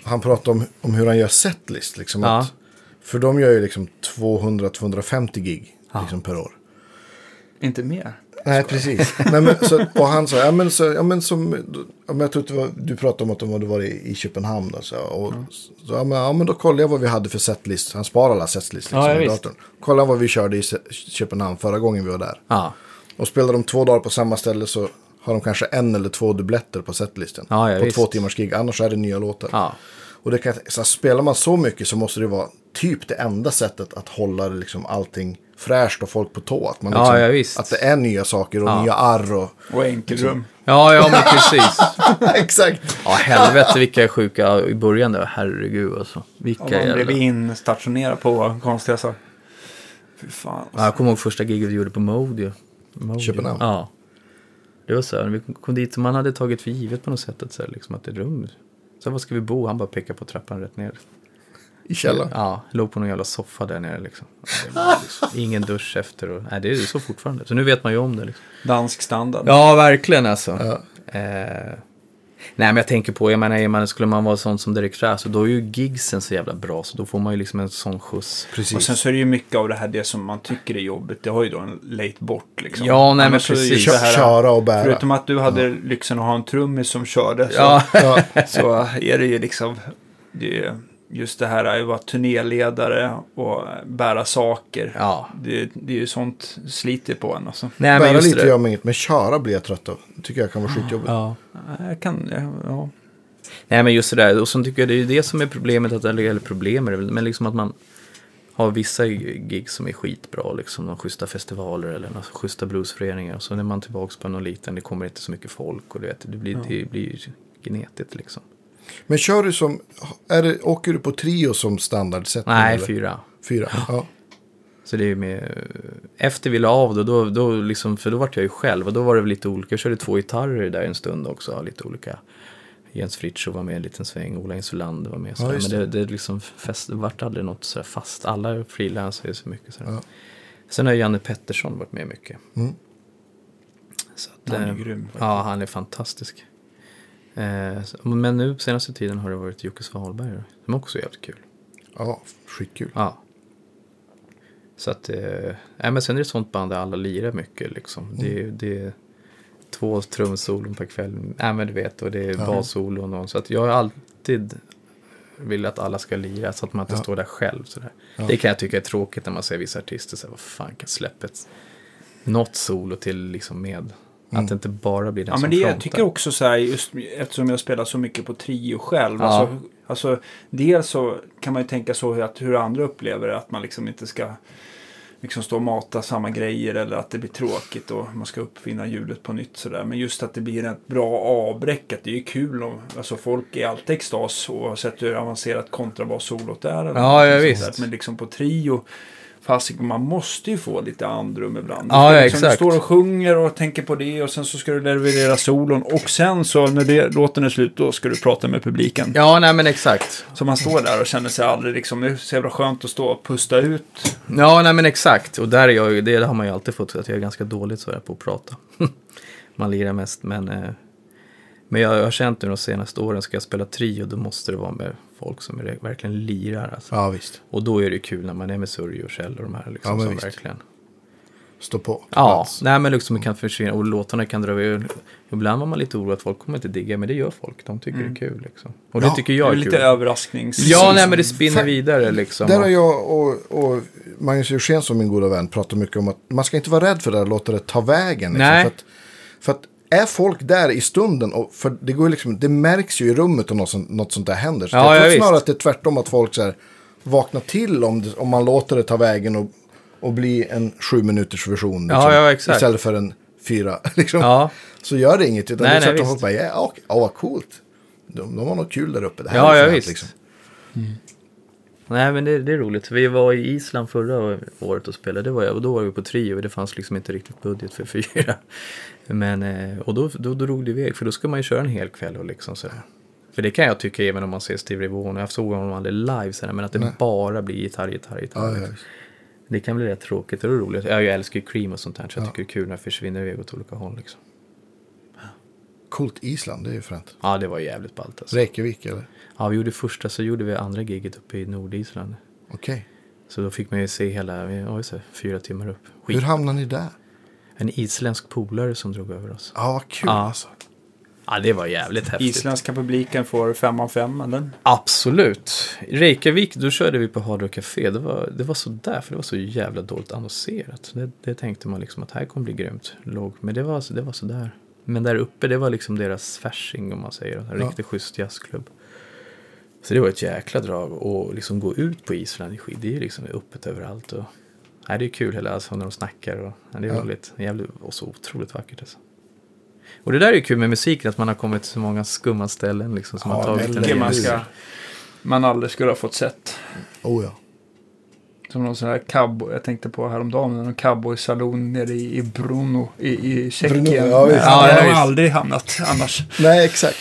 S3: Han pratar om, om hur han gör setlist. Liksom,
S4: Ja.
S3: att, för de gör ju liksom 200-250 gig liksom, per år.
S5: Inte mer.
S3: Nej, precis. Nej, men, så, och han sa, ja men, så, ja, men som, ja, men jag tror att det var, du pratade om att de hade varit i Köpenhamn. Då, så, och,
S4: Mm.
S3: så, ja, men, ja, men då kollade jag vad vi hade för setlist. Han sparar alla setlist liksom,
S4: Ja, ja,
S3: i
S4: visst.
S3: datorn. Kolla vad vi körde i Se- Köpenhamn förra gången vi var där.
S4: Ja,
S3: Och spelar de två dagar på samma ställe så har de kanske en eller två dubbletter på setlisten.
S4: Ja, ja,
S3: på
S4: visst.
S3: två timmars gig, annars är det nya låtar.
S4: ja.
S3: Och det kan, så här, spelar man så mycket så måste det vara typ det enda sättet att hålla liksom allting fräscht och folk på tå. Att, man
S4: Ja,
S3: liksom,
S4: ja, visst.
S3: att det är nya saker och nya arr och...
S5: Och
S4: Liksom.
S5: enkelrum.
S4: Ja, ja men precis.
S3: Exakt.
S4: Ja, helvete vilka sjuka i början där. Herregud alltså.
S5: Och
S4: Vilka
S5: man blev
S4: jävla...
S5: instationerad på konstiga saker. Fy fan. alltså.
S4: Ja, jag kommer ihåg första giget vi gjorde på Mode. ju. Mode.
S3: Köpenhamn.
S4: Ja. Det var så här, vi kom dit och man hade tagit för givet på något sätt att, så här, liksom, att det är rum. Så här, var ska vi bo? Han bara pekade på trappan rätt ner.
S3: I källaren.
S4: Ja, låg på någon jävla soffa där nere liksom. Ja, det var liksom ingen dusch efter och, nej det är ju så fortfarande. Så nu vet man ju om det liksom.
S5: Dansk standard.
S4: Ja, verkligen alltså.
S3: Ja.
S4: Eh, nej, men jag tänker på, jag menar, är man, skulle man vara sån som Derek Trash, så då är ju gigsen så jävla bra, så då får man ju liksom en sån skjuts.
S3: Precis.
S5: Och sen så är det ju mycket av det här det som man tycker är jobbigt. Det har ju då en late bort liksom.
S4: Ja, nej, men
S5: Annars så är det ju
S4: precis.
S5: det här-
S3: Köra och bära.
S5: Förutom att du hade lyxen att ha en trummis som körde. Så,
S4: Ja.
S3: Ja,
S5: så är det ju liksom. Det är just det här att vara turnéledare och bära saker.
S4: Ja.
S5: Det, det är ju sånt sliter på en alltså.
S4: Nej, men
S3: bära
S4: just
S3: lite
S4: det.
S3: gör mig inget, men köra blir jag trött av. Det tycker jag kan vara skitjobbigt.
S4: Ja.
S5: Nej, Jag kan, ja.
S4: Nej men just det där, och sen tycker jag det är ju det som är problemet, att, eller eller problem är det väl, men liksom att man har vissa gig som är skitbra, liksom de schyssta festivaler eller några schyssta bluesföreningar. Och så när man tillbaks på någon liten, det kommer inte så mycket folk och du vet, det blir, det blir ju gnetigt liksom.
S3: Men kör du som... Är det, åker du på trio som standardsättning?
S4: Nej,
S3: eller?
S4: fyra.
S3: Fyra. Ja.
S4: Så det är ju med, efter vi la av då, då, då liksom, för då vart jag ju själv och då var det väl lite olika, jag körde två gitarrer där en stund också, lite olika. Jens Fritiof var med en liten sväng, Ola Insulander var med. Sådär.
S3: just
S4: Men det, det, liksom fest, det vart aldrig något sådär fast, alla frilansar ju så mycket. Sådär.
S3: Ja.
S4: Sen har Janne Pettersson varit med mycket.
S3: Mm.
S4: Så att,
S5: Den är
S4: eh,
S5: grym.
S4: Ja, han är fantastisk. Eh, så- men nu på senaste tiden har det varit Jocke Svalberg, då, som också är jävligt kul.
S3: ja, skitkul.
S4: Ja. Så att, eh, nej, men sen är det ett sånt band där alla lirar mycket liksom. Det,
S3: Mm.
S4: är- det är två trumsolon per kväll, nej men du vet, och det är
S3: Ja.
S4: bassolon och så att jag har alltid vill att alla ska lira så att man inte
S3: Ja.
S4: står där själv. Sådär.
S3: Ja.
S4: Det kan jag tycka är tråkigt när man ser vissa artister säga vad fan kan släppa ett, något solo till liksom med.
S3: Mm.
S4: Att det inte bara blir den
S5: Ja,
S4: som
S5: men det, jag
S4: frontar.
S5: tycker också så här, just eftersom jag spelar så mycket på trio själv.
S6: Ja.
S5: Alltså, alltså, dels så kan man ju tänka så hur, att, hur andra upplever det, att man liksom inte ska liksom stå och mata samma grejer eller att det blir tråkigt och man ska uppfinna hjulet på nytt sådär. Men just att det blir ett bra avbräck, att det är ju kul om, alltså folk är alltid i extas oavsett hur avancerat kontrabassolot är. Eller
S4: Ja,
S5: någonting
S4: ja,
S5: sånt
S4: visst.
S5: där. Men liksom på trio, Fasiken, man måste ju få lite andrum ibland.
S4: Ja, ja,
S5: liksom,
S4: exakt.
S5: Du står och sjunger och tänker på det och sen så ska du leverera solon och sen så när det, låten är slut då ska du prata med publiken.
S4: Ja, nej men exakt.
S5: Så man står där och känner sig aldrig liksom, det är så jävla skönt att stå och pusta ut.
S4: Ja, nej men exakt. Och där är jag ju, det har man ju alltid fått, att jag är ganska dåligt så här på att prata. man lirar mest, men... eh, Men jag har känt nu de senaste åren, ska jag spela trio, då måste det vara med folk som är- verkligen lirar. Alltså.
S3: Ja, visst.
S4: Och då är det kul när man är med Surjo och Kjell och de här. Liksom,
S3: Ja, men
S4: som
S3: visst.
S4: verkligen...
S3: Stå på. Ta
S4: Ja,
S3: plats.
S4: nej men liksom kan försvinna och låtarna kan dra över. Ibland var man lite orolig att folk kommer inte digga, men det gör folk. De tycker det är kul liksom. Och det
S3: Mm. Ja,
S4: tycker
S5: Det
S4: jag
S5: är
S4: är,
S5: lite
S4: kul.
S5: överrasknings...
S4: Ja, nej men det spinner
S3: Fan.
S4: vidare liksom.
S3: Där har jag och, och Magnus Eugen som min goda vän pratat mycket om att man ska inte vara rädd för det där och låta det ta vägen. Liksom,
S4: Nej.
S3: För, att, för att är folk där i stunden, och för det, går ju liksom, det märks ju i rummet om något, sånt- något sånt där händer. Så
S4: Ja,
S3: jag
S4: ja,
S3: tror
S4: visst.
S3: snarare att det är tvärtom att folk så här, vaknar till om, det, om man låter det ta vägen och, och bli en sju minuters version. liksom,
S4: Ja, ja, exakt.
S3: Istället för en fyra. Liksom.
S4: Ja.
S3: Så gör det inget. Utan
S4: Nej,
S3: det är
S4: nej,
S3: tvärtom.
S4: visst.
S3: folk bara, ja, okej, ja, vad coolt. De, de har något kul där uppe. Det här liksom,
S4: Ja,
S3: är
S4: ja
S3: fränt,
S4: visst. Mm. Nej men det, det är roligt. Vi var i Island förra året och spelade, det var jag, och då var vi på trio och det fanns liksom inte riktigt budget för fyra. Men, eh, och då, då, då drog det iväg, för då ska man ju köra en hel kväll och liksom sådär. För det kan jag tycka även om man ser Steve Ray Vaughan, och jag såg honom aldrig live sådär, men att det bara blir gitarr, gitarr, gitarr.
S3: Ja, ja,
S4: liksom.
S3: visst.
S4: Det kan bli rätt tråkigt och roligt. Jag, jag älskar ju Cream och sånt här, så jag tycker det är kul när det försvinner iväg åt olika håll liksom.
S3: Coolt Island, det är ju fränt.
S4: Ja, det var jävligt ballt alltså.
S3: Reykjavik eller?
S4: Ja, vi gjorde första, så gjorde vi andra giget uppe i Nordisland.
S3: Okej.
S4: Så då fick man ju se hela, ja, just det, fyra timmar upp. Skit.
S3: Hur hamnar ni där?
S4: En isländsk polare som drog över oss.
S3: Ja, vad kul.
S4: Ja.
S3: Alltså.
S4: Ja, det var jävligt häftigt.
S5: Isländska publiken får fem av fem eller?
S4: Absolut. I Reykjavik, då körde vi på Hard Rock Café. Det var, det var sådär, för det var så jävla dåligt annonserat. Det, det tänkte man liksom att här kommer bli grymt. Låg. Men det var, så- det var sådär. Men där uppe, det var liksom deras färsing om man säger. En
S3: Ja.
S4: riktigt schysst jazzklubb. Så det var ett jäkla drag. Och liksom gå ut på Island i skid, det är ju liksom öppet överallt. Och, nej, det är kul hela, alltså, när de snackar. Och, nej, det är
S3: Ja.
S4: roligt. Jävligt, och så otroligt vackert alltså. Och det där är ju kul med musiken, att man har kommit till så många skumma ställen liksom, som
S3: Ja,
S4: har tagit
S3: väldigt
S4: en
S5: Det
S4: egen
S5: man,
S3: är
S5: ska,
S3: det.
S5: man aldrig skulle ha fått sett.
S3: Oh, ja.
S5: Som någon sån här cowboy, jag tänkte på häromdagen, någon cowboysalon nere i, i Bruno i, i Tjeckien.
S3: Brno, ja, visst.
S4: Ja,
S5: där har
S4: visst.
S5: man aldrig hamnat annars.
S3: Nej, exakt.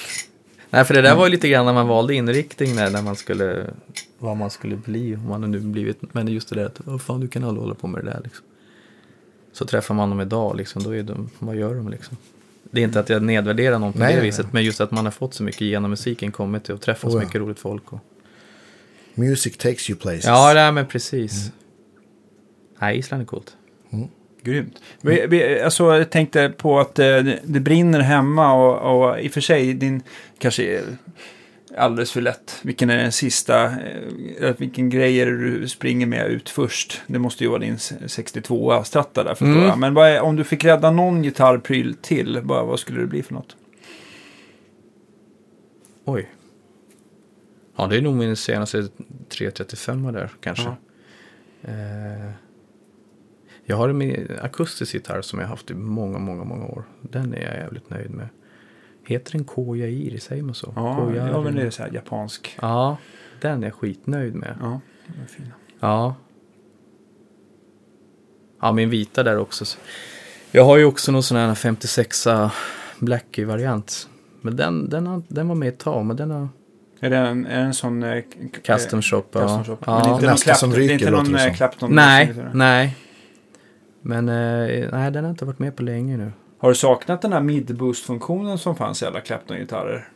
S4: Nej, för det
S3: Mm.
S4: där var ju lite grann när man valde inriktning där, när man skulle, vad man skulle bli, om man nu blivit, men just det där att, "Åh, fan du kan aldrig hålla på med det där liksom. Så träffar man dem idag liksom, då är de, vad gör de liksom? Det är inte att jag nedvärderar någon på
S3: Nej,
S4: det
S3: nej,
S4: viset, men just att man har fått så mycket genom musiken, kommit och träffat så
S3: Oh, ja.
S4: mycket roligt folk. Och...
S3: Music takes you places.
S4: Ja, det här men precis.
S3: Mm.
S4: Nej, Island är coolt.
S5: Grymt. Vi, vi, alltså, jag tänkte på att eh, det, det brinner hemma och, och i och för sig din kanske är alldeles för lätt. Vilken är den sista? Eh, vilken grej är det du springer med ut först? Det måste ju vara din 62a stratta där förstår
S4: Mm.
S5: jag. Men vad är, om du fick rädda någon gitarrpryl till, vad, vad skulle det bli för något?
S4: Oj. Ja, det är nog min senaste 335 där kanske.
S5: Ja.
S4: Eh, jag har en akustisk gitarr som jag haft i många, många, många år. Den är jag jävligt nöjd med. Heter den Koyairi? Säger man så?
S5: Ja,
S4: Koyairi.
S5: ja men det är så här japansk.
S4: ja, den är jag skitnöjd med.
S5: Ja, de är fina.
S4: Ja. Ja, min vita där också. Jag har ju också någon sån här 56a Blackie-variant. Men den, den, har, den var med ett tag, men den har...
S5: Är det en, är det en sån... Eh, k- k-
S4: Custom shop.
S5: eh,
S4: ja.
S5: Custom shop.
S4: Ja.
S5: Men inte någon
S3: Nästa som
S5: Clapton- det är
S3: ryker,
S5: inte någon
S3: låter det
S5: eh,
S3: som.
S5: Clapton.
S4: Nej, nej. Men eh, nej, den har inte varit med på länge nu.
S5: Har du saknat den här mid-boost-funktionen som fanns i alla Clapton-gitarrer?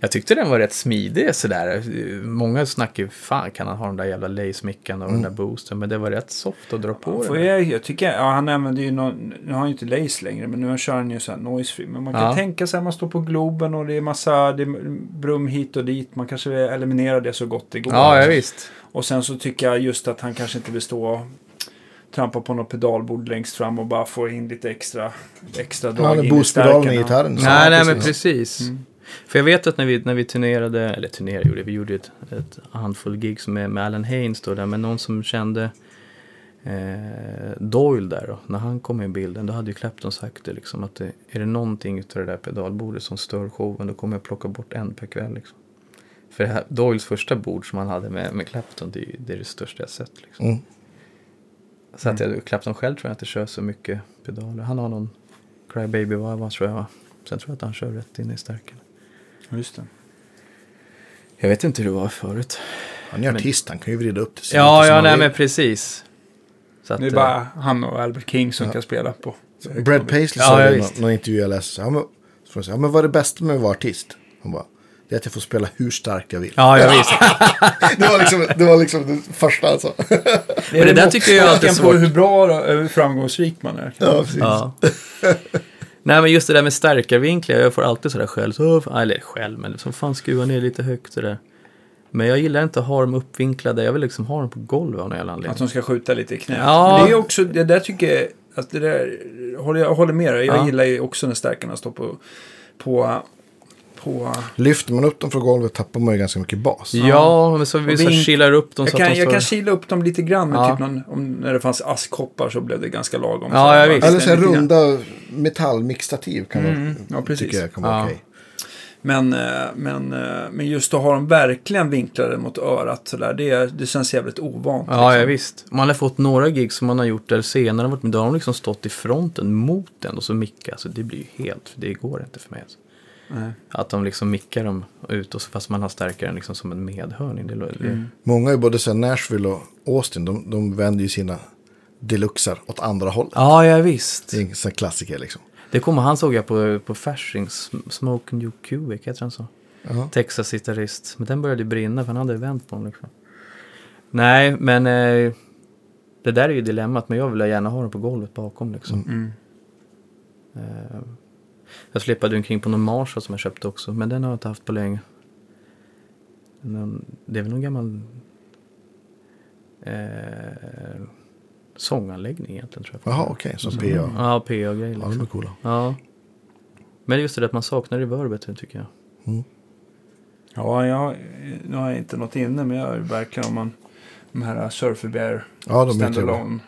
S4: Jag tyckte den var rätt smidig sådär. Många snackar ju, fan kan han ha den där jävla lace-mickan och den där boosten. Men det var rätt soft att dra på
S5: Får
S4: den.
S5: jag, jag tycker, ja, han använder ju någon, nu har han ju inte lace längre, men nu kör han ju så här noise free. Men man kan
S4: Ja.
S5: tänka sig att man står på Globen och det är massa det är brum hit och dit. Man kanske vill eliminera det så gott det går.
S4: Ja, ja, visst.
S5: Och sen så tycker jag just att han kanske inte vill stå och trampa på något pedalbord längst fram och bara få in lite extra, extra drag
S3: Han
S5: in
S3: är
S5: i
S3: boostpedalen i
S5: stärkarna.
S3: gitarren. så-
S4: nej, nej,
S3: precis.
S4: men precis. För jag vet att när vi, när vi turnerade, eller turnerade gjorde vi, vi gjorde ett, ett handfull gigs med, med Alan Haynes då, där, men någon som kände eh, Doyle där då, när han kom in i bilden, då hade ju Clapton sagt det liksom att eh, är det någonting utav det där pedalbordet som stör showen, då kommer jag plocka bort en per kväll liksom. För det här, Doyles första bord som han hade med, med Clapton, det är, ju- det är det största jag sett liksom.
S3: Mm.
S4: Så att jag, Clapton själv tror jag inte kör så mycket pedaler. Han har någon Crybaby-varva tror jag va? Sen tror jag att han kör rätt in i stärken.
S5: Just det.
S4: Jag vet inte hur det var förut.
S3: Han är artist, han kan ju vrida upp det sig
S4: Ja,
S3: lite som
S4: ja,
S3: han
S4: nej
S3: vill.
S4: men precis. Så att, eh,
S5: Det är bara han och Albert King som kan spela på.
S3: Brad Paisley
S4: Ja,
S3: sa
S4: ja,
S3: det i
S4: visst.
S3: någon, någon intervju jag läste. Så Han var, så frågade jag, ja, men vad är det bästa med att vara artist? Han bara, det är att jag får spela hur starkt jag vill.
S4: Ja, ja visst.
S3: Det, var liksom, det var liksom det första han sa.
S4: Men det där tycker jag alltid är
S5: Tanken på
S4: svårt.
S5: hur bra och hur framgångsrik man är.
S3: Ja, precis.
S4: Ja. Nej men just det där med stärkarvinklar, jag får alltid sådär själv, så, eller själv, men som fan skruva ner lite högt det där. Men jag gillar inte att ha dem uppvinklade, jag vill liksom ha dem på golvet av någon jävla anledning.
S5: Att de ska skjuta lite i knät.
S4: Ja.
S5: Men Det är också, det där tycker jag, att det där, håller, jag håller med dig. Jag
S4: Ja.
S5: gillar ju också när stärkarna står på, på, på
S3: Lyfter man upp dem från golvet tappar man ju ganska mycket bas.
S4: Ja, men så vi
S5: Och
S4: så här
S5: vink-
S4: chillar upp dem
S5: jag
S4: så
S5: kan,
S4: att de
S5: jag
S4: står...
S5: kan kila upp dem lite grann med
S4: Ja.
S5: typ någon, om, när det fanns askkoppar så blev det ganska lagom.
S4: Ja,
S5: Så bara
S4: ja, visst.
S3: Eller så här
S5: lite grann.
S3: runda metallmixtativ kan man,
S5: Mm, ja, precis.
S3: tycker jag kan vara
S4: Ja.
S3: okej.
S5: Men, eh, men, eh, men just att ha dem verkligen vinklade mot örat sådär, det, är- det känns jävligt ovant.
S4: Ja, ja, visst. Man har fått några gig som man har gjort där senare, varit med, då har de liksom stått i fronten mot den och så micka. Alltså, det blir ju helt, det går inte för mig. Alltså.
S5: Nej.
S4: Att de liksom mickar dem ut och så, fast man har stärkaren liksom som en medhörning. Det, lå- det,
S3: Många i både så här Nashville och Austin, de, de vänder ju sina deluxer åt andra hållet.
S4: Ja, ja, visst.
S3: Det är en sån här klassiker liksom.
S4: Det kommer, han såg jag på, på Fasching, Sm- Smoke New Cubic, heter han så?
S3: Ja.
S4: Texas-gitarrist. Men den började ju brinna för han hade vänt på den liksom. Nej, men eh, det där är ju dilemmat. Men jag vill gärna ha den på golvet bakom liksom.
S5: Mm.
S4: Eh, Jag släpade omkring på någon Marshall som jag köpte också, men den har jag inte haft på länge. Någon, det är väl någon gammal eh, sånganläggning egentligen tror jag.
S3: Jaha, okej, så PA.
S4: Ja, PA-grej
S3: Ja, de
S4: liksom.
S3: är coola.
S4: Ja. Men just det där att man saknar reverbet tycker jag.
S5: Ja, jag, nu har jag inte något inne, men jag är verkligen om man, de här Surfer Bear
S3: Ja, de är trevliga.
S5: standalone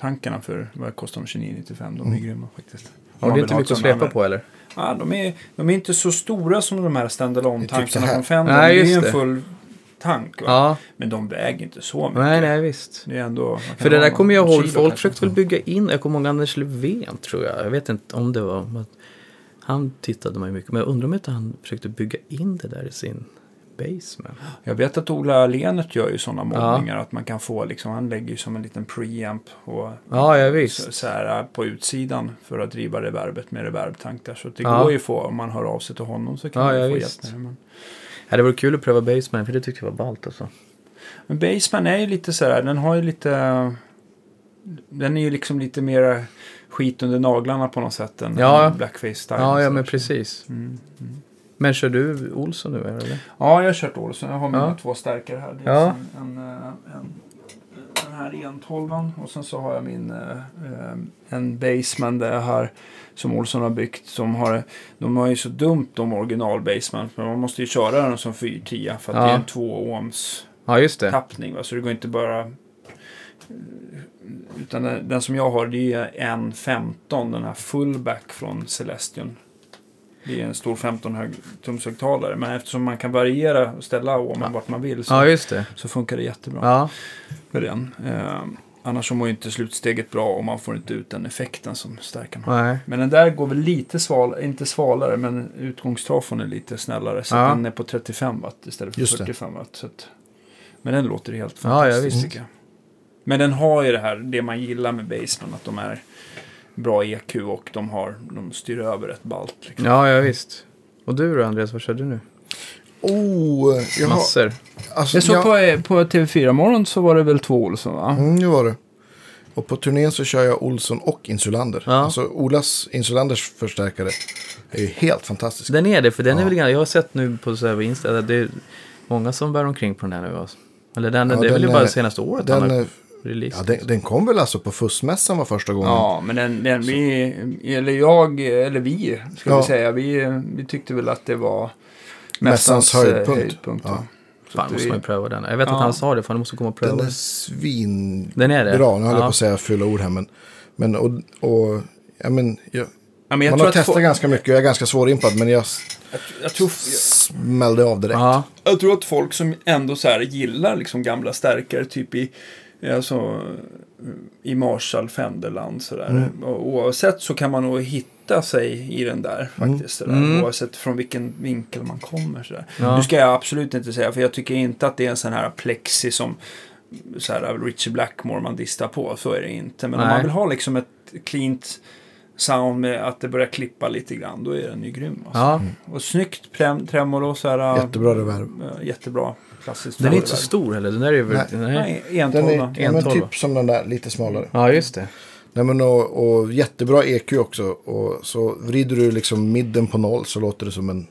S5: tankarna för vad kostar de 29,95. De
S4: Mm.
S5: är grymma faktiskt.
S4: Har du inte mycket att släpa på eller?
S5: Ja, de, är, de är inte så stora som de här standalone
S3: Det är typ så
S5: tankarna
S3: här.
S5: från Fender.
S4: Nej,
S5: men det är
S4: just
S5: ju en
S4: det.
S5: full tank. Va?
S4: Ja,
S5: Men de väger inte så mycket.
S4: nej, nej visst.
S5: Det är ändå, man kan
S4: För det
S5: ha
S4: där
S5: någon
S4: kommer jag ihåg,
S5: kilo
S4: folk
S5: kanske.
S4: försökte väl bygga in, jag kommer ihåg Anders Löfven tror jag, jag vet inte om det var, men han tittade man ju mycket, men jag undrar om inte han försökte bygga in det där i sin basement.
S5: Jag vet att Ola Lenert gör ju sådana målningar att man kan få liksom, han lägger ju som en liten preamp och
S4: Ja, ja
S5: så,
S4: visst.
S5: så här på utsidan för att driva reverbet med reverbtank där. Så det
S4: Ja.
S5: går ju att få, om man hör av sig till honom så kan
S4: Ja,
S5: man ju
S4: ja,
S5: få
S4: visst.
S5: hjälp med det. Men,
S4: Ja, det vore kul att pröva basement, för det tyckte jag var ballt alltså.
S5: men Baseman är ju lite så här, den har ju lite, den är ju liksom lite mer skit under naglarna på något sätt än
S4: Ja.
S5: än blackface-style.
S4: Ja, ja
S5: Så-
S4: men precis.
S5: Mm, mm.
S4: Men kör du Olsson nu eller?
S5: Ja, jag har kört Olsson. Jag har mina
S4: Ja.
S5: två stärkare här. Dels
S4: Ja.
S5: en, en, eh, en, eh, den här enkolvan och sen så har jag min eh, eh, en Baseman där jag har, som Olsson har byggt. Som har, de har ju så dumt de original Baseman. Men man måste ju köra den som 410 för att
S4: Ja.
S5: det är en 2 ohms
S4: Ja, just det.
S5: tappning. Va? Så det går inte bara... eh, Utan den, den som jag har det är en 15, den här fullback från Celestion. Det är en stor 15 hög tumshögtalare. Men eftersom man kan variera och ställa om vart man vill så,
S4: Ja, just det.
S5: så funkar det jättebra
S4: Ja,
S5: med den. Eh, annars så mår ju inte slutsteget bra och man får inte ut den effekten som stärkan har.
S4: nej.
S5: Men den där går väl lite sval, inte svalare, men utgångstrafon är lite snällare. Så
S4: Ja.
S5: att den är på 35 watt istället för
S3: Just det.
S5: 45 watt. Så att, men den låter helt
S4: Ja, ja,
S5: fantastisk
S4: visst.
S5: tycker jag. Men den har ju det här, det man gillar med Baseman, att de är bra E EQ och de, har, de styr över ett balt. Liksom.
S4: Ja, ja visst. Och du då Andreas, vad kör du nu?
S3: Oh, jag har...
S4: Massor.
S3: Alltså,
S7: Jag såg
S3: jag-
S7: på, eh, på TV4 morgon så var det väl två Olsson va?
S3: Mm, det var det. Och på turnén så kör jag Olsson och Insulander.
S4: Ja.
S3: Alltså Olas Insulanders förstärkare är ju helt fantastisk.
S4: Den är det, för den är väl ganska, jag har sett nu på så här på Insta, att det är många som bär omkring på den här nu. Alltså. Eller den,
S3: Ja,
S4: det är väl
S3: den
S4: bara
S3: är-
S4: det senaste året han
S3: Den, eh,
S4: har
S3: är-
S4: release.
S3: ja, den, den kom väl alltså på fussmässan var första gången.
S7: Ja, men den, den vi, eller jag, eller vi, ska
S3: Ja.
S7: vi säga, vi, vi tyckte väl att det var
S3: Mässans
S7: eh,
S3: höjdpunkt.
S7: va?
S3: Ja.
S7: Så
S4: Fan,
S7: att
S4: måste
S7: vi,
S4: man ju pröva den. Jag vet
S7: Ja.
S4: att han sa det, fan du måste komma och pröva
S3: Den är
S4: den.
S3: svin...
S4: Den är det?
S3: Bra, nu höll
S4: Ja.
S3: jag på att säga fula ord här. Men, men och, och ja, men, jag,
S7: ja, men jag tror
S3: man har
S7: att
S3: testat
S7: fo-
S3: ganska mycket och jag är ganska svårimpad. Men jag
S5: Jag tror,
S3: smällde av direkt.
S4: Ja,
S5: jag tror att folk som ändå så här gillar liksom gamla stärkare, typ i, alltså, i Marshall, Fenderland sådär.
S3: Mm.
S5: Och, oavsett så kan man nog hitta sig i den där faktiskt. Sådär.
S4: Mm.
S5: Oavsett från vilken vinkel man kommer. Sådär.
S4: Ja.
S5: Nu ska jag absolut inte säga, för jag tycker inte att det är en sån här plexi som så här, Richie Blackmore man distar på. Så är det inte. Men om
S4: Nej.
S5: man vill ha liksom ett cleant sound med att det börjar klippa lite grann, då är den ju grym. Alltså.
S4: ja.
S5: Och snyggt prem- tremolo. Så här, äh,
S3: Jättebra reverb.
S5: äh, Jättebra. Klassiskt.
S4: Den är inte så
S5: reverb.
S4: stor heller. Den där är ju...
S3: Nej.
S4: Nej. Nej.
S5: Nej,
S3: Den är
S5: entonna.
S3: ja, men
S4: 112, va?
S3: typ som den där, lite smalare.
S4: Ja, just det.
S3: Nej, men och, och jättebra EQ också. Och så vrider du liksom midden på noll så låter det som en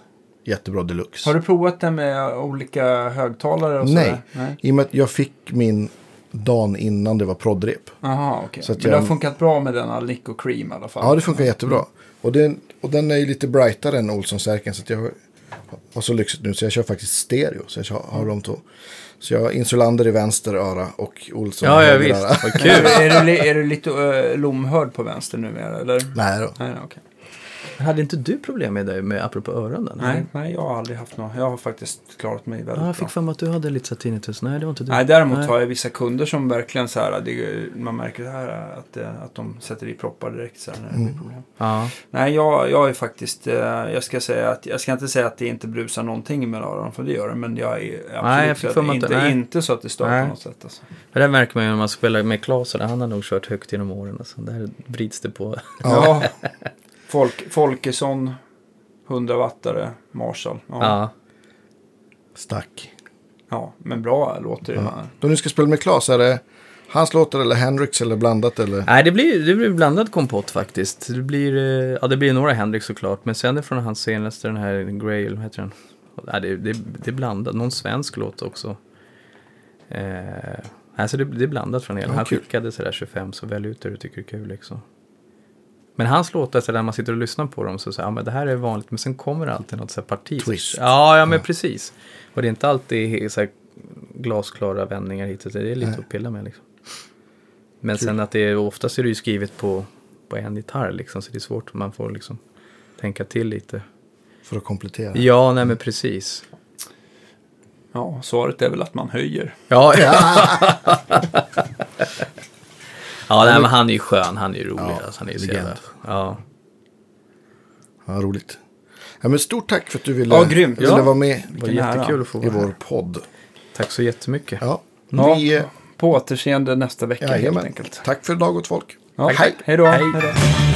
S3: jättebra deluxe.
S5: Har du provat den med olika högtalare? Och så
S3: Nej.
S5: där? Nej.
S3: I och med att jag fick min dagen innan det var prodrep.
S5: Jaha, okej.
S3: Så att
S5: Men det
S3: jag-
S5: har funkat bra med denna Lick och Cream i alla fall?
S3: Ja, det funkar jättebra. Och den, och den är ju lite brightare än Olsson-särken. Så att jag har så lyxigt nu så jag kör faktiskt stereo. Så jag kör, har de två. Så jag har Insulander i vänster öra och Olsson
S4: Ja,
S3: i
S4: ja
S3: höger
S4: visst.
S3: öra.
S4: Vad
S5: Men
S4: kul.
S5: är, du, li- är du lite äh, lomhörd på vänster numera? Eller?
S3: Nej då.
S5: Nej, okej.
S4: Hade inte du problem med det, med, apropå öronen?
S5: Nej, nej, jag har aldrig haft något. Jag har faktiskt klarat mig väldigt
S4: Ja, jag
S5: bra.
S4: fick för mig att du hade lite så här tinnitus. Nej, det var inte du.
S5: Nej, däremot
S4: Nej.
S5: har jag vissa kunder som verkligen så här, det, man märker så här att, eh, att de sätter i proppar direkt så här när det blir problem.
S4: Ja.
S5: Nej, jag, jag är faktiskt, eh, jag ska säga att, jag ska inte säga att det inte brusar någonting i mina öron, för det gör det, men jag är absolut
S4: Nej, jag fick
S5: så att
S4: för mig
S5: inte,
S4: att det- nej.
S5: inte så att det stör
S4: Nej.
S5: på något sätt. Alltså.
S4: För det märker man ju när man spelar med Klas. och det, Han har nog kört högt genom åren. Alltså. Där vrids det på.
S5: Ja. Folk, Folkesson, 100-wattare, Marshall. Ja, ja.
S4: Ja.
S3: Stack.
S5: men bra låter det. Ja.
S3: Då ni ska spela med Claes, är det hans låtar eller Hendrix eller blandat eller?
S4: Nej, det blir, det blir blandad kompott faktiskt. Det blir, eh, ja, det blir några Hendrix såklart, men sen är från hans senaste, den här Grail, vad heter den? Ja, det, det, det är blandat, någon svensk låt också. Eh, alltså det, det är blandat från hela.
S3: Ja,
S4: han
S3: kul.
S4: skickade sådär 25, så välj ut det du tycker är kul liksom. Men hans låtar, så där man sitter och lyssnar på dem, så säger ja, men det här är vanligt, men sen kommer det alltid något så här parti.
S3: Twist.
S4: Ja, ja, men precis. Och det är inte alltid he- så här glasklara vändningar hit och dit. Det är lite att pilla med liksom. Men sen att det är, oftast är det ju skrivet på, på en gitarr liksom, så det är svårt. Man får liksom tänka till lite.
S3: För att komplettera.
S4: Ja, nej men precis.
S5: svaret är väl att man höjer.
S4: Ja, ja. ja nej, men han är ju skön, han är ju rolig.
S3: Ja,
S4: alltså, han är ju så
S3: legend.
S4: jävla- ja.
S3: Ja, roligt. Ja, men stort tack för att du ville,
S5: Ja, grymt.
S3: ville
S5: Ja.
S3: vara med
S4: Det var
S5: Vilken ära.
S4: jättekul att få
S3: i
S4: vara
S3: vår
S4: här.
S3: podd.
S4: Tack så jättemycket.
S3: Ja,
S5: Ja.
S3: vi, eh,
S5: På återseende nästa vecka helt
S3: jajamän.
S5: enkelt.
S3: Tack för idag åt folk.
S5: Ja,
S3: Hej.
S5: Hej då.
S4: Hej.
S5: Hej då.